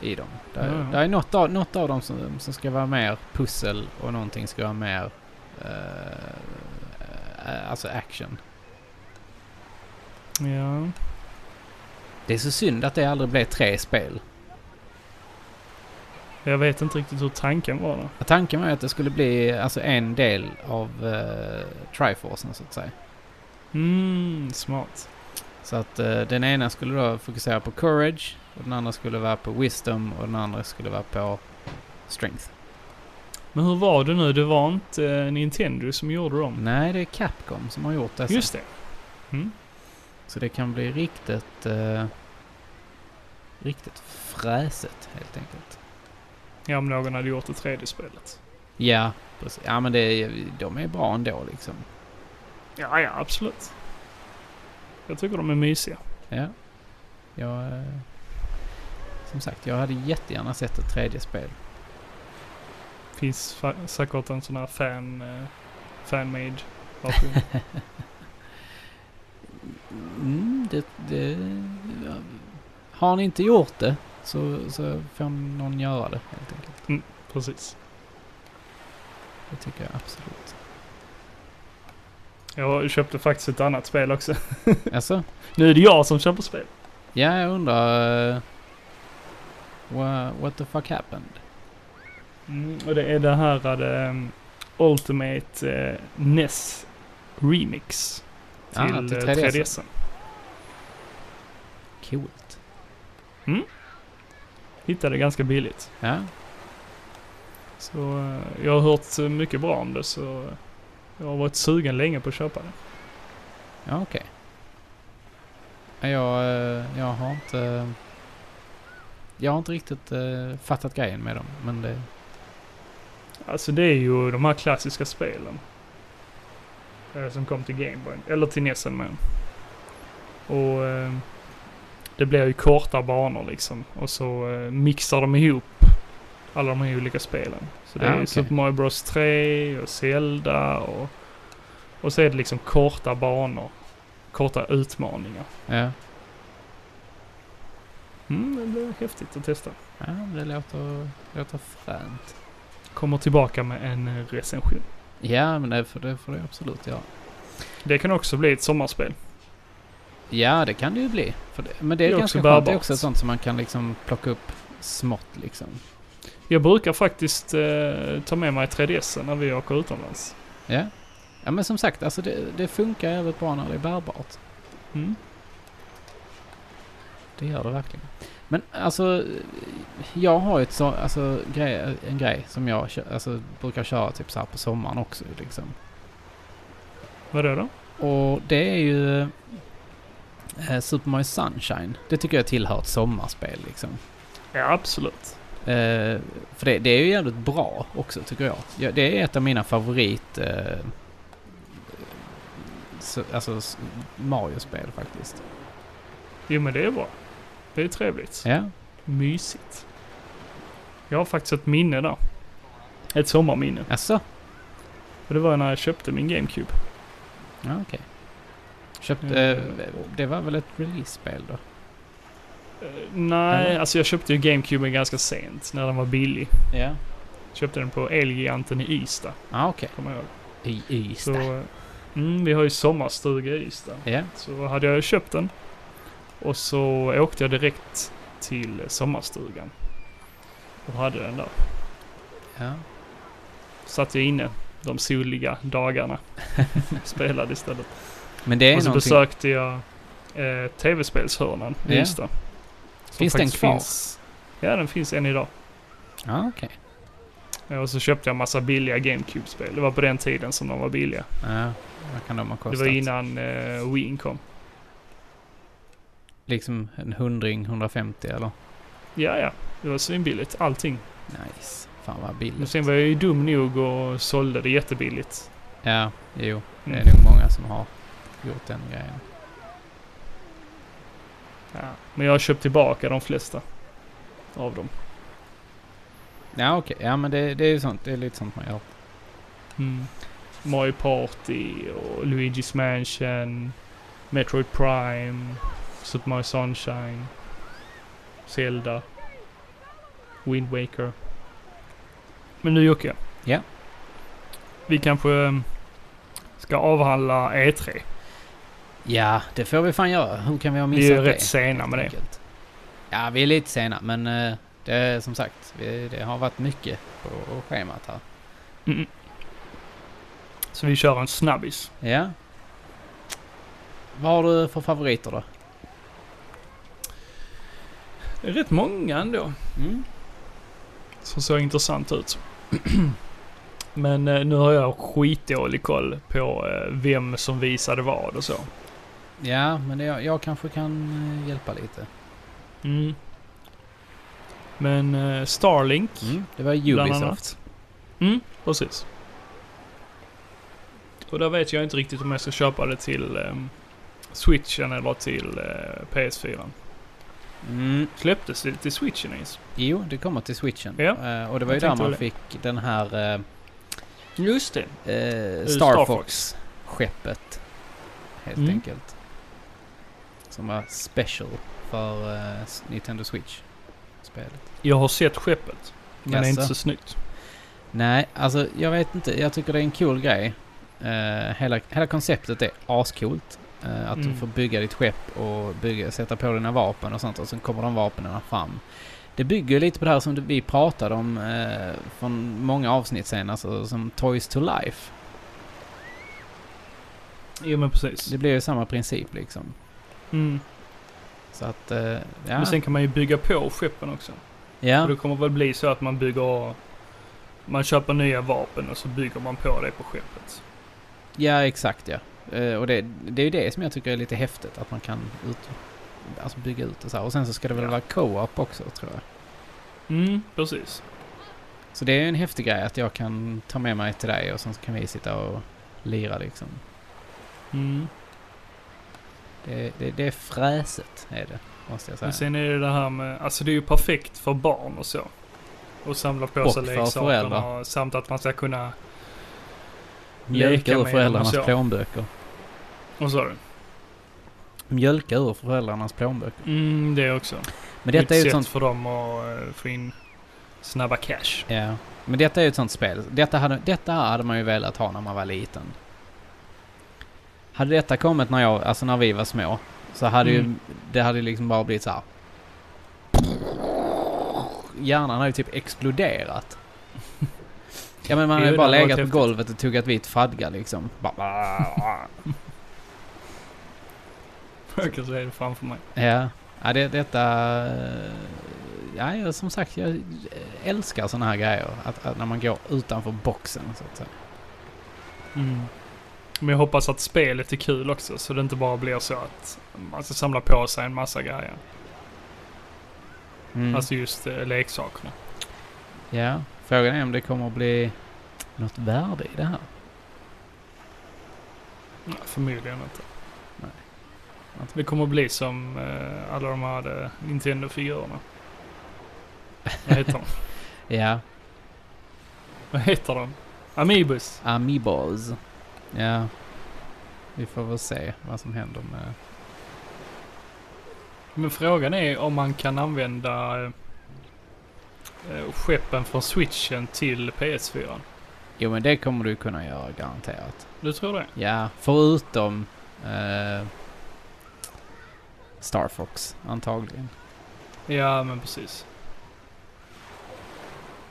Speaker 1: i dem. Det är,
Speaker 2: Ja, ja.
Speaker 1: det är något, av, något av dem som, som ska vara mer pussel och någonting ska vara mer eh, eh, alltså action.
Speaker 2: Ja.
Speaker 1: Det är så synd att det aldrig blev tre spel.
Speaker 2: Jag vet inte riktigt hur tanken var där.
Speaker 1: Tanken var ju att det skulle bli alltså en del av eh, Triforcen så att säga.
Speaker 2: Mm, smart.
Speaker 1: Så att eh, den ena skulle då fokusera på courage och den andra skulle vara på wisdom och den andra skulle vara på strength.
Speaker 2: Men hur var det nu? Det var inte eh, Nintendo som gjorde dem.
Speaker 1: Nej, det är Capcom som har gjort dessa.
Speaker 2: Just det. Mm.
Speaker 1: Så det kan bli riktigt... Eh, riktigt fräset helt enkelt.
Speaker 2: Ja, om någon hade gjort det tredje spelet.
Speaker 1: Ja, precis. Ja men det, är- de är bra ändå liksom.
Speaker 2: Ja, ja, absolut. Jag tycker de är mysiga.
Speaker 1: Ja. Jag... eh, Som sagt, jag hade jättegärna sett ett tredje spel.
Speaker 2: Finns fa- säkert en sån här fan... Eh, fan-made version.
Speaker 1: Mm, det, det, ja. Har ni inte gjort det så, så får någon göra det helt enkelt.
Speaker 2: Precis.
Speaker 1: Det tycker jag absolut.
Speaker 2: Jag köpte faktiskt ett annat spel också.
Speaker 1: Alltså,
Speaker 2: Nu är det jag som köper spel.
Speaker 1: ja jag undrar... eh, wha, what the fuck happened?
Speaker 2: Mm, och det är det här um, Ultimate eh, NES Remix. Till,
Speaker 1: Ah, till
Speaker 2: eh,
Speaker 1: 3DS.
Speaker 2: 3DS.
Speaker 1: Coolt.
Speaker 2: Hittade det ganska billigt.
Speaker 1: Ja,
Speaker 2: Så eh, jag har hört eh, mycket bra om det så eh, jag har varit sugen länge på att köpa det.
Speaker 1: ja okej. Ja, Jag, eh, jag har inte... Jag har inte riktigt eh, fattat grejen med dem, men det...
Speaker 2: Alltså det är ju de här klassiska spelen. eh, Som kom till Gameboy. Eller till Nessen men. Och eh, det blir ju korta banor liksom. Och så eh, mixar de ihop alla de här olika spelen. Så det
Speaker 1: Ah,
Speaker 2: är
Speaker 1: okej.
Speaker 2: ju Super Mario Bros 3 och Zelda och... Och så är det liksom korta banor. Korta utmaningar.
Speaker 1: Ja,
Speaker 2: Mm, det blir häftigt att testa.
Speaker 1: ja det låter, låter fränt.
Speaker 2: Kommer tillbaka med en eh, recension.
Speaker 1: Ja, men det får, det får du absolut göra.
Speaker 2: Det kan också bli ett sommarspel.
Speaker 1: Ja, det kan det ju bli. För det, men det är,
Speaker 2: Det är
Speaker 1: ganska
Speaker 2: också
Speaker 1: skönt. Det är
Speaker 2: bärbart.
Speaker 1: också sånt som man kan liksom plocka upp smått liksom.
Speaker 2: Jag brukar faktiskt eh, ta med mig 3DS när vi åker utomlands.
Speaker 1: Ja. Ja, men som sagt, alltså det, det funkar jävligt bra när det är bärbart.
Speaker 2: Mm.
Speaker 1: Det gör det verkligen. Men alltså, jag har ju ett så, alltså, grej, en grej som jag kö- alltså, brukar köra typ så här på sommaren också liksom.
Speaker 2: Vadå då?
Speaker 1: Och det är ju eh, Super Mario Sunshine. Det tycker jag tillhör ett sommarspel liksom.
Speaker 2: Ja, absolut.
Speaker 1: Eh, för det, det är ju jävligt bra också tycker jag. Ja, det är ett av mina favorit... Eh, så, alltså s- Mario-spel faktiskt.
Speaker 2: Jo, men det är bra. Det är trevligt.
Speaker 1: Ja.
Speaker 2: Mysigt. Jag har faktiskt ett minne där. Ett sommarminne.
Speaker 1: Alltså?
Speaker 2: Och det var när jag köpte min GameCube.
Speaker 1: Ja, okej. Köpte...
Speaker 2: Mm.
Speaker 1: Eh, det var väl ett release-spel då?
Speaker 2: Eh, nej,
Speaker 1: Eller?
Speaker 2: alltså jag köpte ju GameCuben ganska sent när den var billig.
Speaker 1: Ja.
Speaker 2: Köpte den på Elgiganten i Ystad,
Speaker 1: Ja, ah, okej.
Speaker 2: kommer jag ihåg.
Speaker 1: I
Speaker 2: Så,
Speaker 1: Ystad.
Speaker 2: eh, mm, vi har ju sommarstuga i Ystad.
Speaker 1: Ja.
Speaker 2: Så hade jag köpt den. Och så åkte jag direkt till sommarstugan. Och hade den där.
Speaker 1: ja.
Speaker 2: Satt jag inne de soliga dagarna. Spelade istället.
Speaker 1: Men det är
Speaker 2: Och så
Speaker 1: någonting...
Speaker 2: besökte jag eh, tv-spelshörnan i
Speaker 1: Ja.
Speaker 2: Ystad. som
Speaker 1: Finns den
Speaker 2: faktiskt
Speaker 1: kvar?
Speaker 2: Finns, ja, den finns än idag.
Speaker 1: Ja, okej.
Speaker 2: Ja, Och så köpte jag en massa billiga GameCube-spel. Det var på den tiden som de var billiga.
Speaker 1: Ja. Vad kan de ha
Speaker 2: Det
Speaker 1: kostat?
Speaker 2: var innan eh, Wien kom.
Speaker 1: Liksom en hundring, 150 eller?
Speaker 2: Ja, ja. Det var svinbilligt. Allting.
Speaker 1: Nice. Fan vad
Speaker 2: Men
Speaker 1: billigt.
Speaker 2: sen var jag ju dum nog och sålde det jättebilligt.
Speaker 1: Ja, jo. Det
Speaker 2: Mm.
Speaker 1: är nog många som har gjort den grejen.
Speaker 2: Ja. Men jag har köpt tillbaka de flesta av dem.
Speaker 1: Ja okej, ja men det, det är ju sånt, det är lite sånt man gör. Mm.
Speaker 2: Mario Party och Luigi's Mansion, Metroid Prime, Super Mario Sunshine, Zelda, Wind Waker. Men nu Jocke.
Speaker 1: Ja.
Speaker 2: Vi kanske eh, ska avhandla E E3.
Speaker 1: Ja, det får vi fan göra. Hur kan vi ha
Speaker 2: Vi
Speaker 1: missat
Speaker 2: är
Speaker 1: det?
Speaker 2: ju rätt sena med det.
Speaker 1: Enkelt. Ja, vi är lite sena men eh, Det, som sagt, vi- det har varit mycket på schemat här.
Speaker 2: Mm. Så vi kör en snabbis.
Speaker 1: Ja. Vad har du för favoriter då?
Speaker 2: Det är rätt många ändå
Speaker 1: Mm.
Speaker 2: som såg intressant ut. Men eh, nu har jag skitdålig koll på eh, vem som visade vad och så.
Speaker 1: Ja, men det, jag, jag kanske kan eh, hjälpa lite.
Speaker 2: Mm. Men eh, Starlink
Speaker 1: Det var
Speaker 2: bland
Speaker 1: Ubisoft.
Speaker 2: annat. Mm, precis. Och där vet jag inte riktigt om jag ska köpa det till ehm, switchen eller till eh, PS4.
Speaker 1: Mm.
Speaker 2: Släpptes det till switchen ens?
Speaker 1: Jo, det kommer till switchen.
Speaker 2: Ja,
Speaker 1: Eh, och det var ju
Speaker 2: jag
Speaker 1: där
Speaker 2: tänkte
Speaker 1: man
Speaker 2: väl
Speaker 1: fick den här eh,
Speaker 2: Just det.
Speaker 1: eh,
Speaker 2: Star
Speaker 1: Star
Speaker 2: Fox.
Speaker 1: Fox-skeppet. Helt
Speaker 2: Mm.
Speaker 1: enkelt. Som var special för eh, s- Nintendo Switch-spelet.
Speaker 2: Jag har sett skeppet. Men det är inte
Speaker 1: Jaså?
Speaker 2: så snyggt.
Speaker 1: Nej, alltså jag vet inte. Jag tycker det är en cool grej. Eh, hela, hela konceptet är ascoolt. Eh, att du
Speaker 2: Mm.
Speaker 1: får bygga ditt skepp och bygga, sätta på dina vapen och sånt och sen kommer de vapnen fram. Det bygger ju lite på det här som du- vi pratade om eh, från många avsnitt sen, alltså som Toys to Life.
Speaker 2: Jo men precis.
Speaker 1: Det blir ju samma princip liksom.
Speaker 2: Mm.
Speaker 1: Så att, eh, ja.
Speaker 2: Men sen kan man ju bygga på skeppen också.
Speaker 1: ja.
Speaker 2: Och det kommer väl bli så att man bygger... Man köper nya vapen och så bygger man på det på skeppet.
Speaker 1: Ja, exakt ja. Eh, och det, det är ju det som jag tycker är lite häftigt, att man kan ut, alltså bygga ut det så här. Och sen så ska det väl
Speaker 2: Ja.
Speaker 1: vara co-op också, tror jag.
Speaker 2: Mm, precis.
Speaker 1: Så det är ju en häftig grej att jag kan ta med mig till dig och sen så kan vi sitta och lira liksom.
Speaker 2: Mm.
Speaker 1: Det, det, det är fräset, är det, måste jag
Speaker 2: Men
Speaker 1: säga.
Speaker 2: sen är det det här med... Alltså det är ju perfekt för barn och så. Och samla på
Speaker 1: Och
Speaker 2: sig
Speaker 1: för
Speaker 2: leksakerna
Speaker 1: föräldrar.
Speaker 2: och samt att man ska kunna...
Speaker 1: Mjölka
Speaker 2: leka
Speaker 1: ur
Speaker 2: med
Speaker 1: föräldrarnas
Speaker 2: dem och så.
Speaker 1: plånböcker.
Speaker 2: Vad sa du?
Speaker 1: Mjölka ur föräldrarnas plånböcker.
Speaker 2: Mm, det också.
Speaker 1: Men detta är ju
Speaker 2: Ett
Speaker 1: ett
Speaker 2: sätt
Speaker 1: sånt...
Speaker 2: för dem att eh, få in snabba cash.
Speaker 1: Ja. Men detta är ju ett sånt spel. Detta, hade, detta här hade man ju velat ha när man var liten. Hade detta kommit när jag, alltså när vi var små, så hade ju,
Speaker 2: Mm.
Speaker 1: det hade ju liksom bara blivit så här. Hjärnan hade ju typ exploderat. Ja men man
Speaker 2: Det är
Speaker 1: hade
Speaker 2: ju
Speaker 1: bara
Speaker 2: det, det har
Speaker 1: legat på
Speaker 2: varit
Speaker 1: golvet och tuggat vit fadga liksom. Bara-
Speaker 2: Jag kan säga det framför mig.
Speaker 1: Ja, ja det, detta... eh, Ja, jag, som sagt, jag älskar såna här grejer. Att, att när man går utanför boxen, så att säga.
Speaker 2: Mm. Men jag hoppas att spelet är kul också, så det inte bara blir så att man ska samla på sig en massa grejer.
Speaker 1: Mm.
Speaker 2: Alltså just eh, leksakerna.
Speaker 1: ja, frågan är om det kommer att bli något värde i det här.
Speaker 2: Nej, förmodligen inte.
Speaker 1: Nej.
Speaker 2: Det kommer att bli som eh, alla de här eh, Nintendo-figurerna. Vad heter de?
Speaker 1: Ja,
Speaker 2: Vad heter de? Amiibus.
Speaker 1: Amiibos. Ja, vi får väl se vad som händer med...
Speaker 2: Men frågan är om man kan använda eh, eh, skeppen från switchen till PS4.
Speaker 1: Jo, men det kommer du kunna göra garanterat.
Speaker 2: Du tror det?
Speaker 1: Ja, förutom... Eh, Star Fox, antagligen.
Speaker 2: Ja, men precis.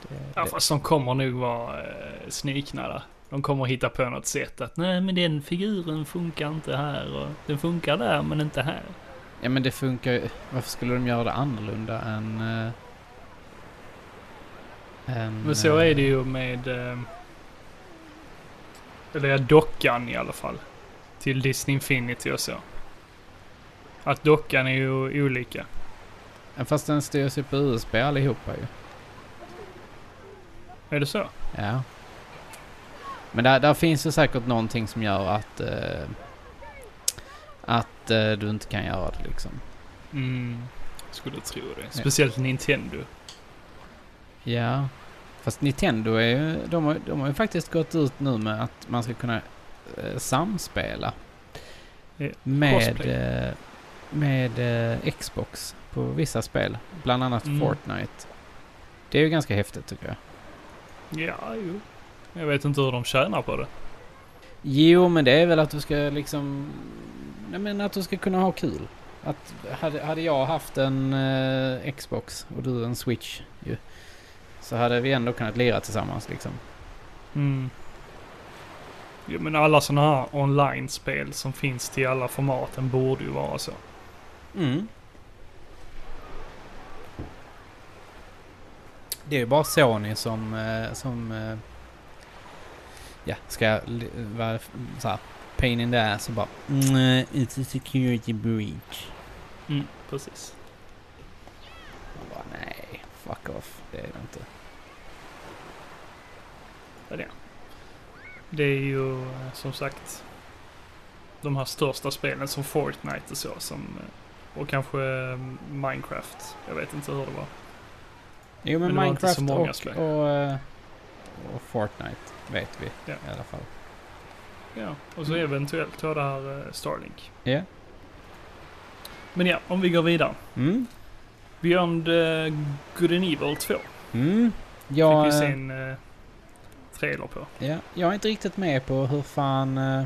Speaker 1: Det,
Speaker 2: Ja,
Speaker 1: det-
Speaker 2: fast de kommer nog vara eh, snikna där. De kommer hitta på något sätt att nej, men den figuren funkar inte här och den funkar där men inte här.
Speaker 1: Ja men det funkar ju. Varför skulle de göra det annorlunda än... eh, än,
Speaker 2: Men så
Speaker 1: eh,
Speaker 2: är det ju med... Eh, eller ja, dockan i alla fall. Till Disney Infinity och så. Att dockan är ju olika.
Speaker 1: eh, Fast den styrs ju på USB allihopa ju.
Speaker 2: Är det så?
Speaker 1: Ja. Men där, där finns det säkert någonting som gör att... eh, att eh, du inte kan göra det liksom.
Speaker 2: Mm, skulle tro det. Speciellt Nintendo.
Speaker 1: Ja. Fast Nintendo är ju... De har, de har ju faktiskt gått ut nu med att man ska kunna eh, samspela.
Speaker 2: Ja,
Speaker 1: Med...
Speaker 2: Eh, crossplay.
Speaker 1: Eh, med eh, Xbox på vissa spel. Bland annat
Speaker 2: Mm.
Speaker 1: Fortnite. Det är ju ganska häftigt tycker jag.
Speaker 2: Ja, jo. Jag vet inte hur de tjänar på det.
Speaker 1: Jo, men det är väl att du ska liksom... Nej, men att du ska kunna ha kul. Att hade, hade jag haft en eh, Xbox och du en Switch ju. Så hade vi ändå kunnat lira tillsammans liksom.
Speaker 2: Mm. Jo men alla sådana här online-spel som finns till alla formaten borde ju vara så.
Speaker 1: Mm. Det är ju bara Sony som, eh, som eh, ja, ska li- vara f- så här pain in the ass och bara mm, It's a security breach.
Speaker 2: Mm, Precis.
Speaker 1: Man bara, nej, fuck off. Det är det inte.
Speaker 2: Det är ju eh, som sagt de här största spelen som Fortnite och så som... eh, Och kanske eh, Minecraft. Jag vet inte hur det var.
Speaker 1: Jo men,
Speaker 2: Men det var inte så
Speaker 1: Minecraft
Speaker 2: många
Speaker 1: och,
Speaker 2: spel.
Speaker 1: och, eh, och Fortnite vet vi
Speaker 2: Ja.
Speaker 1: i alla fall.
Speaker 2: Ja, och så eventuellt då det här eh, Starlink.
Speaker 1: Ja.
Speaker 2: Men ja, om vi går vidare.
Speaker 1: Mm.
Speaker 2: Beyond eh, Good and Evil 2
Speaker 1: Mm.
Speaker 2: fick
Speaker 1: Jag,
Speaker 2: vi se
Speaker 1: eh,
Speaker 2: en eh, trailer på.
Speaker 1: ja, jag är inte riktigt med på hur fan... eh,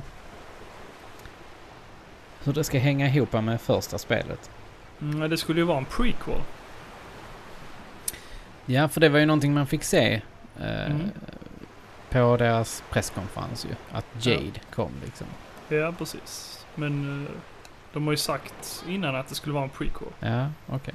Speaker 1: hur det ska hänga ihop med första spelet.
Speaker 2: Mm, det skulle ju vara en prequel.
Speaker 1: Ja, för det var ju någonting man fick se eh,
Speaker 2: Mm.
Speaker 1: på deras presskonferens ju. Att
Speaker 2: Ja.
Speaker 1: Jade kom liksom.
Speaker 2: Ja, precis. Men eh, de har ju sagt innan att det skulle vara en prequel.
Speaker 1: Ja, okej.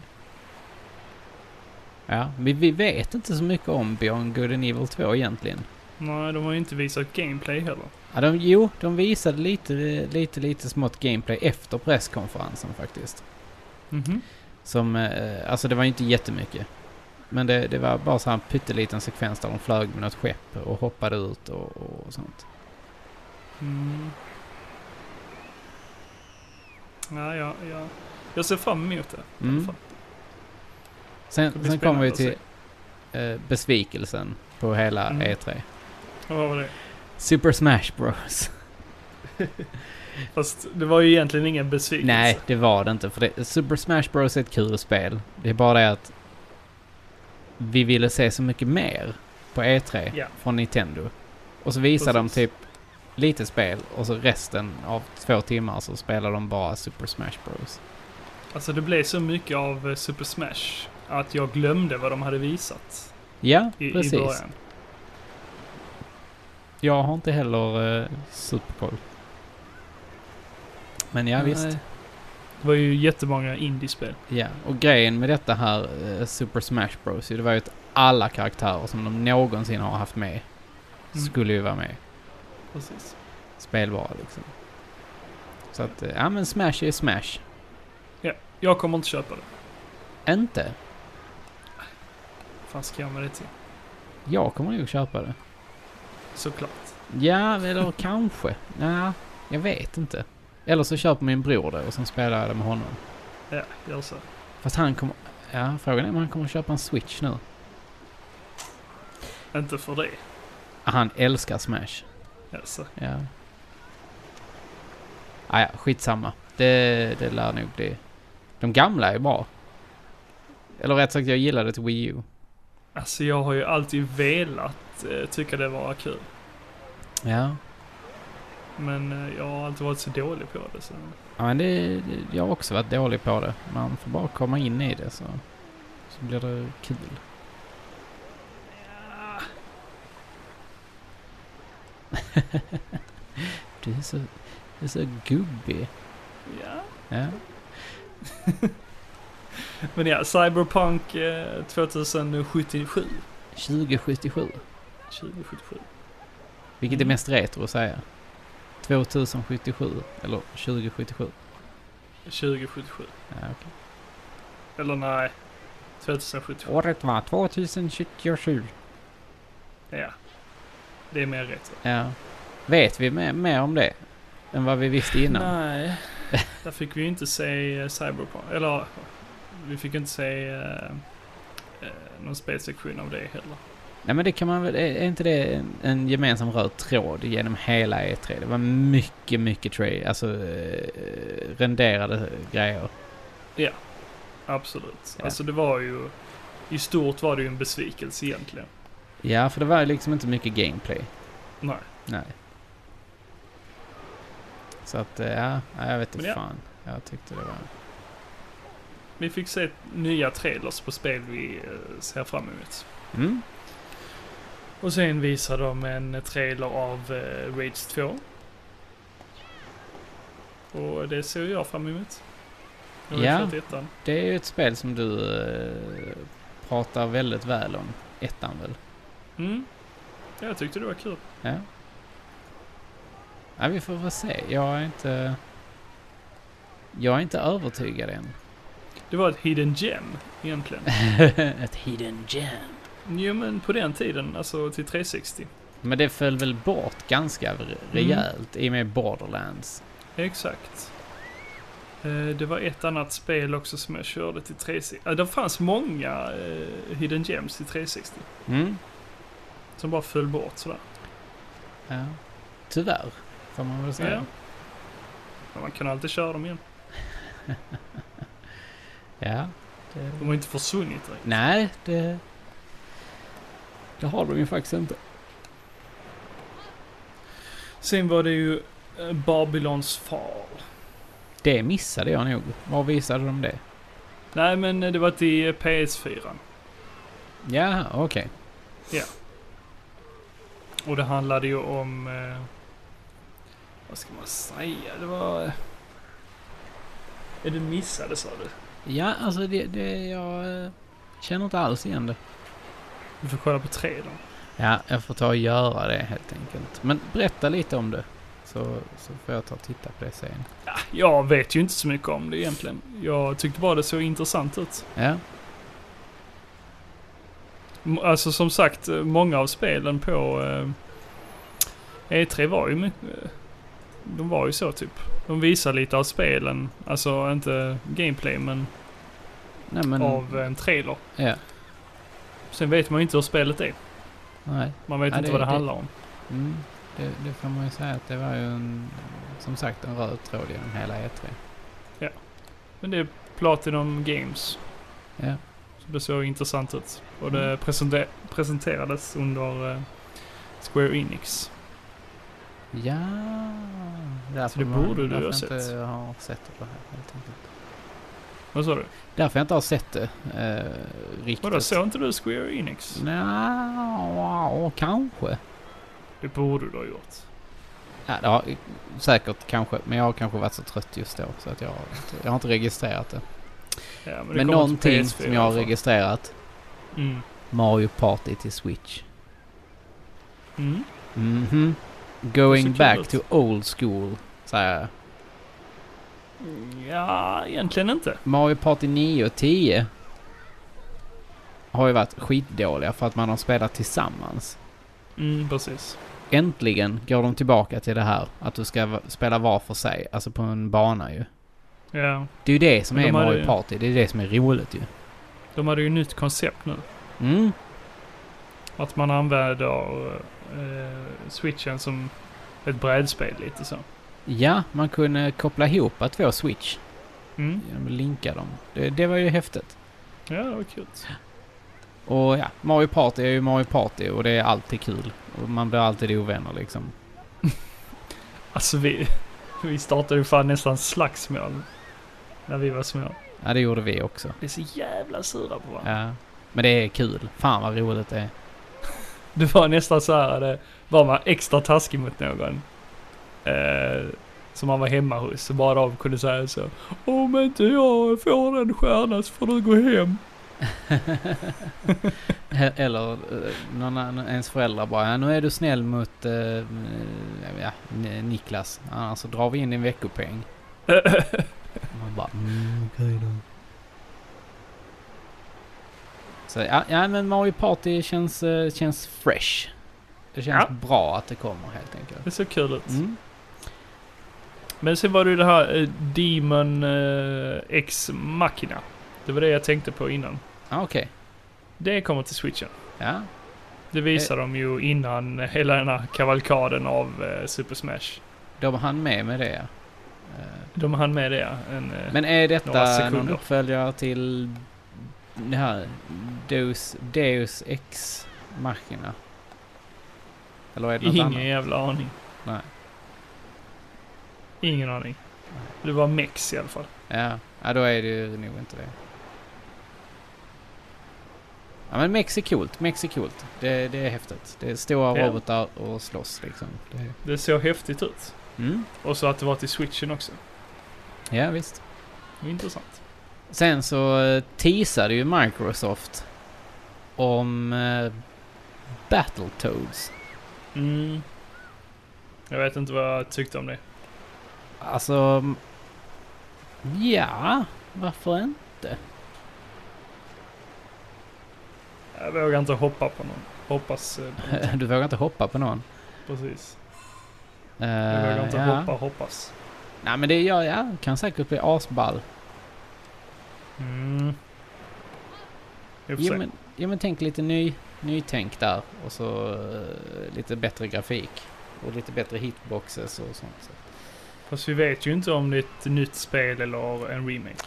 Speaker 1: Ja, vi, vi vet inte så mycket om Beyond Good and Evil 2 egentligen.
Speaker 2: Nej, de har ju inte visat gameplay heller.
Speaker 1: Ja, de, jo, de visade lite, lite, lite smått gameplay efter presskonferensen faktiskt.
Speaker 2: Mhm.
Speaker 1: Som, eh, alltså det var ju inte jättemycket. Men det, det var bara så här en pytteliten sekvens där de flög med något skepp och hoppade ut och, och sånt.
Speaker 2: Mm. Ja, ja, ja. Jag ser fram emot det. i alla
Speaker 1: Mm.
Speaker 2: fall.
Speaker 1: Sen,
Speaker 2: Det blir
Speaker 1: sen kommer vi
Speaker 2: spännande
Speaker 1: till eh, besvikelsen på hela
Speaker 2: Mm.
Speaker 1: E3.
Speaker 2: Vad var det?
Speaker 1: Super Smash Bros.
Speaker 2: Fast det var ju egentligen ingen besvikelse.
Speaker 1: Nej, det var det inte. För det, Super Smash Bros är ett kul spel. Det är bara det att vi ville se så mycket mer på E3
Speaker 2: Ja.
Speaker 1: från Nintendo. Och så visar de
Speaker 2: Precis.
Speaker 1: typ lite spel och så resten av två timmar så spelar de bara Super Smash Bros.
Speaker 2: Alltså det blev så mycket av eh, Super Smash att jag glömde vad de hade visat
Speaker 1: Ja,
Speaker 2: i, i
Speaker 1: precis.
Speaker 2: början.
Speaker 1: Jag har inte heller uh, superkoll. Men ja, visst.
Speaker 2: Nej. Det var ju jättemånga indiespel.
Speaker 1: Ja, och grejen med detta här eh, Super Smash Bros. ju, Det var ju att alla karaktärer som de någonsin har haft med
Speaker 2: Mm.
Speaker 1: skulle ju vara med.
Speaker 2: Precis.
Speaker 1: Spelbara liksom. Så att, eh, ja men Smash är Smash.
Speaker 2: Jag kommer inte köpa det.
Speaker 1: Inte?
Speaker 2: fan ska jag med det till?
Speaker 1: Jag kommer nog köpa det.
Speaker 2: Såklart.
Speaker 1: Ja, eller kanske. Nej, jag vet inte. Eller så köper min bror det och sen spelar jag det med honom.
Speaker 2: Ja, gör så.
Speaker 1: Fast han kommer... Ja, frågan är om han kommer köpa en Switch nu.
Speaker 2: Inte för det.
Speaker 1: Han älskar Smash.
Speaker 2: Alltså.
Speaker 1: Ja. Ah, ja, skitsamma. Det, det lär nog bli... De gamla är bra. Eller rätt sagt, jag gillade det till Wii U.
Speaker 2: alltså jag har ju alltid velat eh, tycka det var kul.
Speaker 1: Ja.
Speaker 2: Men eh, jag har alltid varit så dålig på det. Så.
Speaker 1: Ja, men det, det, jag har också varit dålig på det. Man får bara komma in i det så, så blir det kul. du, är så, du är så gubbig.
Speaker 2: Ja.
Speaker 1: Ja.
Speaker 2: Men ja, Cyberpunk eh, 2077.
Speaker 1: 2077.
Speaker 2: 2077.
Speaker 1: Vilket är
Speaker 2: Mm.
Speaker 1: mest retro att säga? 2077 eller 2077?
Speaker 2: 2077.
Speaker 1: Ja, okej.
Speaker 2: Eller nej. 2077.
Speaker 1: Året var 2077.
Speaker 2: Ja. Det är mer rätt.
Speaker 1: Ja. Vet vi mer, mer om det än vad vi visste innan?
Speaker 2: Nej. Där fick vi ju inte se eh, Cyberpunk. Eller, vi fick inte se eh, eh, någon spelsektion av det heller.
Speaker 1: Nej men det kan man väl, är är inte det en, en gemensam röd tråd genom hela E3? Det var mycket, mycket trade, alltså eh, renderade grejer.
Speaker 2: Absolut.
Speaker 1: Ja.
Speaker 2: Alltså det var ju... I stort var det ju en besvikelse egentligen.
Speaker 1: Ja, för det var ju liksom inte mycket gameplay.
Speaker 2: Nej.
Speaker 1: Nej. Så att, eh, ja, nej, jag vet
Speaker 2: Men
Speaker 1: inte
Speaker 2: ja.
Speaker 1: fan. Jag tyckte det var...
Speaker 2: vi fick se nya trailers på spel vi eh, ser fram emot.
Speaker 1: Mm.
Speaker 2: Och sen visar de en trailer av eh, Rage 2. Och det ser jag fram emot. Jag har
Speaker 1: Ja.
Speaker 2: kört ettan.
Speaker 1: Det är ju ett spel som du eh, pratar väldigt väl om. Ettan väl?
Speaker 2: Mm. Ja, Jag tyckte det var kul.
Speaker 1: Ja. Nej, vi får väl se. Jag är inte... Jag är inte övertygad än.
Speaker 2: Det var ett hidden gem egentligen.
Speaker 1: Ett hidden gem.
Speaker 2: jo men på den tiden, alltså till 360.
Speaker 1: Men det föll väl bort ganska re- rejält i och med Borderlands.
Speaker 2: Exakt. Eh, Det var ett annat spel också som jag körde till 360. Eh, Det fanns många eh, hidden gems till 360.
Speaker 1: Mm.
Speaker 2: Som bara föll bort sådär.
Speaker 1: Ja. Tyvärr, får man väl säga.
Speaker 2: Ja. Men man kan alltid köra dem igen.
Speaker 1: Ja. Det...
Speaker 2: De har inte försvunnit direkt.
Speaker 1: Nej, det... Det har de ju faktiskt inte.
Speaker 2: Sen var det ju eh, Babylons fall.
Speaker 1: Det missade jag nog. Var visade de det?
Speaker 2: Nej men eh, det var till eh, PS4.
Speaker 1: Ja, okej.
Speaker 2: Och det handlade ju om... Eh, vad ska man säga? Det var... eh, Är det missade sa du?
Speaker 1: Ja, alltså det, det... Jag eh, känner inte alls igen det.
Speaker 2: Du får kolla på trailern.
Speaker 1: Ja, jag får ta och göra det helt enkelt. Men berätta lite om det. Så, så får jag ta och titta på det sen.
Speaker 2: Ja, jag vet ju inte så mycket om det egentligen. Jag tyckte bara det såg intressant ut.
Speaker 1: Ja.
Speaker 2: M- Alltså som sagt, eh, många av spelen på eh, E3 var ju mycket... eh, De var ju så typ. De visar lite av spelen. Alltså inte gameplay men,
Speaker 1: Nej men...
Speaker 2: av en trailer.
Speaker 1: Ja.
Speaker 2: Sen vet man ju inte hur spelet är.
Speaker 1: Nej.
Speaker 2: Man vet
Speaker 1: Ja,
Speaker 2: inte
Speaker 1: det-
Speaker 2: vad det,
Speaker 1: det-
Speaker 2: handlar om.
Speaker 1: Mm. Det, det får man ju säga att det var ju en... Som sagt en röd tråd genom hela E E3.
Speaker 2: Men det är Platinum Games.
Speaker 1: Ja. Mm.
Speaker 2: Så det såg intressant ut. Och det presente- presenterades under eh, Square Enix.
Speaker 1: Ja... Därför
Speaker 2: det
Speaker 1: man-
Speaker 2: borde du
Speaker 1: därför
Speaker 2: ha
Speaker 1: jag
Speaker 2: sett.
Speaker 1: inte har sett det på här helt enkelt.
Speaker 2: Vad sa du?
Speaker 1: Därför jag inte har sett det eh, riktigt.
Speaker 2: Vadå, såg inte du Square Enix?
Speaker 1: Mm. Nja, kanske.
Speaker 2: Det borde du ha gjort.
Speaker 1: Ja, det har, säkert kanske. Men jag har kanske varit så trött just då så att jag, har inte- jag har inte registrerat det.
Speaker 2: Ja, men det
Speaker 1: Men
Speaker 2: kommer till
Speaker 1: någonting
Speaker 2: PS4
Speaker 1: som jag har
Speaker 2: i alla fall.
Speaker 1: registrerat.
Speaker 2: Mm.
Speaker 1: Mario Party till Switch.
Speaker 2: Mm.
Speaker 1: Mhm. Going
Speaker 2: kul
Speaker 1: back
Speaker 2: ut.
Speaker 1: to old school, säger jag.
Speaker 2: Ja, egentligen inte.
Speaker 1: Mario Party 9 och 10 har ju varit skitdåliga för att man har spelat tillsammans.
Speaker 2: Mm, precis.
Speaker 1: Äntligen går de tillbaka till det här att du ska va- spela var för sig, alltså på en bana ju.
Speaker 2: Ja.
Speaker 1: Det är ju det som
Speaker 2: Men
Speaker 1: är
Speaker 2: de hade
Speaker 1: Mario
Speaker 2: ju-
Speaker 1: Party, det är det som är roligt ju.
Speaker 2: De hade ju nytt koncept nu.
Speaker 1: Mm.
Speaker 2: Att man använder eh, switchen som ett brädspel lite så.
Speaker 1: Ja, man kunde koppla ihop två switch
Speaker 2: Mm.
Speaker 1: genom att linka dem. Det, det var ju häftigt.
Speaker 2: Ja, det var kul.
Speaker 1: Och ja, Mario Party är ju Mario Party och det är alltid kul. Och man blir alltid ovänner liksom.
Speaker 2: Alltså vi, vi startade ju fan nästan slagsmål när vi var små.
Speaker 1: Ja, det gjorde vi också.
Speaker 2: Vi är så jävla sura på varandra.
Speaker 1: Ja. Men det är kul. Fan vad roligt det är.
Speaker 2: Det var nästan så här, det var man extra taskig mot någon. Eh, som man var hemma hos, så bara de kunde säga så. Om inte jag får en stjärna så får du gå hem.
Speaker 1: Eller eh, någon, annan- ens föräldrar bara, ja, nu är du snäll mot eh, eh, ja, N- Niklas, annars så drar vi in din veckopeng. Man bara, mm, okej då. Så ja, ja, men Mario Party känns, eh, känns fresh. Det känns bra att det kommer helt enkelt.
Speaker 2: Det såg kul ut.
Speaker 1: Mm.
Speaker 2: Men sen var det ju det här eh, Demon eh, X Machina. Det var det jag tänkte på innan.
Speaker 1: Ah, Okej.
Speaker 2: Det kommer till switchen.
Speaker 1: Ja.
Speaker 2: Det visar de ju innan hela den här kavalkaden av eh, Super Smash.
Speaker 1: Då var han med med det. ja. Eh,
Speaker 2: De hann med det, ja. en, eh,
Speaker 1: Men är
Speaker 2: Några
Speaker 1: detta
Speaker 2: sekunder.
Speaker 1: någon uppföljare till det här Deus, Deus Ex Machina? Eller är det något
Speaker 2: Ingen
Speaker 1: annat?
Speaker 2: jävla aning.
Speaker 1: Nej.
Speaker 2: Ingen aning. Det var Mex i alla fall.
Speaker 1: Ja. Ja, då är det ju nog inte det. Ja, men Mex är coolt. Mex är coolt. Det, det är häftigt. Det är stora
Speaker 2: Ja.
Speaker 1: robotar och slåss liksom. Det,
Speaker 2: Det såg häftigt ut.
Speaker 1: mm.
Speaker 2: Och så att det var till switchen också.
Speaker 1: Ja, visst.
Speaker 2: Det var Intressant.
Speaker 1: Sen så eh, teasade ju Microsoft om eh, Battletoads.
Speaker 2: Mm. Jag vet inte vad jag tyckte om det.
Speaker 1: Alltså... m- Ja, varför inte?
Speaker 2: Jag vågar inte hoppa på någon. Hoppas eh, på något.
Speaker 1: Du vågar inte hoppa på någon.
Speaker 2: Precis.
Speaker 1: Eh,
Speaker 2: Jag vågar inte
Speaker 1: ja.
Speaker 2: hoppa hoppas.
Speaker 1: Nej men det ja, ja, kan säkert bli asball.
Speaker 2: Mm. Vi får
Speaker 1: Jo
Speaker 2: se.
Speaker 1: men, jo, men tänk lite ny, nytänk där och så eh, lite bättre grafik. Och lite bättre hitboxes och sånt. Så.
Speaker 2: Fast vi vet ju inte om det är ett nytt spel eller en remake.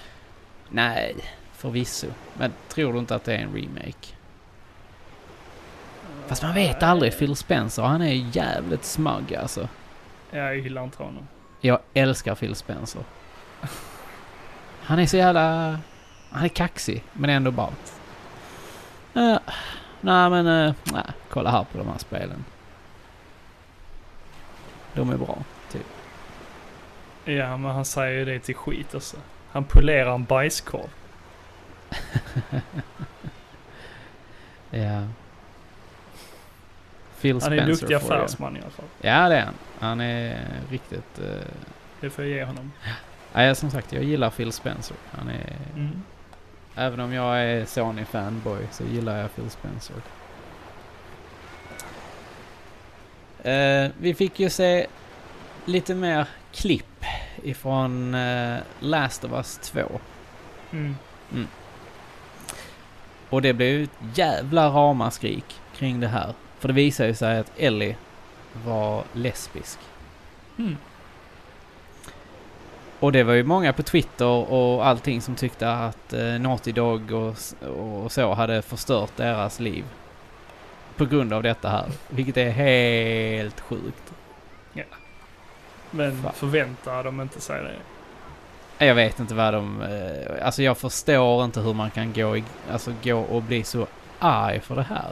Speaker 1: Nej, förvisso. Men tror du inte att det är en remake? Fast man vet aldrig. Phil Spencer, han är jävligt smug alltså.
Speaker 2: Jag gillar inte honom.
Speaker 1: Jag älskar Phil Spencer. Han är så jävla... Han är kaxig, men ändå bara... Uh, nej, men... eh, nej, kolla här på de här spelen. De är bra.
Speaker 2: Ja, men han säger ju det till skit alltså. Han polerar en bajskorv.
Speaker 1: Ja. Phil
Speaker 2: Han
Speaker 1: Spencer
Speaker 2: är en duktig
Speaker 1: får jag.
Speaker 2: affärsman i alla fall.
Speaker 1: Ja, det är han. Han är riktigt... eh,
Speaker 2: Det får jag ge honom.
Speaker 1: Nej, som sagt, jag gillar Phil Spencer. Han är...
Speaker 2: Mm.
Speaker 1: Även om jag är Sony-fanboy så gillar jag Phil Spencer. Eh, vi fick ju se lite mer klipp ifrån eh, Last of Us 2.
Speaker 2: Mm.
Speaker 1: Och det blev ju ett jävla ramaskrik kring det här. För det visar ju sig att Ellie var lesbisk.
Speaker 2: Mm.
Speaker 1: Och det var ju många på Twitter och allting som tyckte att eh, Naughty Dog och, s- och så hade förstört deras liv. På grund av detta här. Vilket är helt sjukt.
Speaker 2: Men
Speaker 1: Fan.
Speaker 2: förväntar de inte sig det?
Speaker 1: Jag vet inte vad de... Eh, alltså jag förstår inte hur man kan gå, i, alltså gå och bli så arg för det här.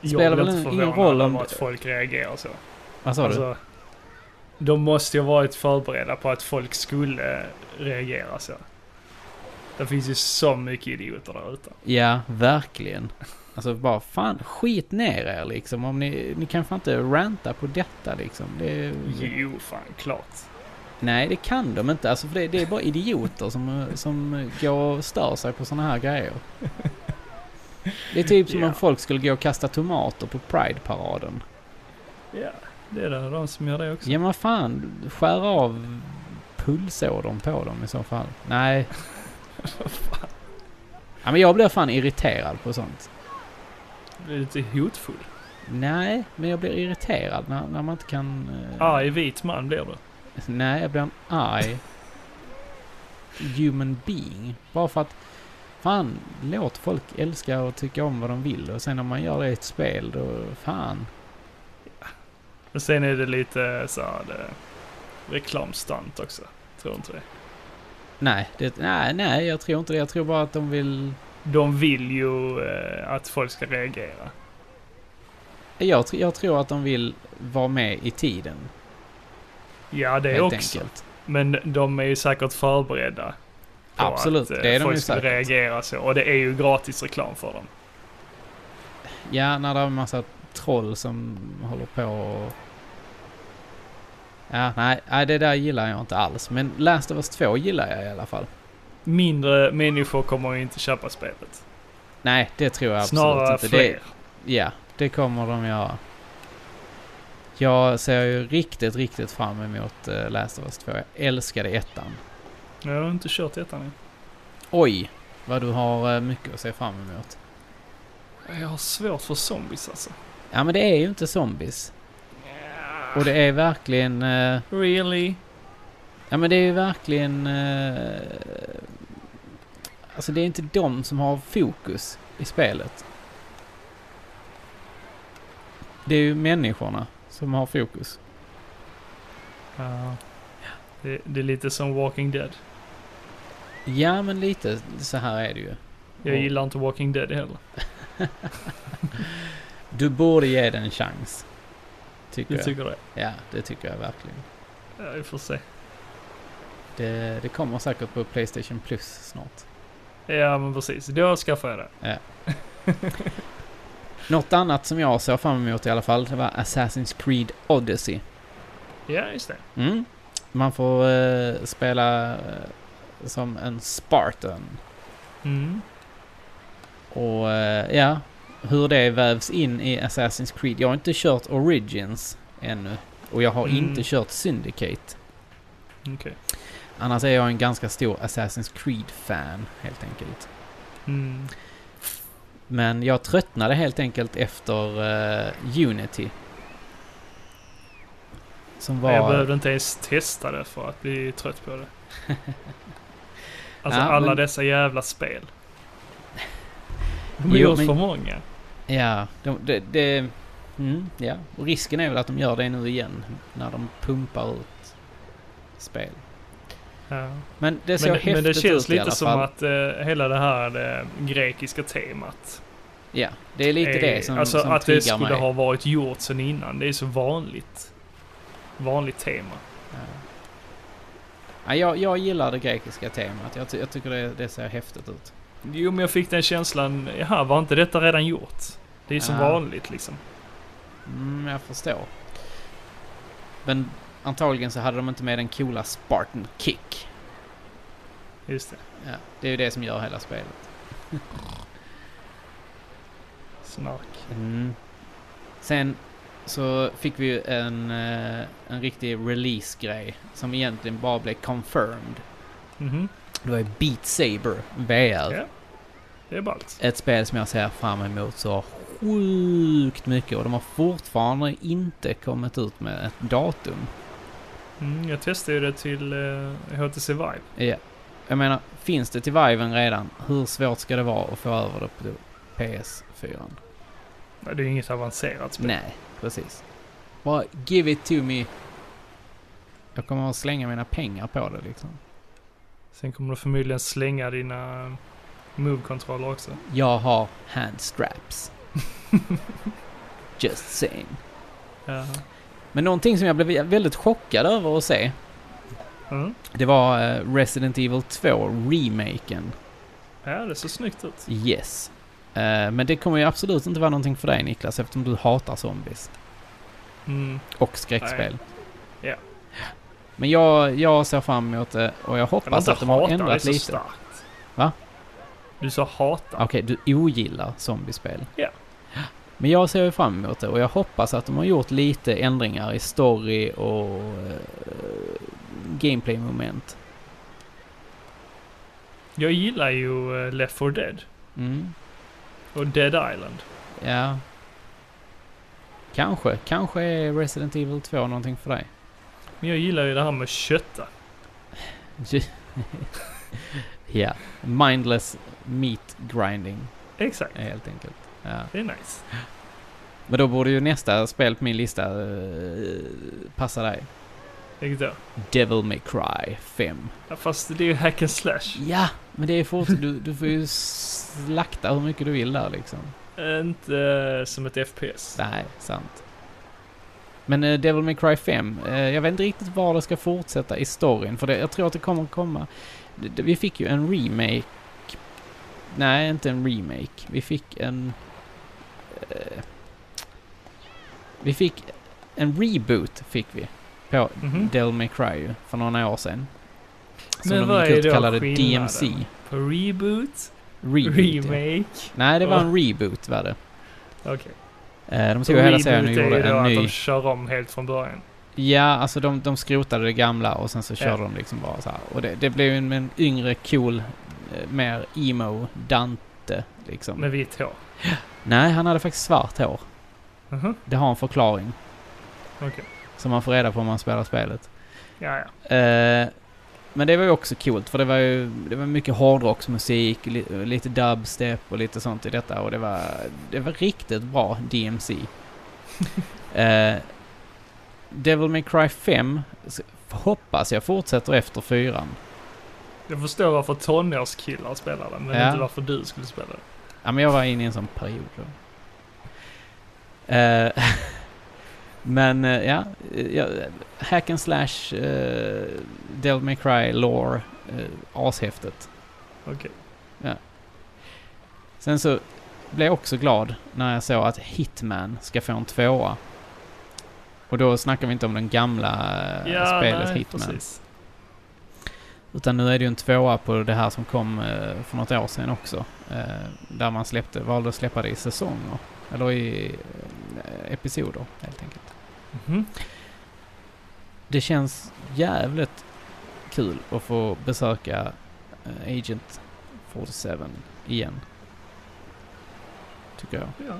Speaker 2: Jag
Speaker 1: Spelar
Speaker 2: blir
Speaker 1: väl
Speaker 2: inte
Speaker 1: ingen
Speaker 2: förvånad
Speaker 1: roll om-
Speaker 2: över att folk reagerar så.
Speaker 1: Vad sa du?
Speaker 2: Alltså, de måste ju ha varit förberedda på att folk skulle eh, reagera så. Det finns ju så mycket idioter där ute.
Speaker 1: Ja, verkligen. Alltså bara fan, skit ner er liksom. Om ni, ni kan fan inte ranta på detta liksom. Det,
Speaker 2: Jo, fan klart.
Speaker 1: Nej, det kan de inte. Alltså, för det, det är bara idioter som, eh, som eh, går och stör sig på såna här grejer. Det är typ som
Speaker 2: Ja.
Speaker 1: om folk skulle gå och kasta tomater på Pride-paraden.
Speaker 2: Ja, det är det de som gör det också.
Speaker 1: Ja, men vad fan, skär av pulsådern på dem i så fall. Nej. ja, men jag blir fan irriterad på sånt.
Speaker 2: Det är lite hotfull.
Speaker 1: Nej, men jag blir irriterad när, när man inte kan... eh,
Speaker 2: Arg Ah, vit man blir du.
Speaker 1: Nej, jag blir en arg human being. Bara för att, fan, låt folk älska och tycka om vad de vill. Och sen om man gör det i ett spel, då fan.
Speaker 2: Men sen är det lite eh, så här, det, reklamstunt också. Tror inte det.
Speaker 1: Nej, det, nej, nej, jag tror inte det. Jag tror bara att de vill...
Speaker 2: De vill ju eh, att folk ska reagera.
Speaker 1: Jag, tr- jag tror att de vill vara med i tiden.
Speaker 2: Ja, det
Speaker 1: helt
Speaker 2: också.
Speaker 1: enkelt.
Speaker 2: Men de är ju säkert förberedda. på
Speaker 1: Absolut,
Speaker 2: att, eh,
Speaker 1: det är de
Speaker 2: folk
Speaker 1: ju
Speaker 2: skulle
Speaker 1: säkert.
Speaker 2: reagera så. Och det är ju gratis reklam för dem.
Speaker 1: Ja, när det är en massa troll som håller på och... Ja, nej, nej, det där gillar jag inte alls. Men Last of Us 2 gillar jag i alla fall.
Speaker 2: Mindre människor kommer ju inte köpa spelet.
Speaker 1: Nej, det tror jag absolut
Speaker 2: Snarare
Speaker 1: inte.
Speaker 2: fler.
Speaker 1: Det, Ja, det kommer de göra. Jag ser ju riktigt, riktigt fram emot eh, Last of Us 2. Jag älskade ettan.
Speaker 2: Jag har inte kört ettan än.
Speaker 1: Oj, vad du har eh, mycket att se fram emot.
Speaker 2: Jag har svårt för zombies alltså.
Speaker 1: Ja, men det är ju inte zombies. Och det är verkligen... eh,
Speaker 2: Really?
Speaker 1: Ja, men det är ju verkligen... eh, Alltså, det är inte de som har fokus i spelet. Det är ju människorna som har fokus.
Speaker 2: Ja. Det, det är lite som Walking Dead.
Speaker 1: Ja, men lite så här är det ju.
Speaker 2: Jag
Speaker 1: Och
Speaker 2: gillar inte Walking Dead heller.
Speaker 1: Du borde ge den en chans. Tycker
Speaker 2: Du
Speaker 1: jag.
Speaker 2: tycker det?
Speaker 1: Ja, det tycker jag verkligen.
Speaker 2: Ja, vi får se.
Speaker 1: Det, det kommer säkert på Playstation Plus snart.
Speaker 2: Ja, men precis. Då skaffar jag det.
Speaker 1: Något annat som jag såg fram emot i alla fall, det var Assassin's Creed Odyssey.
Speaker 2: Ja, just det.
Speaker 1: Mm. Man får eh, spela eh, som en Spartan.
Speaker 2: Mm.
Speaker 1: Och eh, ja, hur det vävs in i Assassin's Creed. Jag har inte kört Origins ännu. Och jag har
Speaker 2: Mm.
Speaker 1: inte kört Syndicate.
Speaker 2: Okej.
Speaker 1: Annars är jag en ganska stor Assassin's Creed-fan, helt enkelt.
Speaker 2: Mm.
Speaker 1: Men jag tröttnade helt enkelt efter eh, Unity. Som var...
Speaker 2: Jag behövde inte ens testa det för att bli trött på det. Alltså
Speaker 1: Ja,
Speaker 2: alla
Speaker 1: men-
Speaker 2: dessa jävla spel. De
Speaker 1: Jo,
Speaker 2: har gjort
Speaker 1: men-
Speaker 2: för många.
Speaker 1: Ja, de, det... det mm, ja. Och risken är väl att de gör det nu igen. När de pumpar ut spel.
Speaker 2: Ja.
Speaker 1: Men det ser
Speaker 2: Men,
Speaker 1: häftigt
Speaker 2: men det känns
Speaker 1: ut i alla
Speaker 2: lite som
Speaker 1: fall.
Speaker 2: att eh, hela det här det grekiska temat.
Speaker 1: Ja, det är lite
Speaker 2: är-
Speaker 1: det som,
Speaker 2: Alltså
Speaker 1: som
Speaker 2: att
Speaker 1: triggar
Speaker 2: det skulle
Speaker 1: mig.
Speaker 2: ha varit gjort sen innan. Det är så vanligt. Vanligt tema.
Speaker 1: Ja. Ja, jag, jag gillar det grekiska temat. Jag, ty- jag tycker det, det ser häftigt ut.
Speaker 2: Jo, men jag fick den känslan. Jaha, var inte detta redan gjort? Det är som
Speaker 1: Ja.
Speaker 2: vanligt liksom.
Speaker 1: Mm, jag förstår. Men antagligen så hade de inte med den coola Spartan Kick.
Speaker 2: Just det.
Speaker 1: Ja, det är ju det som gör hela spelet.
Speaker 2: Snark.
Speaker 1: Mm. Sen så fick vi ju en, eh, en riktig release-grej som egentligen bara blev confirmed.
Speaker 2: Mhm.
Speaker 1: Det var ju Beat Saber VR.
Speaker 2: Ja. Det är ballt.
Speaker 1: ett spel som jag ser fram emot så sjukt mycket och de har fortfarande inte kommit ut med ett datum.
Speaker 2: Mm, jag testade ju det till eh, HTC Vive.
Speaker 1: Ja. Jag menar, finns det till Viven redan, hur svårt ska det vara att få över det på PS4?
Speaker 2: Nej, Det är ju inget avancerat spel.
Speaker 1: Nej, precis. Typ. Bara give it to me. Jag kommer att slänga mina pengar på det liksom.
Speaker 2: Sen kommer du förmodligen slänga dina eh, move-kontroller också.
Speaker 1: Jag har handstraps. Just saying.
Speaker 2: Ja.
Speaker 1: Men någonting som jag blev väldigt chockad över att se,
Speaker 2: Mm.
Speaker 1: det var eh, Resident Evil 2, remaken.
Speaker 2: ja, det ser snyggt ut.
Speaker 1: Yes. Eh, men det kommer ju absolut inte vara någonting för dig Niklas eftersom du hatar zombies
Speaker 2: Mm.
Speaker 1: och skräckspel.
Speaker 2: Nej. Ja.
Speaker 1: Men jag, jag ser fram emot det och jag
Speaker 2: Jag vill
Speaker 1: hoppas
Speaker 2: inte
Speaker 1: att de har
Speaker 2: hata, det är
Speaker 1: ändrat
Speaker 2: så
Speaker 1: lite.
Speaker 2: starkt.
Speaker 1: Va?
Speaker 2: Du sa hata.
Speaker 1: Okej, du ogillar zombiespel.
Speaker 2: Ja.
Speaker 1: Men jag ser ju fram emot det och jag hoppas att de har gjort lite ändringar i story och eh, gameplay-moment.
Speaker 2: Jag gillar ju eh, Left 4 Dead
Speaker 1: Mm.
Speaker 2: och Dead Island.
Speaker 1: Ja. Kanske, kanske är Resident Evil 2 någonting för dig.
Speaker 2: Men jag gillar ju det här med kötta.
Speaker 1: ja, mindless meat grinding
Speaker 2: Exakt.
Speaker 1: eh, helt enkelt. Ja.
Speaker 2: Det är nice.
Speaker 1: Men då borde ju nästa spel på min lista eh, passa dig.
Speaker 2: Vilket då?
Speaker 1: Devil May Cry 5.
Speaker 2: Ja, fast det är ju hack and slash.
Speaker 1: Ja, men det är fort. Du, du får ju slakta hur mycket du vill där liksom.
Speaker 2: Inte eh, som ett FPS.
Speaker 1: Nej, sant. Men eh, Devil May Cry 5, eh, jag vet inte riktigt var det ska fortsätta i storyn, för det, jag tror att det kommer att komma... Det, det, vi fick ju en remake... Nej, inte en remake. Vi fick en... Eh, vi fick en reboot, fick vi, på
Speaker 2: Mhm.
Speaker 1: Devil May Cry ju, för några år sedan. Som
Speaker 2: Men
Speaker 1: de
Speaker 2: vad
Speaker 1: gick
Speaker 2: är
Speaker 1: ut och
Speaker 2: då
Speaker 1: kallade
Speaker 2: skillnaden?
Speaker 1: DMC.
Speaker 2: På reboot,
Speaker 1: Reboot, ja.
Speaker 2: remake.
Speaker 1: Nej, det var en reboot var det.
Speaker 2: Okej.
Speaker 1: Eh, de tog hela serien och
Speaker 2: Reboot är
Speaker 1: gjorde
Speaker 2: ju då
Speaker 1: en ny.
Speaker 2: att de kör om helt från början.
Speaker 1: Ja, alltså de, de skrotade det gamla och sen så körde
Speaker 2: Ja.
Speaker 1: de liksom bara så här. Och det, det blev ju en, en yngre, cool, eh, mer emo Dante liksom.
Speaker 2: Med vitt hår.
Speaker 1: Nej, han hade faktiskt svart hår.
Speaker 2: Mhm.
Speaker 1: Det har en förklaring.
Speaker 2: Okej.
Speaker 1: Som man får reda på om man spelar spelet.
Speaker 2: Ja, ja.
Speaker 1: Eh, men det var ju också coolt för det var ju det var mycket hårdrocksmusik, li, lite dubstep och lite sånt i detta och det var, det var riktigt bra DMC. eh, Devil May Cry 5 s- hoppas jag fortsätter efter fyran.
Speaker 2: Jag förstår varför tonårskillar spelar det, men
Speaker 1: Ja.
Speaker 2: inte varför du skulle spela det.
Speaker 1: Ja, men jag var inne i en sån period då. Eh, men eh, ja, eh, ja, hack and slash, uh, Devil May Cry, lore, uh, ashäftet.
Speaker 2: Okej.
Speaker 1: Ja. Sen så blev jag också glad när jag såg att Hitman ska få en tvåa. Och då snackar vi inte om den gamla eh, spelet Hitman.
Speaker 2: precis.
Speaker 1: Utan nu är det ju en tvåa på det här som kom eh, för något år sedan också. Eh, där man släppte, valde att släppa det i säsonger. Eller i eh, episoder helt enkelt.
Speaker 2: Mhm.
Speaker 1: Det känns jävligt kul att få besöka eh, Agent 47 igen. Tycker jag.
Speaker 2: Ja.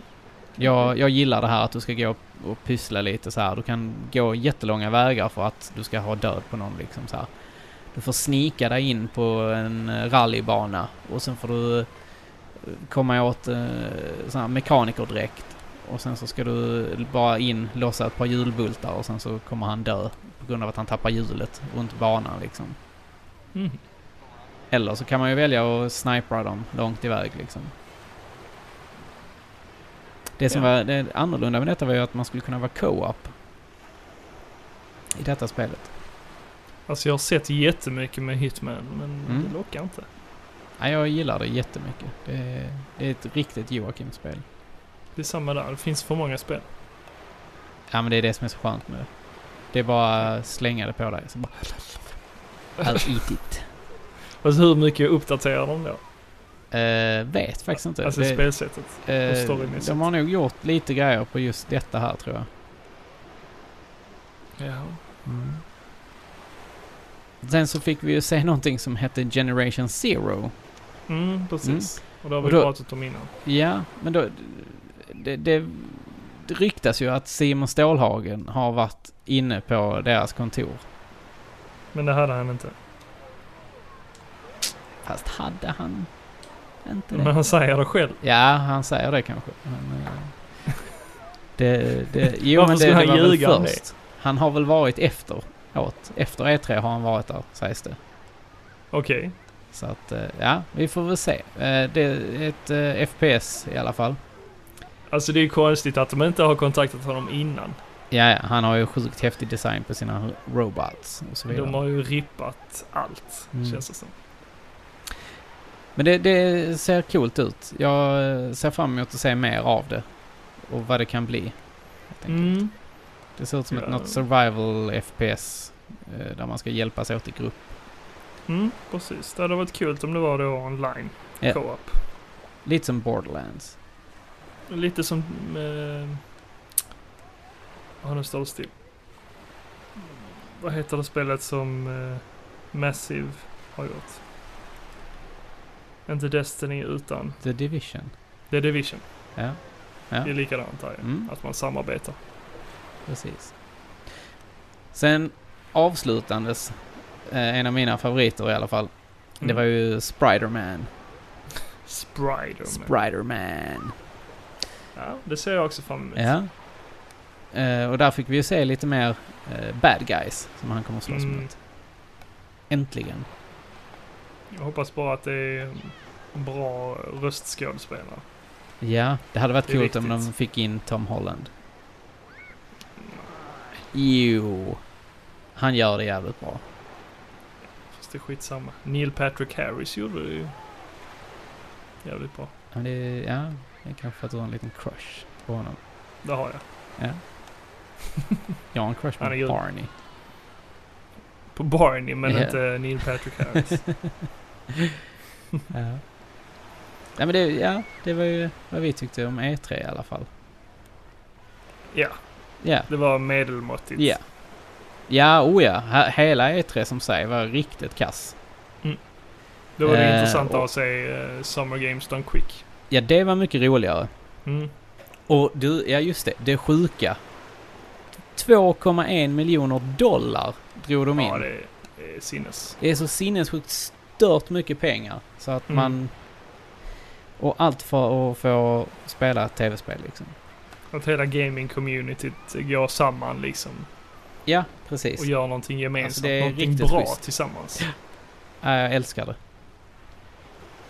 Speaker 1: Jag, jag gillar det här att du ska gå och pyssla lite så här. Du kan gå jättelånga vägar för att du ska ha död på någon liksom så här. Du får snika dig in på en eh, rallybana och sen får du eh, komma åt eh, sån här mekanikerdräkt. Och sen så ska du bara in, lossa ett par hjulbultar och sen så kommer han dö på grund av att han tappar hjulet runt banan liksom.
Speaker 2: Mhm.
Speaker 1: Eller så kan man ju välja att snipra dem långt iväg liksom. Det som
Speaker 2: Ja.
Speaker 1: var det annorlunda med detta var ju att man skulle kunna vara co-op. I detta spelet.
Speaker 2: Alltså jag har sett jättemycket med Hitman, men
Speaker 1: Mm.
Speaker 2: det lockar inte.
Speaker 1: Nej, jag gillar det jättemycket. Det är, det är ett riktigt Joakim-spel.
Speaker 2: Det är samma där, det finns för många spel.
Speaker 1: Ja, men det är det som är så skönt med det. Det är bara slänga det på dig. Så bara... I'll eat it.
Speaker 2: Alltså hur mycket uppdaterar de då?
Speaker 1: Eh, vet faktiskt inte.
Speaker 2: Alltså
Speaker 1: Det-
Speaker 2: spelsättet.
Speaker 1: Eh,
Speaker 2: storymässigt.
Speaker 1: de har nog gjort lite grejer på just detta här tror jag.
Speaker 2: Ja.
Speaker 1: Mm. Sen så fick vi ju se någonting som hette Generation Zero.
Speaker 2: Mm, precis. Och det har vi
Speaker 1: Och då-
Speaker 2: pratat om innan.
Speaker 1: Ja, men då... Det, det ryktas ju att Simon Stålhagen har varit inne på deras kontor.
Speaker 2: Men det hade han inte.
Speaker 1: Fast hade han inte det?
Speaker 2: Men han säger det själv.
Speaker 1: Ja, han säger det kanske. Men, eh, det, det, jo,
Speaker 2: Varför
Speaker 1: men det,
Speaker 2: skulle
Speaker 1: det
Speaker 2: han
Speaker 1: var väl
Speaker 2: ljuga om det?
Speaker 1: först. Han har väl varit efteråt. Efter E3 har han varit där, sägs det.
Speaker 2: Okej.
Speaker 1: Så att, eh, ja, vi får väl se. Eh, Det är ett eh, FPS i alla fall.
Speaker 2: Alltså det är ju konstigt att de inte har kontaktat honom innan.
Speaker 1: Ja, ja, han har ju sjukt häftig design på sina robots och så vidare.
Speaker 2: De har ju rippat allt,
Speaker 1: Mm.
Speaker 2: känns det som.
Speaker 1: Men det, det ser coolt ut. Jag eh, ser fram emot att se mer av det. Och vad det kan bli. helt enkelt.
Speaker 2: Mm.
Speaker 1: Det ser ut som ett
Speaker 2: Ja.
Speaker 1: något survival FPS. eh, Där man ska hjälpas åt i grupp.
Speaker 2: Mm, precis. Det hade varit kul om det var då online.
Speaker 1: Ja.
Speaker 2: Co-op.
Speaker 1: Lite som Borderlands.
Speaker 2: Lite som... Eh... Ja, nu står det still. Vad heter det spelet som eh, Massive har gjort? Inte Destiny utan
Speaker 1: The Division.
Speaker 2: The Division.
Speaker 1: Ja, Ja.
Speaker 2: Det är likadant där ju.
Speaker 1: Mm.
Speaker 2: Att man samarbetar.
Speaker 1: precis. Sen avslutandes eh, en av mina favoriter i alla fall. Det
Speaker 2: Mm.
Speaker 1: var ju Spiderman.
Speaker 2: Sprider.
Speaker 1: Spiderman.
Speaker 2: Ja, det ser jag också fram emot.
Speaker 1: Ja. Eh, och där fick vi ju se lite mer eh, bad guys som han kommer slåss
Speaker 2: Mm.
Speaker 1: mot. Äntligen.
Speaker 2: Jag hoppas bara att det är en bra röstskådespelare.
Speaker 1: Ja, det hade varit
Speaker 2: Det är
Speaker 1: coolt om de
Speaker 2: viktigt.
Speaker 1: fick in Tom Holland. Jo. Han gör det jävligt bra.
Speaker 2: Fast det är skitsamma. Neil Patrick Harris gjorde det ju jävligt bra.
Speaker 1: Men det, ja, det är kanske för att du har en liten crush på honom.
Speaker 2: Det har jag.
Speaker 1: Jag har en crush på
Speaker 2: Han är grym.
Speaker 1: Barney.
Speaker 2: På Barney, men
Speaker 1: Ja.
Speaker 2: inte Neil Patrick Harris.
Speaker 1: Ja. Nej men det, ja, det var ju vad vi tyckte om E3 i alla fall.
Speaker 2: ja,
Speaker 1: Ja.
Speaker 2: det var medelmåttigt.
Speaker 1: Ja. Ja, oh ja. He- Hela E3 som sig var riktigt kass.
Speaker 2: Det var det
Speaker 1: Eh,
Speaker 2: intressant
Speaker 1: och-
Speaker 2: att se eh, Summer Games Done Quick.
Speaker 1: Ja, det var mycket roligare.
Speaker 2: Mm.
Speaker 1: Och du, ja just det, det sjuka. 2,1 miljoner dollar drog de in.
Speaker 2: Ja, det är eh, sinnes.
Speaker 1: Det är så sinnessjukt stört mycket pengar. Så att
Speaker 2: Mm.
Speaker 1: man... Och allt för att få spela ett tv-spel liksom.
Speaker 2: Att hela gaming-communityt går samman liksom.
Speaker 3: Ja, precis.
Speaker 2: och gör någonting gemensamt.
Speaker 3: Alltså, det är
Speaker 2: någonting
Speaker 3: riktigt
Speaker 2: bra
Speaker 3: schysst.
Speaker 2: tillsammans.
Speaker 1: Ja, jag älskar det.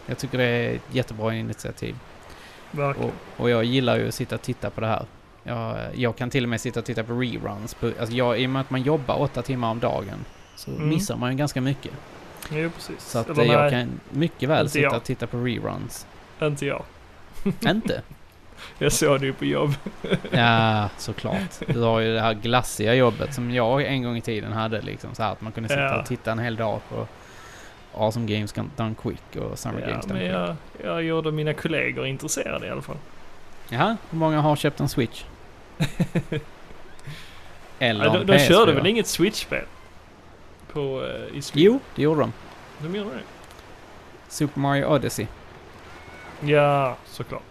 Speaker 1: Jag tycker det är ett jättebra initiativ.
Speaker 2: Verkligen.
Speaker 1: Och, och jag gillar ju att sitta och titta på det här. Jag, jag kan till och med sitta och titta på reruns. På, alltså jag, I och med att man jobbar åtta timmar om dagen så
Speaker 2: Mm.
Speaker 1: missar man ju ganska mycket.
Speaker 2: Jo, precis.
Speaker 1: Så att
Speaker 2: Eller
Speaker 1: eh, jag
Speaker 2: nej,
Speaker 1: kan mycket väl
Speaker 2: inte
Speaker 1: sitta
Speaker 2: jag.
Speaker 1: och titta på reruns.
Speaker 2: inte jag.
Speaker 1: Inte?
Speaker 2: Jag såg det ju på jobb.
Speaker 1: Ja, såklart. Du har ju det här glassiga jobbet som jag en gång i tiden hade liksom så här att man kunde sitta
Speaker 2: Ja.
Speaker 1: och titta en hel dag på Awesome Games Done Quick och Summer
Speaker 2: Ja,
Speaker 1: Games Done
Speaker 2: men
Speaker 1: Quick.
Speaker 2: jag, jag gjorde mina kollegor intresserade i alla fall.
Speaker 1: Jaha, hur många har köpt en Switch? Eller
Speaker 2: Ja, de
Speaker 1: en
Speaker 2: de
Speaker 1: PS4?
Speaker 2: körde väl inget Switch-spel? På, eh, i Switch?
Speaker 1: Jo, det gjorde de.
Speaker 2: De gjorde det?
Speaker 1: Super Mario Odyssey.
Speaker 2: Ja, såklart.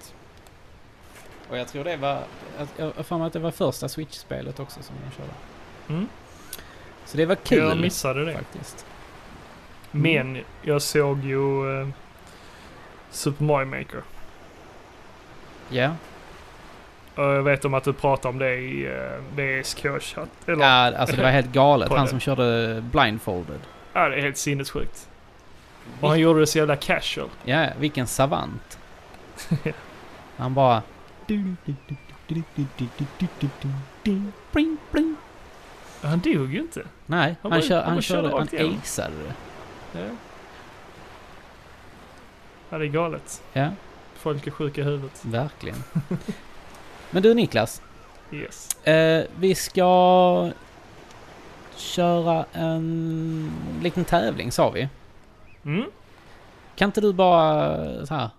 Speaker 1: Och jag tror det var... jag- Jag har för mig att det var första Switch-spelet också som de körde.
Speaker 2: Mm.
Speaker 1: Så det var
Speaker 2: Jag
Speaker 1: kul liksom,
Speaker 2: missade det.
Speaker 1: faktiskt. Mm.
Speaker 2: Men jag såg ju eh, Super Mario Maker.
Speaker 1: Ja.
Speaker 2: Och jag vet om att du pratar om det i eh, VSK-chatt. Eller? Ja.
Speaker 1: ja, alltså det var helt galet.
Speaker 2: På
Speaker 1: Han
Speaker 2: det.
Speaker 1: som körde blindfolded.
Speaker 2: det är helt sinnessjukt. Och han gjorde det så jävla casual.
Speaker 1: Ja, vilken savant. Han bara... Bling, bling.
Speaker 2: Han dog ju inte.
Speaker 1: Nej, han,
Speaker 2: Han bara-
Speaker 1: kör,
Speaker 2: han
Speaker 1: han,
Speaker 2: bara körde
Speaker 1: körde, han
Speaker 2: rakt igenom.
Speaker 1: aceade det.
Speaker 2: Ja. ja, det är galet.
Speaker 1: Ja,
Speaker 2: Folk är sjuka i huvudet.
Speaker 1: verkligen. Men du Niklas,
Speaker 2: Yes.
Speaker 1: eh, vi ska köra en liten tävling sa vi.
Speaker 2: Mm.
Speaker 1: Kan inte du bara eh, så här,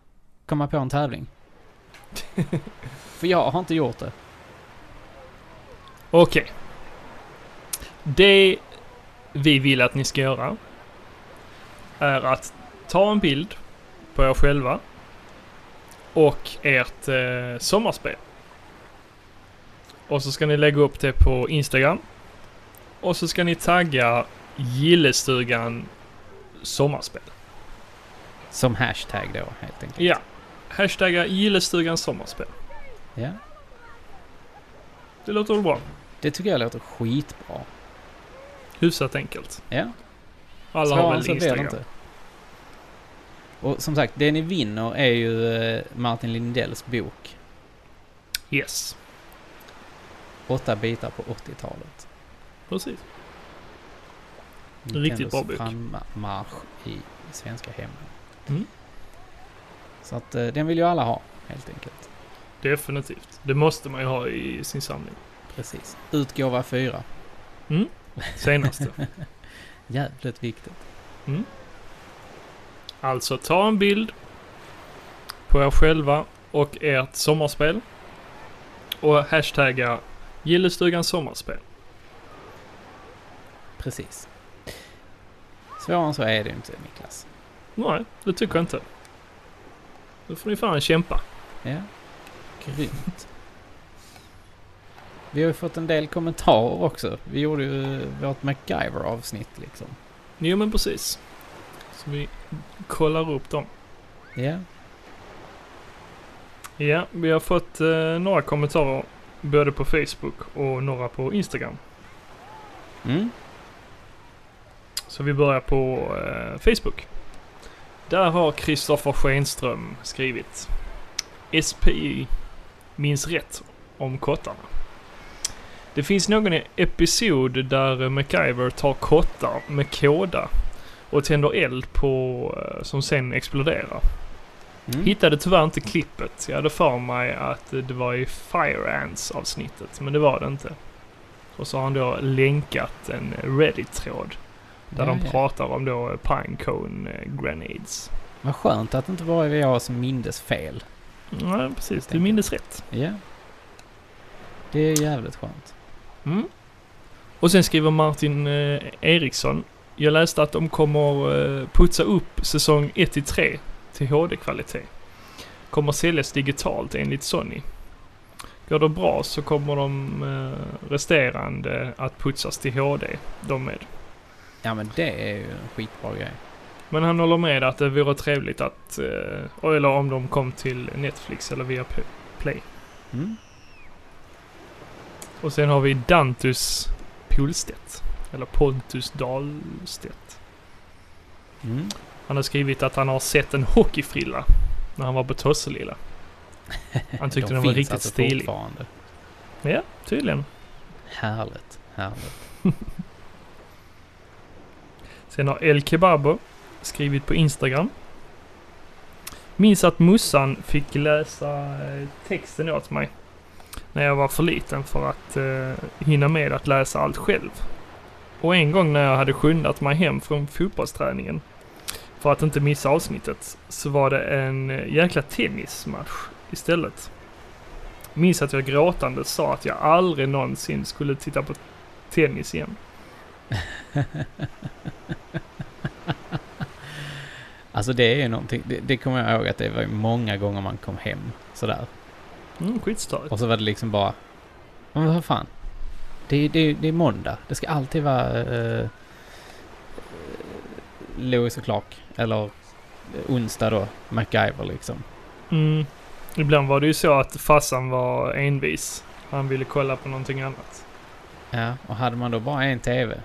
Speaker 1: komma på en tävling? För jag har inte gjort det.
Speaker 2: Okej. Det vi vill att ni ska göra är att ta en bild på er själva och ert eh, sommarspel. Och så ska ni lägga upp det på Instagram. Och så ska ni tagga gillestugan sommarspel.
Speaker 1: Som hashtag då helt enkelt.
Speaker 2: Ja. Hashtagga gillestugan sommarspel.
Speaker 1: Ja.
Speaker 2: Det låter väl bra?
Speaker 1: Det tycker jag låter skitbra.
Speaker 2: Hyfsat enkelt.
Speaker 1: Ja.
Speaker 2: Alla
Speaker 1: Svårare
Speaker 2: har
Speaker 1: än
Speaker 2: väl
Speaker 1: så blir det
Speaker 2: Instagram?
Speaker 1: inte. Och som sagt, det ni vinner är ju eh, Martin Lindells bok
Speaker 2: Yes.
Speaker 1: Åtta bitar på 80-talet.
Speaker 2: Precis.
Speaker 1: Nintendos
Speaker 2: Riktigt bra bok.
Speaker 1: frammarsch i svenska hemmen.
Speaker 2: Mm.
Speaker 1: Så att eh, den vill ju alla ha, helt enkelt.
Speaker 2: Definitivt. Det måste man ju ha i sin samling.
Speaker 1: Precis. Utgåva 4.
Speaker 2: Senaste.
Speaker 1: Jävligt viktigt.
Speaker 2: alltså, ta en bild på er själva och ert sommarspel. Och hashtagga Gillestugans sommarspel.
Speaker 1: Precis. Svårare än så är det ju inte, Niklas.
Speaker 2: Nej, det tycker jag inte. Då får ni fan kämpa.
Speaker 1: Ja. Grymt. Vi har ju fått en del kommentarer också. Vi gjorde ju vårt MacGyver-avsnitt liksom.
Speaker 2: Jo, men precis. Så vi kollar upp dem.
Speaker 1: Ja.
Speaker 2: Ja, vi har fått eh, några kommentarer. Både på Facebook och några på Instagram.
Speaker 1: Mm.
Speaker 2: Så vi börjar på eh, Facebook. Där har Kristoffer Schenström skrivit. SPI minns rätt om kottarna. Det finns någon e- episod där MacGyver tar kottar med kåda och tänder eld på eh, som sen exploderar.
Speaker 1: Mm.
Speaker 2: Hittade tyvärr inte klippet. Jag hade för mig att det var i Fire Ants avsnittet, men det var det inte. Och så har han då länkat en Reddit-tråd där de
Speaker 1: Ja, ja.
Speaker 2: pratar om då pinecone eh, grenades.
Speaker 1: Vad skönt att det inte var jag som mindes fel.
Speaker 2: Ja, precis. Du
Speaker 1: Tänker.
Speaker 2: mindes rätt.
Speaker 1: Ja. Det är jävligt skönt.
Speaker 2: Och sen skriver Martin eh, Eriksson. Jag läste att de kommer eh, putsa upp säsong 1 till 3 till HD-kvalitet. Kommer säljas digitalt enligt Sony. Går det bra så kommer de eh, resterande att putsas till HD, de med.
Speaker 1: Ja men det är ju en skitbra grej.
Speaker 2: Men han håller med att det vore trevligt att, eh, eller om de kom till Netflix eller via P- Play.
Speaker 1: Mm.
Speaker 2: Och sen har vi Dantus Polstedt. Eller Pontus Dahlstedt.
Speaker 1: Mm.
Speaker 2: Han har skrivit att han har sett en hockeyfrilla när han var på Tosselilla. Han tyckte den var
Speaker 1: finns
Speaker 2: riktigt
Speaker 1: alltså
Speaker 2: stilig.
Speaker 1: fortfarande.
Speaker 2: Tydligen.
Speaker 1: Härligt, härligt.
Speaker 2: Sen har El Kebabo skrivit på Instagram. Minns att mussan fick läsa eh, texten åt mig. När jag var för liten för att eh, hinna med att läsa allt själv. Och en gång när jag hade skyndat mig hem från fotbollsträningen. För att inte missa avsnittet. Så var det en eh, jäkla tennismatch istället. Minns att jag gråtande sa att jag aldrig någonsin skulle titta på tennis igen.
Speaker 1: Alltså det är ju någonting, det, det kommer jag ihåg att det var ju många gånger man kom hem sådär.
Speaker 2: Mm, skitstörigt.
Speaker 1: Och så var det liksom bara, men vad fan. Det, är- det, är- det är måndag, det ska alltid vara eh, Lewis och Clark. Eller eh, onsdag då, MacGyver liksom.
Speaker 2: Mm. Ibland var det ju så att farsan var envis. Han ville kolla på någonting annat.
Speaker 1: Ja, och hade man då bara en TV.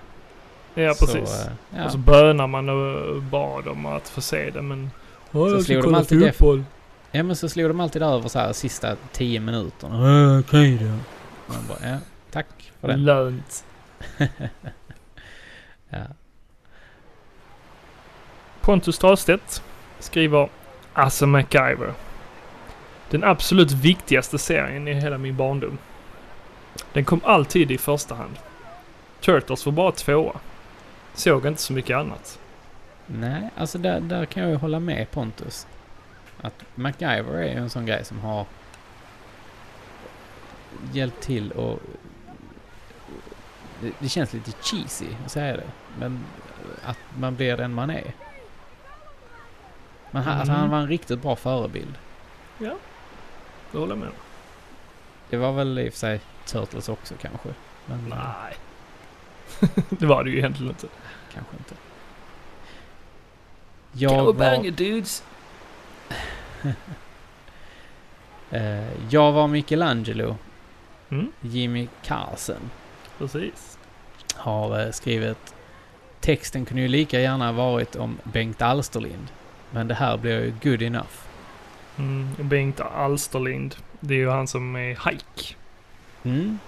Speaker 2: Ja, precis.
Speaker 1: Så, eh, ja.
Speaker 2: Och så bönade man och bad om att få se det, men... Ja,
Speaker 1: Så
Speaker 2: jag
Speaker 1: slog
Speaker 2: ska
Speaker 1: de
Speaker 2: kolla
Speaker 1: alltid det.
Speaker 2: fotboll.
Speaker 1: Ja men så slog de alltid över så här sista tio minuterna. Ja, Okej då. Man bara, ja, tack för det.
Speaker 2: Lönt.
Speaker 1: Ja.
Speaker 2: Pontus Dahlstedt skriver Alltså MacGyver. Den absolut viktigaste serien i hela min barndom. Den kom alltid i första hand. Turtles var bara tvåa. Såg inte så mycket annat.
Speaker 1: Nej, alltså där, där kan jag ju hålla med Pontus. Att MacGyver är ju en sån grej som har hjälpt till och... Det, det känns lite cheesy att säga det, men att man blir den man är. Men han, alltså,
Speaker 2: Mm.
Speaker 1: han var en riktigt bra förebild.
Speaker 2: Det håller jag med om.
Speaker 1: Det var väl i och för sig Turtles också kanske. Men,
Speaker 2: Nej. det var det ju egentligen inte.
Speaker 1: Kanske inte. Jag var,
Speaker 2: dudes.
Speaker 1: eh, jag var Michelangelo.
Speaker 2: Mm.
Speaker 1: Jimmy Carlsen
Speaker 2: Precis.
Speaker 1: har eh, skrivit Texten kunde ju lika gärna varit om Bengt Alsterlind. Men det här blir ju good enough.
Speaker 2: Mm, Bengt Alsterlind. Det är ju han som är hike.
Speaker 1: Mm.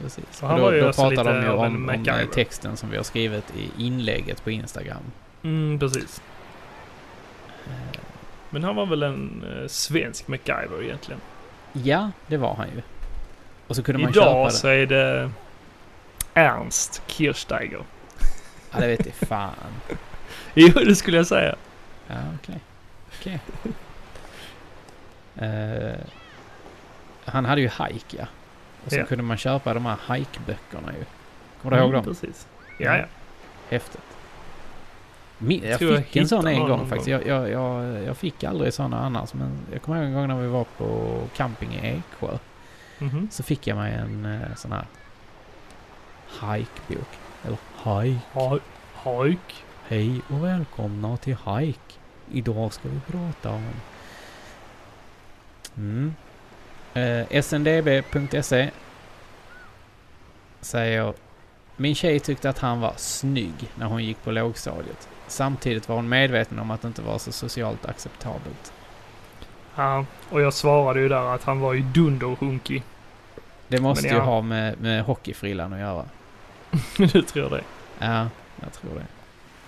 Speaker 1: Precis.
Speaker 2: Och han
Speaker 1: Och då,
Speaker 2: var ju
Speaker 1: då
Speaker 2: alltså
Speaker 1: pratar de
Speaker 2: lite
Speaker 1: ju
Speaker 2: av en
Speaker 1: om, om eh,
Speaker 2: MacGyver.
Speaker 1: texten som vi har skrivit i inlägget på Instagram.
Speaker 2: Mm, precis.
Speaker 1: Eh,
Speaker 2: Men han var väl en eh, svensk MacGyver egentligen.
Speaker 1: ja, det var han ju. Och så kunde man köpa
Speaker 2: Idag
Speaker 1: den.
Speaker 2: så är det Ernst Kirchsteiger.
Speaker 1: Ja, det vet jag fan.
Speaker 2: Jo, det skulle jag säga.
Speaker 1: Ja, okej. Okej. Eh, han hade ju hike, ja. Och så
Speaker 2: Ja.
Speaker 1: kunde man köpa de här hike-böckerna ju. Kommer du ihåg dem? Mm.
Speaker 2: Mm, Precis. Ja, ja.
Speaker 1: Häftigt. Min, jag
Speaker 2: Tror jag
Speaker 1: fick en sån
Speaker 2: hittar
Speaker 1: en
Speaker 2: någon
Speaker 1: gång
Speaker 2: någon
Speaker 1: faktiskt. Jag, jag, jag, jag fick aldrig såna annars. Men jag kommer ihåg en gång när vi var på camping i Eksjö.
Speaker 2: Mhm.
Speaker 1: Så fick jag mig en eh, sån här hike-bok. Eller hike.
Speaker 2: Ha- Hike.
Speaker 1: Hej och välkomna till Hike. Idag ska vi prata om... Mm. Eh, SNDB.se E säger... Min tjej tyckte att han var snygg när hon gick på lågstadiet. Samtidigt var hon medveten om att det inte var så socialt acceptabelt.
Speaker 2: Ja, och jag svarade ju där att han var ju dunderhunkig.
Speaker 1: Det måste
Speaker 2: Men
Speaker 1: ju
Speaker 2: ja.
Speaker 1: ha med, med hockeyfrillan att göra.
Speaker 2: du tror det.
Speaker 1: Ja, jag tror det.
Speaker 2: Ja,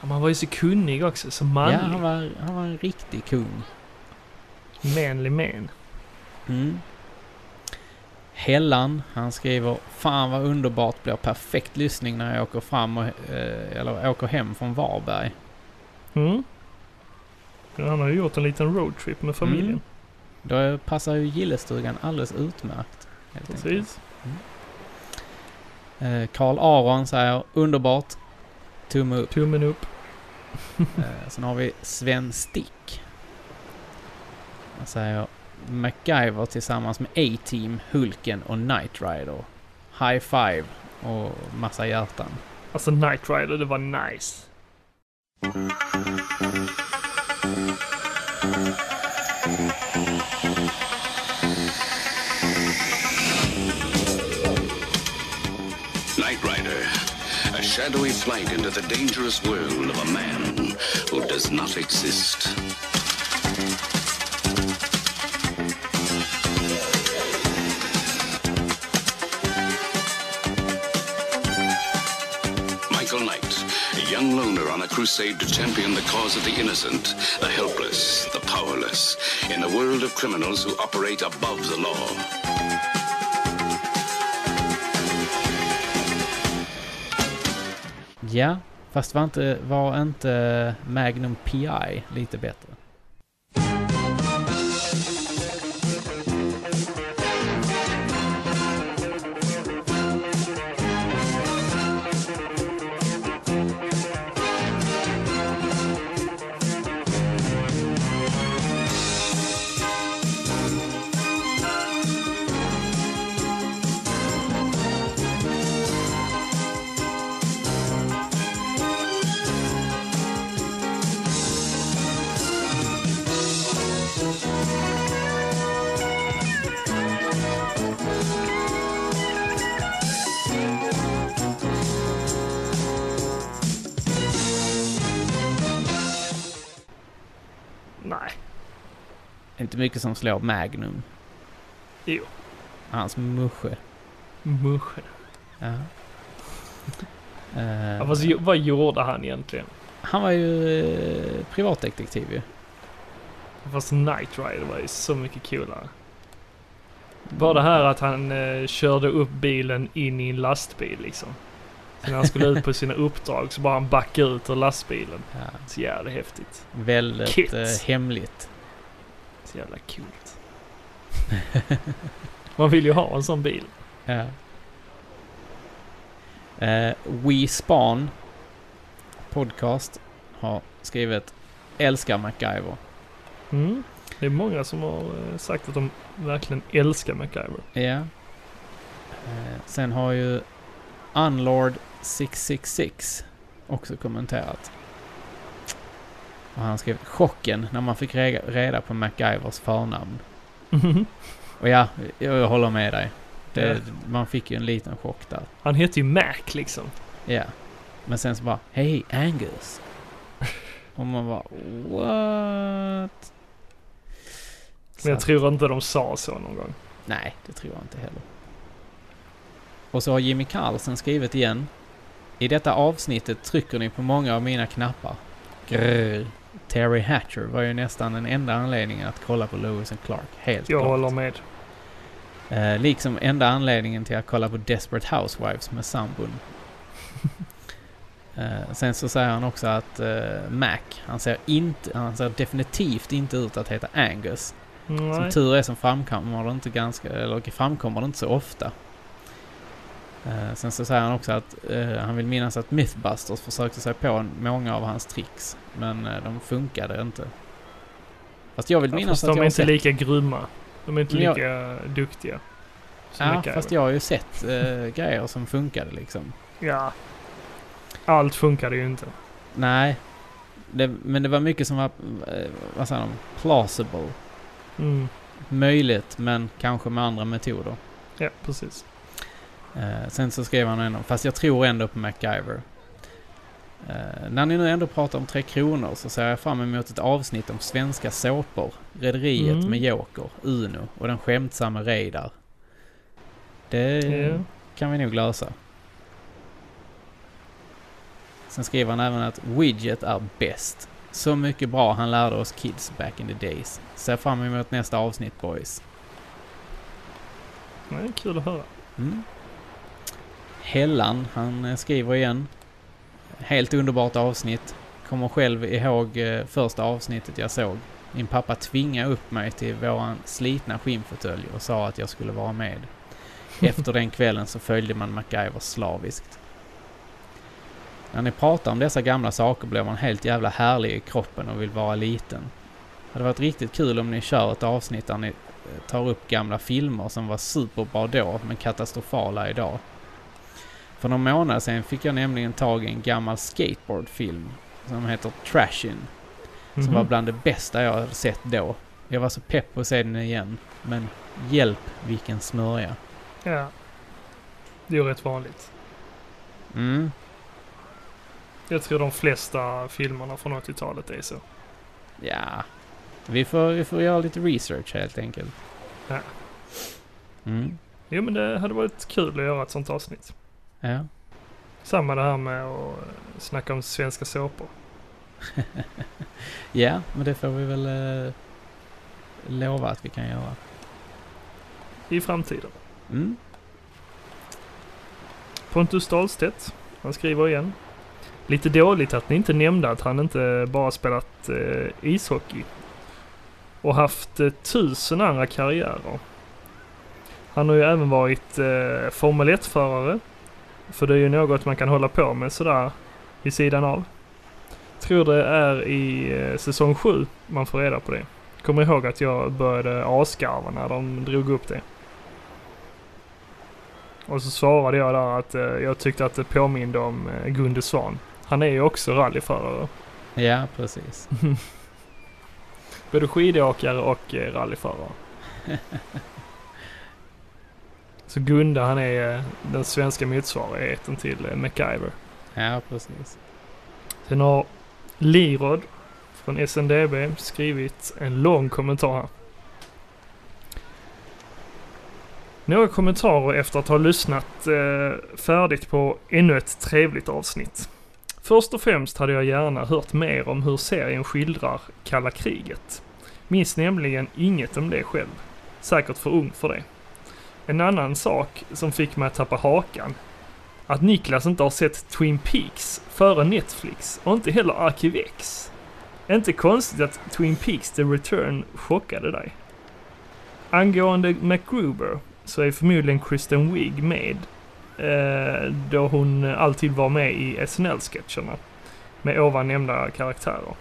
Speaker 2: men han var ju så kunnig också. Så
Speaker 1: Ja,
Speaker 2: manlig.
Speaker 1: han var, han var en riktig kung.
Speaker 2: Manlig man.
Speaker 1: Mm. Hellan, han skriver Fan vad underbart, blir perfekt lyssning när jag åker fram och, eh, eller åker hem från Varberg.
Speaker 2: Mm. Han har ju gjort en liten roadtrip med familjen.
Speaker 1: Mm, Då passar ju gillestugan alldeles utmärkt. helt enkelt.
Speaker 2: Precis.
Speaker 1: Eh, Karl Aron säger underbart. Tumme upp.
Speaker 2: Tummen upp.
Speaker 1: Eh, sen har vi Sven Stick. Han säger MacGyver tillsammans med A-Team, Hulken och Knight Rider. High five och massa hjärtan.
Speaker 2: Alltså Night Rider, det var nice.
Speaker 4: Knight Rider. shadowy flight into the dangerous world of a man who does not exist. Michael Knight, a young loner on a crusade to champion the cause of the innocent, the helpless, the powerless, in a world of criminals who operate above the law.
Speaker 1: Ja, fast var inte, var inte eh, Magnum PI lite bättre?
Speaker 2: Nej.
Speaker 1: Inte mycket som slår Magnum.
Speaker 2: Jo.
Speaker 1: Hans musche.
Speaker 2: Musch.
Speaker 1: Ja. Eh,
Speaker 2: Ja, fast, ju- vad gjorde han egentligen?
Speaker 1: han var ju eh, privatdetektiv ju.
Speaker 2: Fast Knight Rider var ju så mycket coolare. Bara det här att han eh, körde upp bilen in i en lastbil liksom. Så när han skulle ut på sina uppdrag så bara han backade ut ur lastbilen.
Speaker 1: Ja,
Speaker 2: Så jävla häftigt.
Speaker 1: väldigt
Speaker 2: Kit.
Speaker 1: eh, hemligt.
Speaker 2: Så jävla coolt. Man vill ju ha en sån bil.
Speaker 1: Ja. Eh, We Spawn podcast har skrivit Älskar MacGyver.
Speaker 2: Mm. Det är många som har eh, sagt att de verkligen älskar MacGyver.
Speaker 1: Ja. Eh, sen har ju Unlord666 också kommenterat. Och han skrev chocken när man fick rega- reda på MacGyvers förnamn. Mhm. Och ja, jag, jag håller med dig. Det,
Speaker 2: Ja.
Speaker 1: Man fick ju en liten chock där.
Speaker 2: Han heter ju Mac liksom.
Speaker 1: Ja. Men sen så bara, hej Angus. Och man bara, what? Så
Speaker 2: Men jag
Speaker 1: att-
Speaker 2: tror inte de sa så någon gång.
Speaker 1: Nej, det tror jag inte heller. Och så har Jimmy Carlsen skrivit igen. I detta avsnittet trycker ni på många av mina knappar. Grr. Terry Hatcher var ju nästan den enda anledningen att kolla på Lewis and Clark, helt
Speaker 2: Jag
Speaker 1: klart.
Speaker 2: håller med.
Speaker 1: Eh, liksom enda anledningen till att kolla på Desperate Housewives med sambon. Eh, sen så säger han också att eh, Mac, han ser, inte, han ser definitivt inte ut att heta Angus. Som
Speaker 2: Nej.
Speaker 1: tur är så framkommer det inte, ganska, eller framkommer det inte så ofta. Eh, sen så säger han också att eh, han vill minnas att Mythbusters försökte sig på många av hans tricks, men eh, de funkade inte. Fast jag vill
Speaker 2: Ja,
Speaker 1: minnas
Speaker 2: fast
Speaker 1: att jag
Speaker 2: de är
Speaker 1: har
Speaker 2: inte
Speaker 1: sett
Speaker 2: lika grymma. De är inte
Speaker 1: Men jag-
Speaker 2: lika duktiga. som
Speaker 1: Ja,
Speaker 2: MacGyver.
Speaker 1: fast jag har ju sett eh, grejer som funkade liksom.
Speaker 2: Ja. Allt funkade ju inte.
Speaker 1: Nej, det, men det var mycket som var, eh, vad säger de, plausible.
Speaker 2: Mm.
Speaker 1: Möjligt, men kanske med andra metoder.
Speaker 2: Ja, precis.
Speaker 1: Eh, sen så skrev han ändå, fast jag tror ändå på MacGyver. Eh, när ni nu ändå pratar om Tre Kronor så ser jag fram emot ett avsnitt om svenska såpor. Rederiet
Speaker 2: Mm.
Speaker 1: med Joker, Uno och den skämtsamme Reidar. Det
Speaker 2: Ja.
Speaker 1: kan vi nog lösa. Sen skriver han även att Widget är bäst. Så mycket bra han lärde oss kids back in the days. Ser fram emot nästa avsnitt boys.
Speaker 2: Nej, kul att höra.
Speaker 1: Mm. Hellan, han eh, skriver igen. Helt underbart avsnitt. Kommer själv ihåg eh, första avsnittet jag såg. Min pappa tvingade upp mig till våran slitna skinnfåtölj och sa att jag skulle vara med. Efter den kvällen så följde man MacGyver slaviskt. När ni pratar om dessa gamla saker blir man helt jävla härlig i kroppen och vill vara liten. Det hade varit riktigt kul om ni kör ett avsnitt där ni tar upp gamla filmer som var superbra då, men katastrofala idag. För någon månad sedan fick jag nämligen tag i en gammal skateboardfilm som heter Trashin, som
Speaker 2: Mhm.
Speaker 1: var bland det bästa jag hade sett då. Jag var så pepp på att se den igen, men hjälp vilken smörja.
Speaker 2: Ja. Det är ju rätt vanligt.
Speaker 1: Mm.
Speaker 2: Jag tror de flesta filmerna från 80-talet är så.
Speaker 1: Ja, vi får, vi får göra lite research helt enkelt.
Speaker 2: Ja.
Speaker 1: Mm.
Speaker 2: Jo men det hade varit kul att göra ett sånt avsnitt.
Speaker 1: Ja.
Speaker 2: Samma det här med att snacka om svenska såpor.
Speaker 1: ja, men det får vi väl eh, lova att vi kan göra.
Speaker 2: I framtiden.
Speaker 1: Mm.
Speaker 2: Pontus Dahlstedt, han skriver igen. Lite dåligt att ni inte nämnde att han inte bara spelat eh, ishockey och haft eh, tusen andra karriärer. Han har ju även varit eh, Formel 1-förare, för det är ju något man kan hålla på med sådär vid sidan av. Tror det är i eh, säsong 7 man får reda på det. Kommer ihåg att jag började asgarva när de drog upp det. Och så svarade jag där att eh, jag tyckte att det påminde om eh, Gunde Svan. Han är ju också rallyförare.
Speaker 1: Ja, precis.
Speaker 2: Både skidåkare och eh, rallyförare. så Gunde han är eh, den svenska motsvarigheten till eh, MacGyver.
Speaker 1: Ja, precis.
Speaker 2: Sen har Lirod från SNDB skrivit en lång kommentar här. Några kommentarer efter att ha lyssnat eh, färdigt på ännu ett trevligt avsnitt. Först och främst hade jag gärna hört mer om hur serien skildrar kalla kriget. Minns nämligen inget om det själv. Säkert för ung för det. En annan sak som fick mig att tappa hakan att Niklas inte har sett Twin Peaks före Netflix och inte heller Arkivex. Inte konstigt att Twin Peaks The Return chockade dig. Angående MacGruber så är förmodligen Kristen Wiig med eh, då hon alltid var med i SNL-sketcherna med ovan nämnda karaktärer.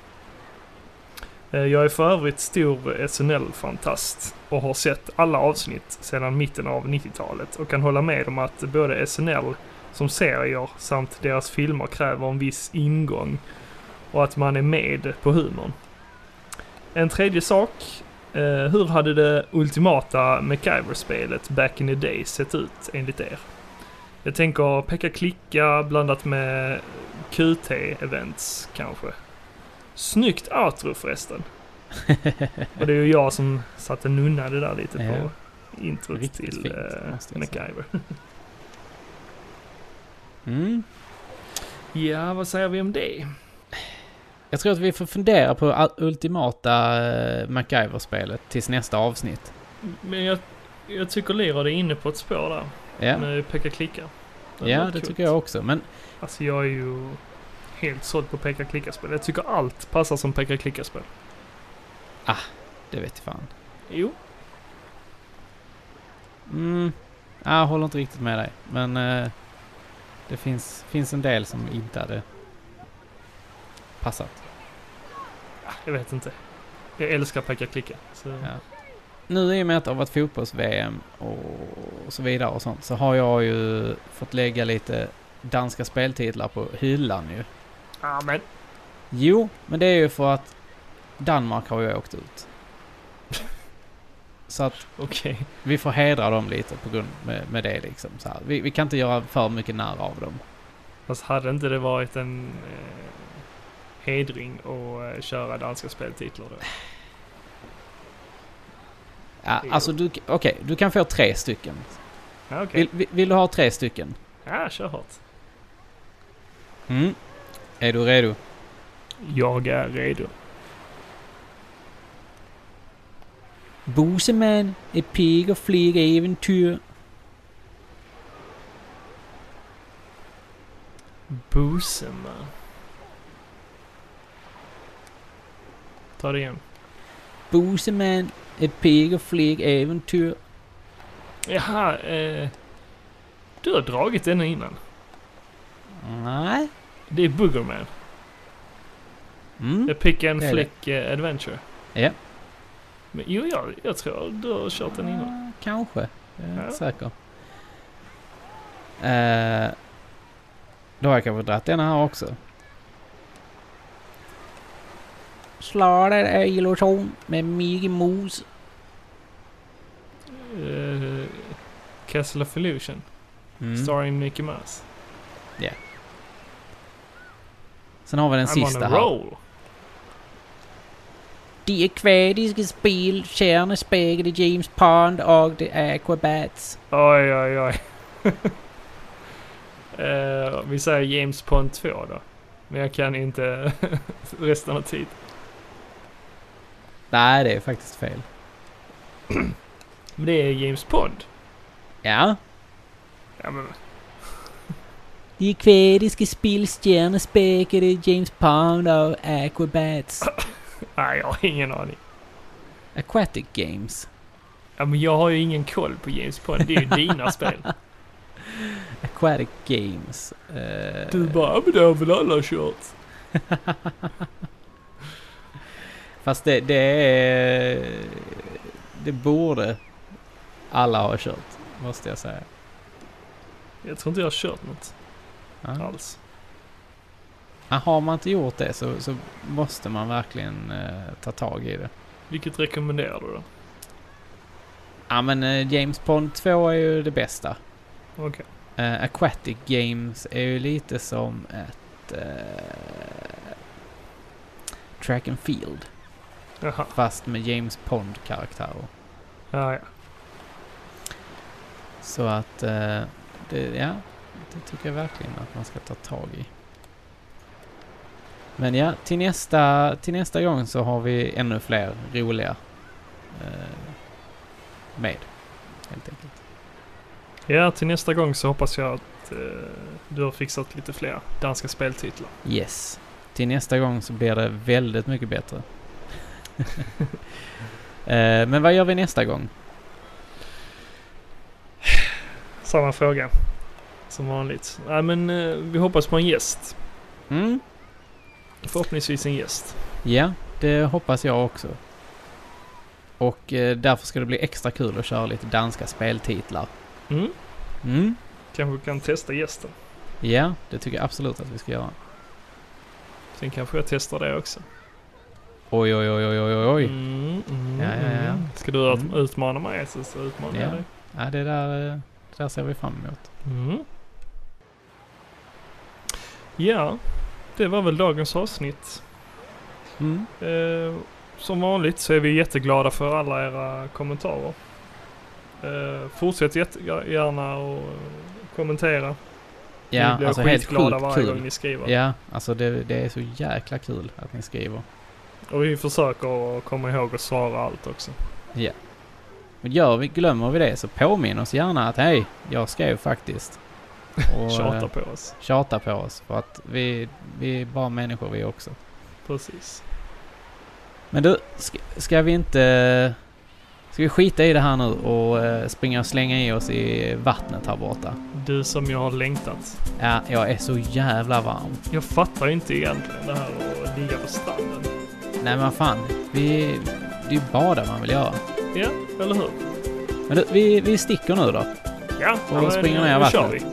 Speaker 2: Eh, jag är för övrigt stor SNL-fantast och har sett alla avsnitt sedan mitten av 90-talet och kan hålla med om att både SNL som serier samt deras filmer kräver en viss ingång och att man är med på humorn. En tredje sak. Eh, hur hade det ultimata MacGyver-spelet Back in the Day sett ut enligt er? Jag tänker peka klicka blandat med QT-events kanske. Snyggt outro förresten. och det är ju jag som satte nunnade där lite på introt
Speaker 1: Riktigt
Speaker 2: till
Speaker 1: fint, måste
Speaker 2: eh,
Speaker 1: jag säga.
Speaker 2: MacGyver.
Speaker 1: Mm.
Speaker 2: Ja, vad säger vi om det?
Speaker 1: Jag tror att vi får fundera på all- ultimata eh, MacGyver-spelet tills nästa avsnitt.
Speaker 2: Men jag, jag tycker Lirad är inne på ett spår där.
Speaker 1: Ja,
Speaker 2: Med peka klicka.
Speaker 1: ja det tycker jag också. Men
Speaker 2: Alltså jag är ju helt såld på peka klicka-spel. Jag tycker allt passar som peka klicka-spel.
Speaker 1: det vet jag fan.
Speaker 2: Jo.
Speaker 1: Mm. Ja, jag håller inte riktigt med dig. Men eh, det finns, finns en del som inte hade passat.
Speaker 2: Jag vet inte. Jag älskar peka klicka. Så
Speaker 1: Ja. Nu i och med att det har varit fotbolls-VM och så vidare och sånt så har jag ju fått lägga lite danska speltitlar på hyllan ju.
Speaker 2: ah, men.
Speaker 1: Jo, men det är ju för att Danmark har ju åkt ut. Så att
Speaker 2: Okej.
Speaker 1: vi får hedra dem lite på grund med, med det liksom. Så här. Vi, vi kan inte göra för mycket narr av dem.
Speaker 2: Fast hade inte det varit en eh, hedring att eh, köra danska speltitlar då?
Speaker 1: Ja,
Speaker 2: Jo.
Speaker 1: alltså, du, okej, du kan få tre stycken.
Speaker 2: Ja, okej.
Speaker 1: Vill, vill, vill du ha tre stycken?
Speaker 2: Ja, kör hårt.
Speaker 1: Mm. Är du redo?
Speaker 2: Jag är redo.
Speaker 1: Buseman är pig och flyg äventyr.
Speaker 2: Boseman. Ta det igen.
Speaker 1: Buseman är pig och flyg äventyr.
Speaker 2: Jaha, eh, du har dragit denna innan.
Speaker 1: Nej.
Speaker 2: Det är Boogerman.
Speaker 1: Mm.
Speaker 2: Jag pick and
Speaker 1: Det är
Speaker 2: flick eh, adventure.
Speaker 1: Ja.
Speaker 2: Men, jo, jag, jag tror du har kört den innan.
Speaker 1: Ah, Kanske. Jag är
Speaker 2: Ja.
Speaker 1: inte säker. Eh, då har jag kanske dragit den här också. Slader är illusion med Mickey Mouse.
Speaker 2: Eh, Castle of Illusion,
Speaker 1: Mm.
Speaker 2: starring Mickey Mouse.
Speaker 1: Sen har vi den
Speaker 2: I'm on
Speaker 1: sista
Speaker 2: a
Speaker 1: här.
Speaker 2: roll.
Speaker 1: Det är kvädiska spel, kärnespegel i James Pond och det är Aquabats.
Speaker 2: Oj, oj, oj. Eh, vi säger James Pond 2 då. Men jag kan inte resten av titeln.
Speaker 1: Nej, det är faktiskt fel.
Speaker 2: Men det är James Pond.
Speaker 1: Ja.
Speaker 2: Ja, men
Speaker 1: Det är kvädiska spel, kärnespegel i James Pond och Aquabats.
Speaker 2: nej, jag har ingen aning.
Speaker 1: Aquatic Games.
Speaker 2: Ja, men jag har ju ingen koll på James Pond. Det är ju dina spel.
Speaker 1: Aquatic Games. Eh,
Speaker 2: Du bara, "Ja, men det har väl alla kört.
Speaker 1: Fast det, det är... Det borde alla ha kört, måste jag säga.
Speaker 2: Jag tror inte jag har kört något
Speaker 1: Ja.
Speaker 2: alls.
Speaker 1: Ja, Har man inte gjort det så, så måste man verkligen eh, ta tag i det.
Speaker 2: Vilket rekommenderar du då?
Speaker 1: Ja men eh, James Bond 2 är ju det bästa.
Speaker 2: Okej.
Speaker 1: Eh, Aquatic Games är ju lite som ett... eh, track and Field.
Speaker 2: Jaha.
Speaker 1: Fast med James Bond-karaktärer.
Speaker 2: Ja, ja.
Speaker 1: Så att... eh, det, ja, det tycker jag verkligen att man ska ta tag i. Men ja, till nästa, till nästa gång så har vi ännu fler roliga eh, med. Helt enkelt.
Speaker 2: Ja, till nästa gång så hoppas jag att eh, du har fixat lite fler danska speltitlar.
Speaker 1: Yes. Till nästa gång så blir det väldigt mycket bättre. Eh, Men vad gör vi nästa gång?
Speaker 2: Samma fråga. Som vanligt. Nej, men eh, vi hoppas på en gäst.
Speaker 1: Mm?
Speaker 2: Förhoppningsvis en gäst.
Speaker 1: Ja, det hoppas jag också. Och eh, därför ska det bli extra kul att köra lite danska speltitlar.
Speaker 2: Mm.
Speaker 1: Mm?
Speaker 2: Kanske vi kan testa gästen.
Speaker 1: Ja, det tycker jag absolut att vi ska göra.
Speaker 2: Sen kanske jag testar det också.
Speaker 1: Oj, oj, oj, oj, oj, oj, oj.
Speaker 2: Mm, mm,
Speaker 1: Ja, ja, ja.
Speaker 2: mm. Ska du ut-
Speaker 1: Mm.
Speaker 2: utmana mig så, så utmanar
Speaker 1: Ja.
Speaker 2: jag dig.
Speaker 1: Ja, det där, eh, det där ser vi fram emot.
Speaker 2: Mm. Ja, det var väl dagens avsnitt.
Speaker 1: Mm?
Speaker 2: Eh, som vanligt så är vi jätteglada för alla era kommentarer. Eh, fortsätt jätte- gärna och eh, kommentera. vi
Speaker 1: Ja,
Speaker 2: blir
Speaker 1: alltså helt
Speaker 2: skitglada
Speaker 1: sjukt
Speaker 2: varje gång
Speaker 1: kul.
Speaker 2: ni skriver.
Speaker 1: Ja, alltså det, det är så jäkla kul att ni skriver.
Speaker 2: Och vi försöker att komma ihåg att svara allt också.
Speaker 1: Men gör vi, glömmer vi det så påminn oss gärna att hej, jag skrev faktiskt. Och eh,
Speaker 2: Tjata
Speaker 1: tjata.
Speaker 2: på oss.
Speaker 1: tjata på oss för att vi, vi är bara människor vi också.
Speaker 2: Precis.
Speaker 1: Men du, ska, ska vi inte... Ska vi skita i det här nu och eh, springa och slänga i oss i vattnet här borta?
Speaker 2: Du som jag har längtat.
Speaker 1: Ja, jag är så jävla varm.
Speaker 2: Jag fattar ju inte egentligen det här att ligga på stranden.
Speaker 1: Nej men vad fan, vi... Det är ju bada man vill göra.
Speaker 2: Ja, eller hur?
Speaker 1: Men du, vi, vi sticker nu då.
Speaker 2: Ja,
Speaker 1: Och
Speaker 2: ja, men
Speaker 1: springer
Speaker 2: nu-
Speaker 1: ner i
Speaker 2: nu kör
Speaker 1: vattnet.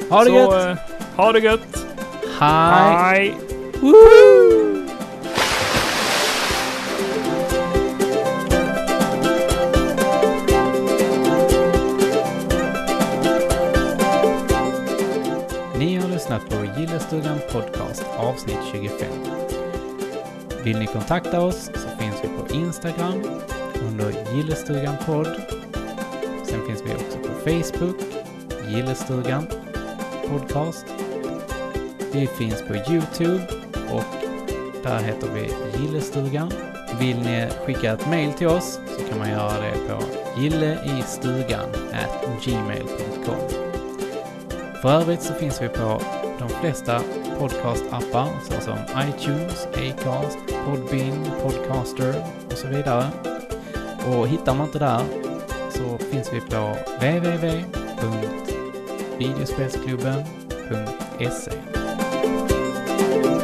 Speaker 2: vi.
Speaker 1: Ha det
Speaker 2: Så,
Speaker 1: gött!
Speaker 2: eh, Ha det gött!
Speaker 1: Hej!
Speaker 2: Hej.
Speaker 1: Woohoo! Ni har lyssnat på Gillestugan Podcast avsnitt 25. Vill ni kontakta oss så finns vi på Instagram under Gillestugan podd. Sen finns vi också på Facebook, Gillestugan Podcast. Vi finns på Youtube och där heter vi Gillestugan. Vill ni skicka ett mail till oss så kan man göra det på gilleistugan gmail.com. För övrigt så finns vi på de flesta podcastappar såsom iTunes, Acast, Podbean, Podcaster och så vidare. Och hittar man inte där så finns vi på E. www.videospelsklubben.se